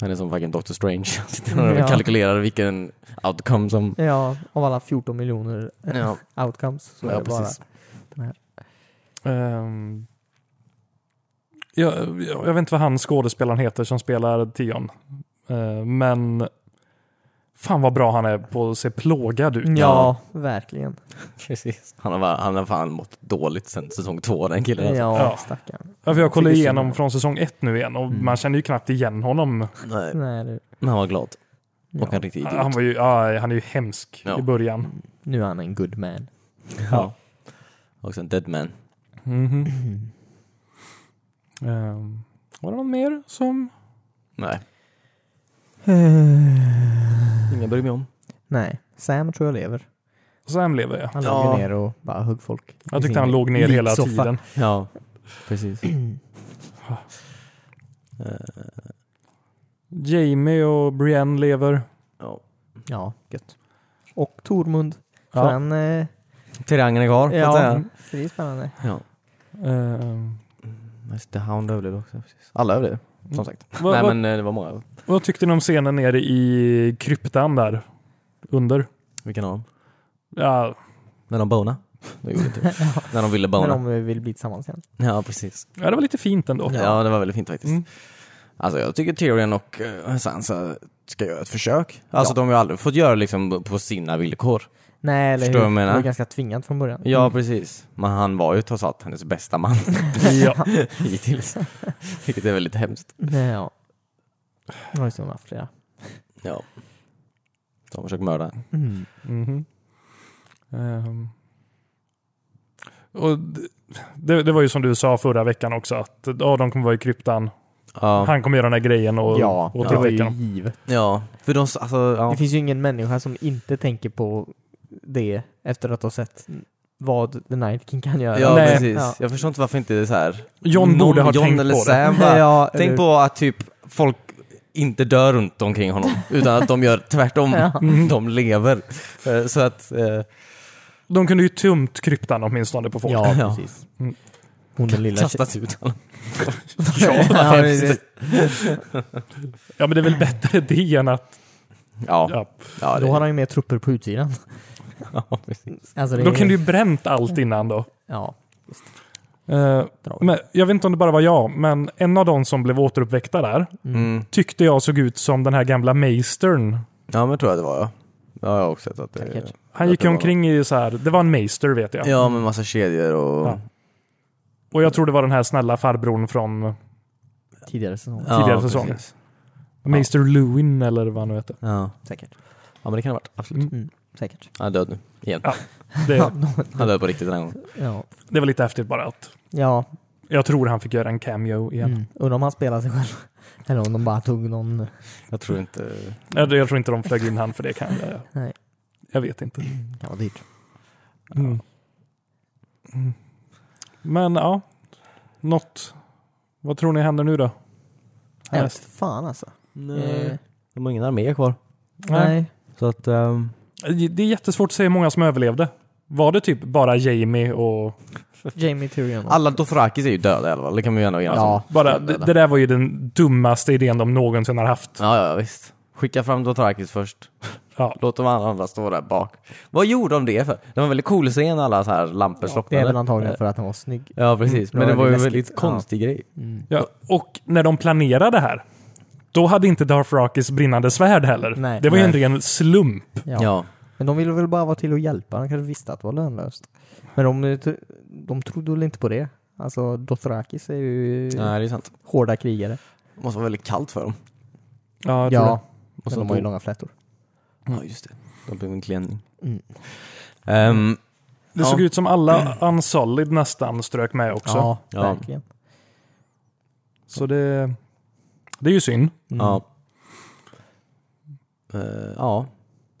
Speaker 1: Han är som fucking Doctor Strange. Han sitter och
Speaker 2: Ja.
Speaker 1: kalkylerar vilken outcome som...
Speaker 2: Ja, av alla 14 miljoner eh,
Speaker 1: Ja,
Speaker 2: outcomes så är
Speaker 1: ja
Speaker 2: det bara.
Speaker 1: precis.
Speaker 3: Ehm, ja, jag, jag vet inte vad han skådespelaren heter som spelar Tion. Eh, men fan vad bra han är på att se plågad ut.
Speaker 2: Ja, verkligen.
Speaker 1: precis. Han, har bara, han har fan mått dåligt sen säsong två, den killen. Alltså.
Speaker 2: Ja,
Speaker 3: Ja.
Speaker 2: stackarn.
Speaker 3: Ja, för jag kollade
Speaker 2: Tycker synd om
Speaker 3: igenom
Speaker 2: honom.
Speaker 3: från säsong ett nu igen och
Speaker 2: Mm.
Speaker 3: man känner ju knappt igen honom.
Speaker 1: Nej.
Speaker 2: Nej, det,
Speaker 1: Men han var glad. Och
Speaker 2: ja.
Speaker 1: en riktig idiot.
Speaker 3: Han, var ju, ja, han är ju hemsk
Speaker 1: Ja.
Speaker 3: i början.
Speaker 2: Nu är han en good man.
Speaker 1: Ja. Också en dead man.
Speaker 3: Mhm.
Speaker 2: Mm.
Speaker 3: Ehm, var det någon mer som...
Speaker 1: Nej,
Speaker 2: Eh,
Speaker 1: ingen bryr mig om.
Speaker 2: Nej, Sam tror jag lever.
Speaker 3: Sam lever jag.
Speaker 2: Han
Speaker 1: Ja.
Speaker 2: låg ju ner och bara högg folk.
Speaker 3: Jag tyckte han låg ner hela
Speaker 2: Liksoffa.
Speaker 3: tiden.
Speaker 1: Ja, precis. Eh,
Speaker 3: Jamie och Brienne lever.
Speaker 1: ja.
Speaker 2: Ja, gött. Och Tormund. För
Speaker 3: Ja.
Speaker 2: han... Eh,
Speaker 1: Triangeln är kvar, så att
Speaker 2: ja,
Speaker 1: säga.
Speaker 2: så det är spännande.
Speaker 1: Ja.
Speaker 3: Ehm,
Speaker 1: Nice, The Hound överlevde också. Precis. Alla överlevde, som sagt.
Speaker 3: vad,
Speaker 1: Nej,
Speaker 3: vad,
Speaker 1: men eh, det var många.
Speaker 3: vad tyckte ni om scenen nere i kryptan där? Under?
Speaker 1: Vilken av dem?
Speaker 3: Ja,
Speaker 1: När de bona. Det gjorde inte När de ville
Speaker 2: När
Speaker 1: bona.
Speaker 2: de eh, vill bli tillsammans igen.
Speaker 1: Ja, precis.
Speaker 3: ja, det var lite fint ändå.
Speaker 1: Ja, det var väldigt fint faktiskt.
Speaker 3: Mm.
Speaker 1: Alltså jag tycker Tyrion och eh, Sansa ska göra ett försök. Alltså de har ju aldrig fått göra liksom på sina villkor.
Speaker 2: Nej, eller
Speaker 1: Förstår
Speaker 2: hur?
Speaker 1: vad jag menar?
Speaker 2: Han var ganska tvingad från början.
Speaker 1: Ja, precis. Men han var ju trots allt hennes bästa man
Speaker 3: ja.
Speaker 1: hittills. Vilket är väldigt hemskt.
Speaker 2: Nej, ja. Ja, just det, hon har haft flera.
Speaker 1: Ja. De försöker mörda henne.
Speaker 2: Mm.
Speaker 3: Mhm. Ehm. och d- det, det var ju som du sa förra veckan också, att ja, de kommer vara i kryptan.
Speaker 1: Ja.
Speaker 3: Han kommer göra den här grejen och,
Speaker 2: Ja,
Speaker 3: och
Speaker 2: det var
Speaker 3: tillväcka
Speaker 2: ju
Speaker 3: dem.
Speaker 2: givet.
Speaker 1: ja, för de, s- alltså, ja.
Speaker 2: Det finns ju ingen människa som inte tänker på det efter att ha sett vad The Night King kan göra.
Speaker 1: Ja,
Speaker 3: Nej.
Speaker 1: precis.
Speaker 2: Ja.
Speaker 1: Jag förstår inte varför inte det är så här.
Speaker 3: John
Speaker 1: Någon-
Speaker 3: borde ha
Speaker 1: John
Speaker 3: tänkt
Speaker 1: eller
Speaker 3: på det.
Speaker 1: Sam bara,
Speaker 2: Ja,
Speaker 1: Tänk
Speaker 2: eller-
Speaker 1: på att typ folk inte dör runt omkring honom, utan att de gör tvärtom.
Speaker 2: Ja.
Speaker 3: Mm.
Speaker 1: De lever. Eh, Så att, eh,
Speaker 3: De kunde ju tömt kryptan åtminstone på folk.
Speaker 2: Ja,
Speaker 1: Ja.
Speaker 2: precis.
Speaker 3: Mm.
Speaker 2: Hon den lilla tjejen.
Speaker 1: kastas ut honom.
Speaker 2: Ja, men det-
Speaker 3: Ja, men det
Speaker 1: Mm.
Speaker 3: är väl bättre det än att...
Speaker 1: Ja,
Speaker 3: Ja.
Speaker 1: ja det,
Speaker 2: Då har han ju mer trupper på utsidan.
Speaker 1: ja, precis.
Speaker 2: Alltså, det
Speaker 3: Då
Speaker 2: är-
Speaker 3: kan du ju bränt allt innan då.
Speaker 2: Ja.
Speaker 3: Eh, men jag vet inte om det bara var jag, men en av de som blev återuppväckta där
Speaker 1: Mm.
Speaker 3: tyckte jag såg ut som den här gamla Maestern.
Speaker 1: Ja, men tror jag det var ja. Ja, jag har också sett att det
Speaker 2: Säkert.
Speaker 3: Han
Speaker 1: Jag
Speaker 3: gick
Speaker 1: tror det
Speaker 3: omkring i så här, det var en Meister vet jag.
Speaker 1: Ja, med massa kedjor och...
Speaker 3: Ja. Och jag tror det var den här snälla farbrorn från
Speaker 2: Tidigare säsonger.
Speaker 1: Ja,
Speaker 3: Tidigare säsonger.
Speaker 1: precis.
Speaker 3: Meister Lewin eller vad han nu heter.
Speaker 1: Ja.
Speaker 2: Säkert.
Speaker 1: ja, men det kan det ha varit. Absolut.
Speaker 3: Mm.
Speaker 2: Mm, säkert.
Speaker 1: Han är död nu. Igen.
Speaker 3: Ja. Det,
Speaker 1: Han är död på riktigt den här gången.
Speaker 2: ja.
Speaker 3: det var lite häftigt bara att
Speaker 2: ja.
Speaker 3: jag tror han fick göra en cameo igen.
Speaker 2: Mm. Undrar om han spelar sig själv. Eller om de bara tog någon...
Speaker 1: Jag tror inte...
Speaker 3: Jag, jag tror inte de flög in han för det kan jag.
Speaker 2: Nej.
Speaker 3: Jag vet inte.
Speaker 2: Kan vara dyrt.
Speaker 3: Mm. Mm. Men ja, något. Vad tror ni händer nu då?
Speaker 2: Jag vet
Speaker 3: Härnäst?
Speaker 2: fan alltså. Eh,
Speaker 1: De har ingen armé kvar.
Speaker 3: Nej.
Speaker 2: nej.
Speaker 1: Så att... ehm,
Speaker 3: Det är jättesvårt att säga hur många som överlevde. Var det typ bara Jamie och...
Speaker 2: Jamie Tyrion.
Speaker 1: Alla Dothrakis är ju döda i alla fall. Det kan vi ju ändå enas om.
Speaker 2: Ja.
Speaker 3: Bara,
Speaker 1: Döda.
Speaker 3: det, det där var ju den dummaste idén de någonsin har haft.
Speaker 1: Ja, ja, visst. Skicka fram Dothrakis först.
Speaker 3: Ja.
Speaker 1: Låt de andra stå där bak. Vad gjorde de det för? Det var en väldigt cool scen när alla så här lampor
Speaker 2: Det är
Speaker 1: slocknade.
Speaker 2: väl antagligen för att han var snygg.
Speaker 1: Ja, precis.
Speaker 2: Mm,
Speaker 1: Men
Speaker 2: det
Speaker 1: det
Speaker 2: var
Speaker 1: var ju en
Speaker 2: läskigt.
Speaker 1: väldigt konstig grej.
Speaker 3: Ja. Och när de planerade här, då hade inte Darth Rakis brinnande svärd heller.
Speaker 2: Nej.
Speaker 3: det var ju en
Speaker 1: Nej.
Speaker 3: ren slump.
Speaker 2: Ja. Men de ville väl bara vara till och hjälpa. De kanske visste att det var lönlöst. Men de, eh, de trodde väl inte på det. Alltså Dothrakis är ju
Speaker 1: Nej, det är sant.
Speaker 2: hårda krigare.
Speaker 1: Det måste vara väldigt kallt för dem.
Speaker 3: Ja, jag tror
Speaker 2: Ja,
Speaker 1: Och
Speaker 2: men
Speaker 1: så
Speaker 2: de har ju
Speaker 1: bo-
Speaker 2: långa flätor.
Speaker 1: Ja, just det. De blev en klänning.
Speaker 2: Mm.
Speaker 1: Ehm,
Speaker 3: det. det såg
Speaker 1: Ja.
Speaker 3: ut som alla Unsolid nästan strök med också.
Speaker 2: Ja,
Speaker 1: Ja.
Speaker 2: verkligen.
Speaker 3: Så det, det är ju synd.
Speaker 2: Mm.
Speaker 1: Ja. Eh, ja.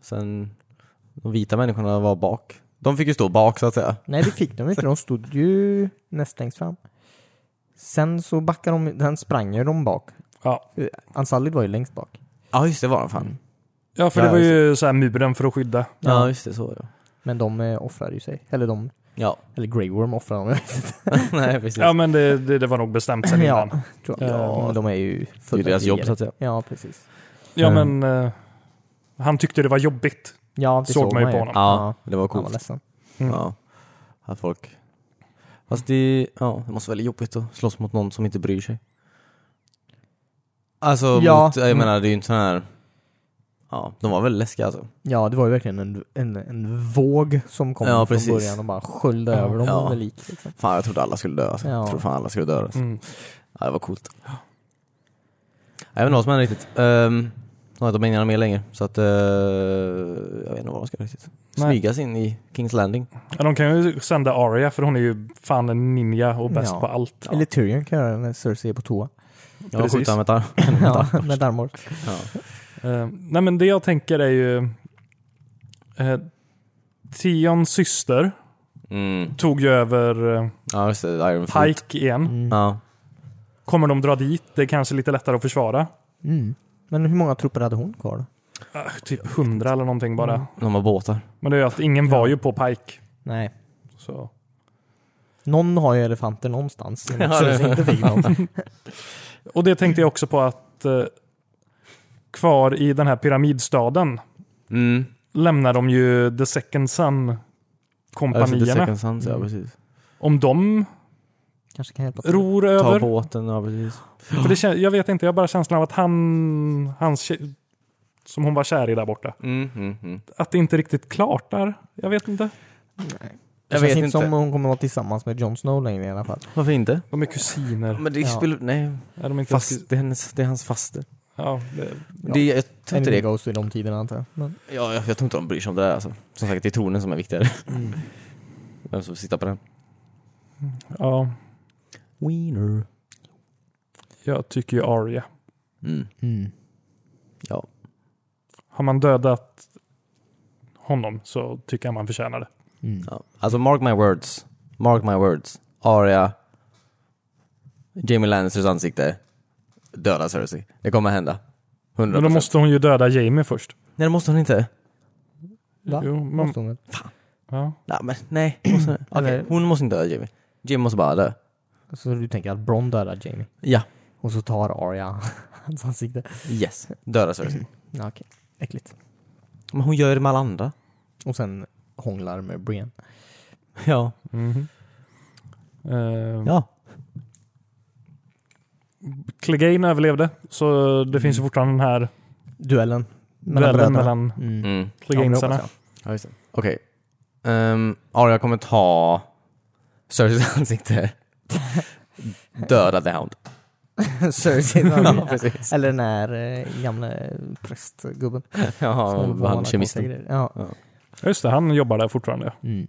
Speaker 1: Sen, de vita människorna var bak. De fick ju stå bak så att säga.
Speaker 2: Nej, det fick de inte. De stod ju näst längst fram. Sen så backade de, den sprang ju de bak.
Speaker 3: Ja,
Speaker 2: Eh, Ansalid var ju längst bak.
Speaker 1: Ja, just det var de fan.
Speaker 3: ja för
Speaker 1: Ja,
Speaker 3: det var ju så här muren för att skydda.
Speaker 1: Mm. Ja,
Speaker 2: Ja.
Speaker 1: just det. Så var det.
Speaker 2: Men de eh, offrade ju sig. Eller de,
Speaker 1: Ja.
Speaker 2: eller Grey Worm offrade dem.
Speaker 1: Nej, precis.
Speaker 3: Ja, men det, det, det var nog bestämt sen innan.
Speaker 2: ja, tror jag.
Speaker 3: Ja.
Speaker 2: Men de är ju
Speaker 1: det är ju
Speaker 2: fulla
Speaker 1: deras jobb
Speaker 2: krigare.
Speaker 1: så att säga.
Speaker 2: Ja, precis.
Speaker 3: Ja,
Speaker 1: Mm.
Speaker 3: men eh, han tyckte det var jobbigt.
Speaker 2: Ja, det
Speaker 3: Såg man ju på honom.
Speaker 1: Ja, det var
Speaker 2: Han var
Speaker 1: coolt.
Speaker 2: ledsen.
Speaker 1: Ja. Att folk... Fast det, ja, det måste vara väldigt jobbigt att slåss mot någon som inte bryr sig. Alltså,
Speaker 2: Ja.
Speaker 1: mot, jag
Speaker 2: Mm.
Speaker 1: menar det är ju inte sån här... Ja, de var väldigt läskiga alltså.
Speaker 2: Ja, det var ju verkligen en, en, en våg som kom
Speaker 1: Ja,
Speaker 2: från
Speaker 1: precis.
Speaker 2: början och bara sköljde
Speaker 3: Ja.
Speaker 2: över dem
Speaker 1: Ja.
Speaker 2: under lik. Liksom.
Speaker 1: Fan, jag trodde alla skulle dö alltså.
Speaker 2: Ja.
Speaker 1: Jag trodde fan alla skulle dö alltså.
Speaker 3: Mm.
Speaker 1: Ja, det var coolt. Jag vet inte vad som händer riktigt. Um, de har inte meningarna med längre, så att... eh, jag vet inte vad de ska riktigt.
Speaker 3: Nej.
Speaker 1: Smyga sig in i Kings Landing.
Speaker 3: Ja, de kan ju sända Arya för hon är ju fan en ninja och bäst
Speaker 2: Ja.
Speaker 3: på allt. Ja.
Speaker 2: Eller Tyrion kan göra det när Cersei är på toa.
Speaker 1: Jag
Speaker 3: Precis.
Speaker 1: skjuter han med ett arm.
Speaker 2: ja, med darmor.
Speaker 1: Ja.
Speaker 3: Eh, nej, men det jag tänker är ju... Uh, Tions syster
Speaker 1: Mm.
Speaker 3: tog ju över eh,
Speaker 1: Ja, just det. Iron Fleet.
Speaker 3: Pike igen.
Speaker 2: Mm.
Speaker 1: Ja.
Speaker 3: Kommer de dra dit? Det är kanske lite lättare att försvara.
Speaker 2: Mm. Men hur många trupper hade hon kvar då?
Speaker 3: Eh, typ hundra eller någonting bara.
Speaker 1: De har båtar.
Speaker 3: Men det är ju att ingen var ju på Pike.
Speaker 2: Nej.
Speaker 3: Så.
Speaker 2: Någon har ju elefanter någonstans. som
Speaker 1: Ja,
Speaker 2: Cersei
Speaker 1: det-
Speaker 2: inte fick någon.
Speaker 3: Och det tänkte jag också på att eh, kvar i den här pyramidstaden
Speaker 1: Mm.
Speaker 3: lämnar de ju The Second
Speaker 1: Ja,
Speaker 3: Sun-kompanierna.
Speaker 1: Alltså, Second Sons, ja precis.
Speaker 3: Om de
Speaker 2: Kanske kan hjälpa till.
Speaker 3: ror
Speaker 1: Ta
Speaker 3: över.
Speaker 1: båten, ja precis.
Speaker 3: För det, kän- jag vet inte, jag har bara känslan av att han, hans tjej, som hon var kär i där borta,
Speaker 1: Mm, mm, mm.
Speaker 3: att det inte riktigt klart där. Jag vet inte.
Speaker 2: Det
Speaker 1: Jag
Speaker 2: känns
Speaker 1: vet
Speaker 2: inte
Speaker 1: inte.
Speaker 2: som hon kommer vara tillsammans med Jon Snow längre i alla fall.
Speaker 1: Varför inte?
Speaker 3: De är kusiner.
Speaker 1: Men det
Speaker 2: Ja.
Speaker 1: spelar... Nej.
Speaker 3: Är de inte
Speaker 1: Fast, det, är hennes, det är hans faster.
Speaker 3: Ja, det,
Speaker 1: Det, jag, tror inte
Speaker 2: Enemy
Speaker 1: det,
Speaker 2: Ghost i de tiderna antar jag. Men,
Speaker 1: ja, jag, jag tror inte de bryr sig om det där alltså. Som sagt, det är tronen som är viktigare.
Speaker 3: Mm.
Speaker 1: Vem som sitter på den?
Speaker 3: ja,
Speaker 1: Wiener.
Speaker 3: jag tycker ju Arya.
Speaker 1: Mm.
Speaker 2: mm.
Speaker 1: Ja.
Speaker 3: Har man dödat honom så tycker jag man förtjänar det.
Speaker 2: Mm.
Speaker 1: ja. Alltså mark my words. Mark my words. Arya. Jamie Lannisters ansikte. Döda Cersei. Det kommer hända. 100%.
Speaker 3: Men då måste hon ju döda Jamie först.
Speaker 1: Nej, det måste hon inte.
Speaker 2: Va?
Speaker 3: Jo, men,
Speaker 2: Måste hon väl?
Speaker 3: ja.
Speaker 1: Nej, men nej. Måste, Okej,
Speaker 2: Eller-
Speaker 1: Hon måste inte döda Jamie. Jamie måste bara dö.
Speaker 2: Så Alltså, du tänker att Bron dödar Jamie?
Speaker 1: Ja.
Speaker 2: Och så tar Arya hans ansikte?
Speaker 1: Yes. Döda Cersei.
Speaker 2: Ja, okej. Äckligt.
Speaker 1: Men hon gör det med alla andra.
Speaker 3: Mm-hmm.
Speaker 2: Och sen hånglar med Brienne.
Speaker 1: Ja.
Speaker 3: Mhm. Eh,
Speaker 2: Ja.
Speaker 3: Clegane överlevde, så det finns ju
Speaker 2: Mm.
Speaker 3: fortfarande den här
Speaker 2: Duellen.
Speaker 3: duellen
Speaker 2: bröderna.
Speaker 3: mellan
Speaker 2: Mm.
Speaker 1: Mm.
Speaker 3: Cleganesarna.
Speaker 2: Ja, men det hoppas
Speaker 1: Ja, just det. Okej. Ehm, ja, jag kommer ta Cerseys ansikte. Döda The Hound.
Speaker 2: jag. Cersei.
Speaker 1: ja, precis.
Speaker 2: Eller den här eh, gamla prästgubben. som
Speaker 1: Ja,
Speaker 2: håller på med
Speaker 1: han
Speaker 2: alla konstiga
Speaker 1: kemisten.
Speaker 2: grejer. Ja.
Speaker 3: Ja, Just det, han jobbar där fortfarande.
Speaker 2: Mm.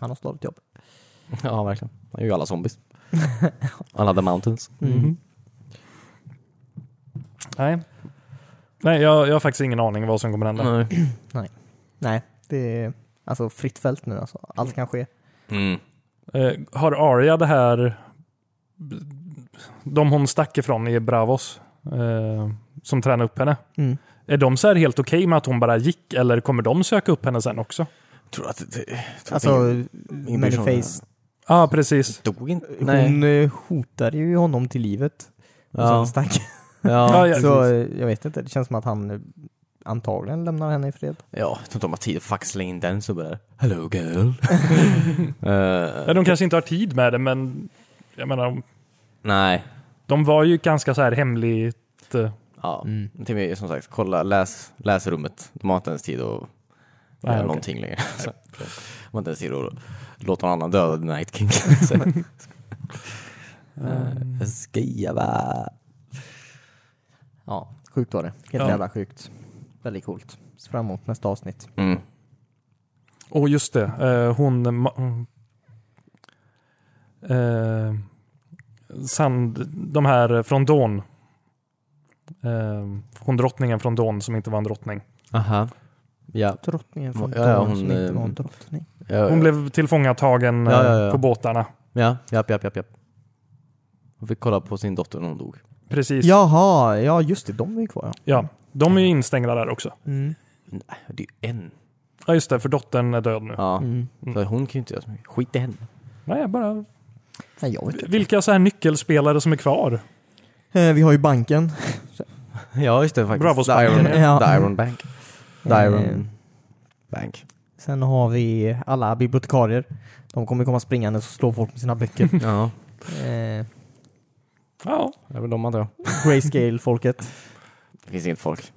Speaker 2: Han har slagit jobb.
Speaker 1: Ja, verkligen. Han gör ju alla zombies. alla The Mountains.
Speaker 2: Mm.
Speaker 3: Mm-hmm. Nej, Nej jag, jag har faktiskt ingen aning vad som kommer hända.
Speaker 1: Nej.
Speaker 2: Nej, det är alltså fritt fält nu alltså. Allt kan ske.
Speaker 1: Mm.
Speaker 3: Eh, har Arya det här... De hon stack ifrån i Bravos, eh, som tränade upp henne.
Speaker 2: Mm.
Speaker 3: Är de så här helt okej med att hon bara gick eller kommer de söka upp henne sen också?
Speaker 1: Tror att... det- Tror
Speaker 2: Alltså,
Speaker 1: att ingen bryr sig om
Speaker 2: Manyface,
Speaker 3: Ja, ah, precis.
Speaker 1: dog inte? Mm.
Speaker 2: hon eh, hotade ju honom till livet. Och sen
Speaker 1: Ja.
Speaker 2: stack.
Speaker 1: Ja.
Speaker 3: Ja,
Speaker 2: Så
Speaker 3: precis.
Speaker 2: eh, jag vet inte, det känns som att han eh, antagligen lämnar henne i fred.
Speaker 1: ja, jag tror inte de har tid att faktiskt slänga in den snubben där. Hello girl.
Speaker 3: Ja,
Speaker 1: Eh,
Speaker 3: de kanske inte har tid med det, men jag menar, de-
Speaker 1: nej.
Speaker 3: de var ju ganska så här hemligt... eh,
Speaker 1: Ja. Till mig, som sagt, kolla, läs, läs rummet. De har inte ens tid att
Speaker 3: Nej,
Speaker 1: göra
Speaker 3: okej.
Speaker 1: någonting längre. Så, de har inte ens tid att låta någon annan döda The Night King.
Speaker 3: eh,
Speaker 1: Skriva.
Speaker 2: Ja, sjukt var det. Helt
Speaker 3: Ja.
Speaker 2: jävla sjukt. Väldigt coolt. Så fram emot nästa avsnitt.
Speaker 1: Mm.
Speaker 3: Och just det, eh, hon... ma- Eh, sand, de här från Dawn. Eh, hon drottningen från Dawn som inte var en drottning.
Speaker 1: Aha. Ja.
Speaker 2: Drottningen från
Speaker 1: Ja, ja,
Speaker 2: Dawn
Speaker 1: hon,
Speaker 2: som inte
Speaker 1: eh,
Speaker 2: var en drottning.
Speaker 1: Ja,
Speaker 3: Hon blev tillfångatagen eh,
Speaker 1: Ja, ja, ja.
Speaker 3: på båtarna.
Speaker 1: ja, japp, japp, japp, japp. Hon fick kolla på sin dotter när hon dog.
Speaker 3: Precis.
Speaker 2: Jaha, ja just det, de är ju kvar. ja.
Speaker 3: Ja, de är ju instängda där också.
Speaker 2: Mm.
Speaker 1: Nej, det är ju en.
Speaker 3: Ja, just det, för dottern är död nu.
Speaker 1: Ja.
Speaker 2: Mm.
Speaker 1: Så hon kan ju inte göra så mycket. Skit i henne.
Speaker 3: Nej, bara
Speaker 2: Nej, jag vet inte.
Speaker 3: vilka så här nyckelspelare som är kvar.
Speaker 2: Eh, Vi har ju banken.
Speaker 1: Ja, just det faktiskt.
Speaker 3: Bravo,
Speaker 1: The Iron,
Speaker 2: Spanien. Ja.
Speaker 1: The Iron Bank. The
Speaker 2: Eh,
Speaker 1: Iron Bank.
Speaker 2: Sen har vi alla bibliotekarier. De kommer komma springande och slå folk med sina böcker.
Speaker 1: Ja,
Speaker 2: eh,
Speaker 3: Ja,
Speaker 1: det är väl de antar jag.
Speaker 2: Grayscale-folket.
Speaker 1: Det finns inget folk.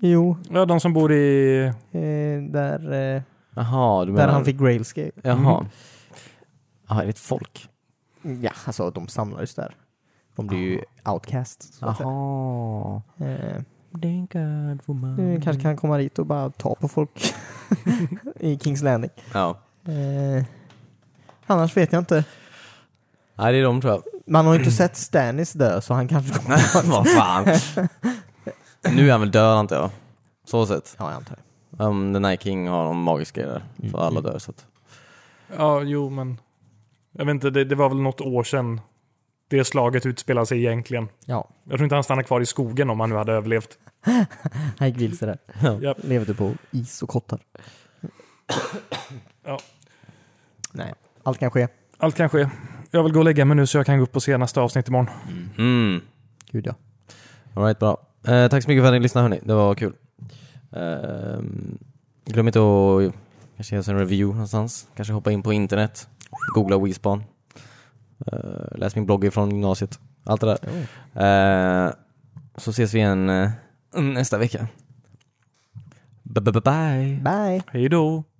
Speaker 2: Jo,
Speaker 3: ja, de som bor i...
Speaker 2: eh, där, eh,
Speaker 1: Jaha, du menar...
Speaker 2: där han fick Grayscale.
Speaker 1: Jaha. Jaha, är det ett folk?
Speaker 2: Ja, alltså de samlades där. De blir ju outcasts. Så att säga.
Speaker 1: Jaha.
Speaker 2: Eh,
Speaker 1: Denkard woman.
Speaker 2: du kanske kan komma dit och bara ta på folk i Kings Landing.
Speaker 1: Ja.
Speaker 2: Eh, annars vet jag inte.
Speaker 1: Nej, det är de tror jag.
Speaker 2: Man har ju inte sett Stannis dö så han kanske kommer...
Speaker 1: Vad fan. nu är han väl död antar jag. Så sett.
Speaker 2: Ja, jag antar det.
Speaker 1: Um, The Night King har någon magisk grej där. Så
Speaker 2: Mm.
Speaker 1: alla dör. Så att...
Speaker 3: Ja, jo, men... Jag vet inte, det, det var väl något år sedan det slaget utspelade sig egentligen.
Speaker 2: Ja,
Speaker 3: Jag tror inte han stannar kvar i skogen om han nu hade överlevt.
Speaker 2: han gick vilse där.
Speaker 3: Japp.
Speaker 2: Levde på is och kottar.
Speaker 3: Ja.
Speaker 2: Nej, allt kan ske.
Speaker 3: Allt kan ske. Jag vill gå och lägga mig nu så jag kan gå upp på senaste avsnitt imorgon.
Speaker 1: Mm.
Speaker 2: Gud ja.
Speaker 1: All right, bra. Eh, tack så mycket för att ni lyssnade hörni. Det var kul. Ehm, glöm inte att kanske ge oss en review någonstans. Kanske hoppa in på internet. Googla WeSpan. Eh, läs min blogg från gymnasiet. Allt det där. Eh, så ses vi igen eh, nästa vecka. B -b -b Bye!
Speaker 2: Bye!
Speaker 3: Hej då!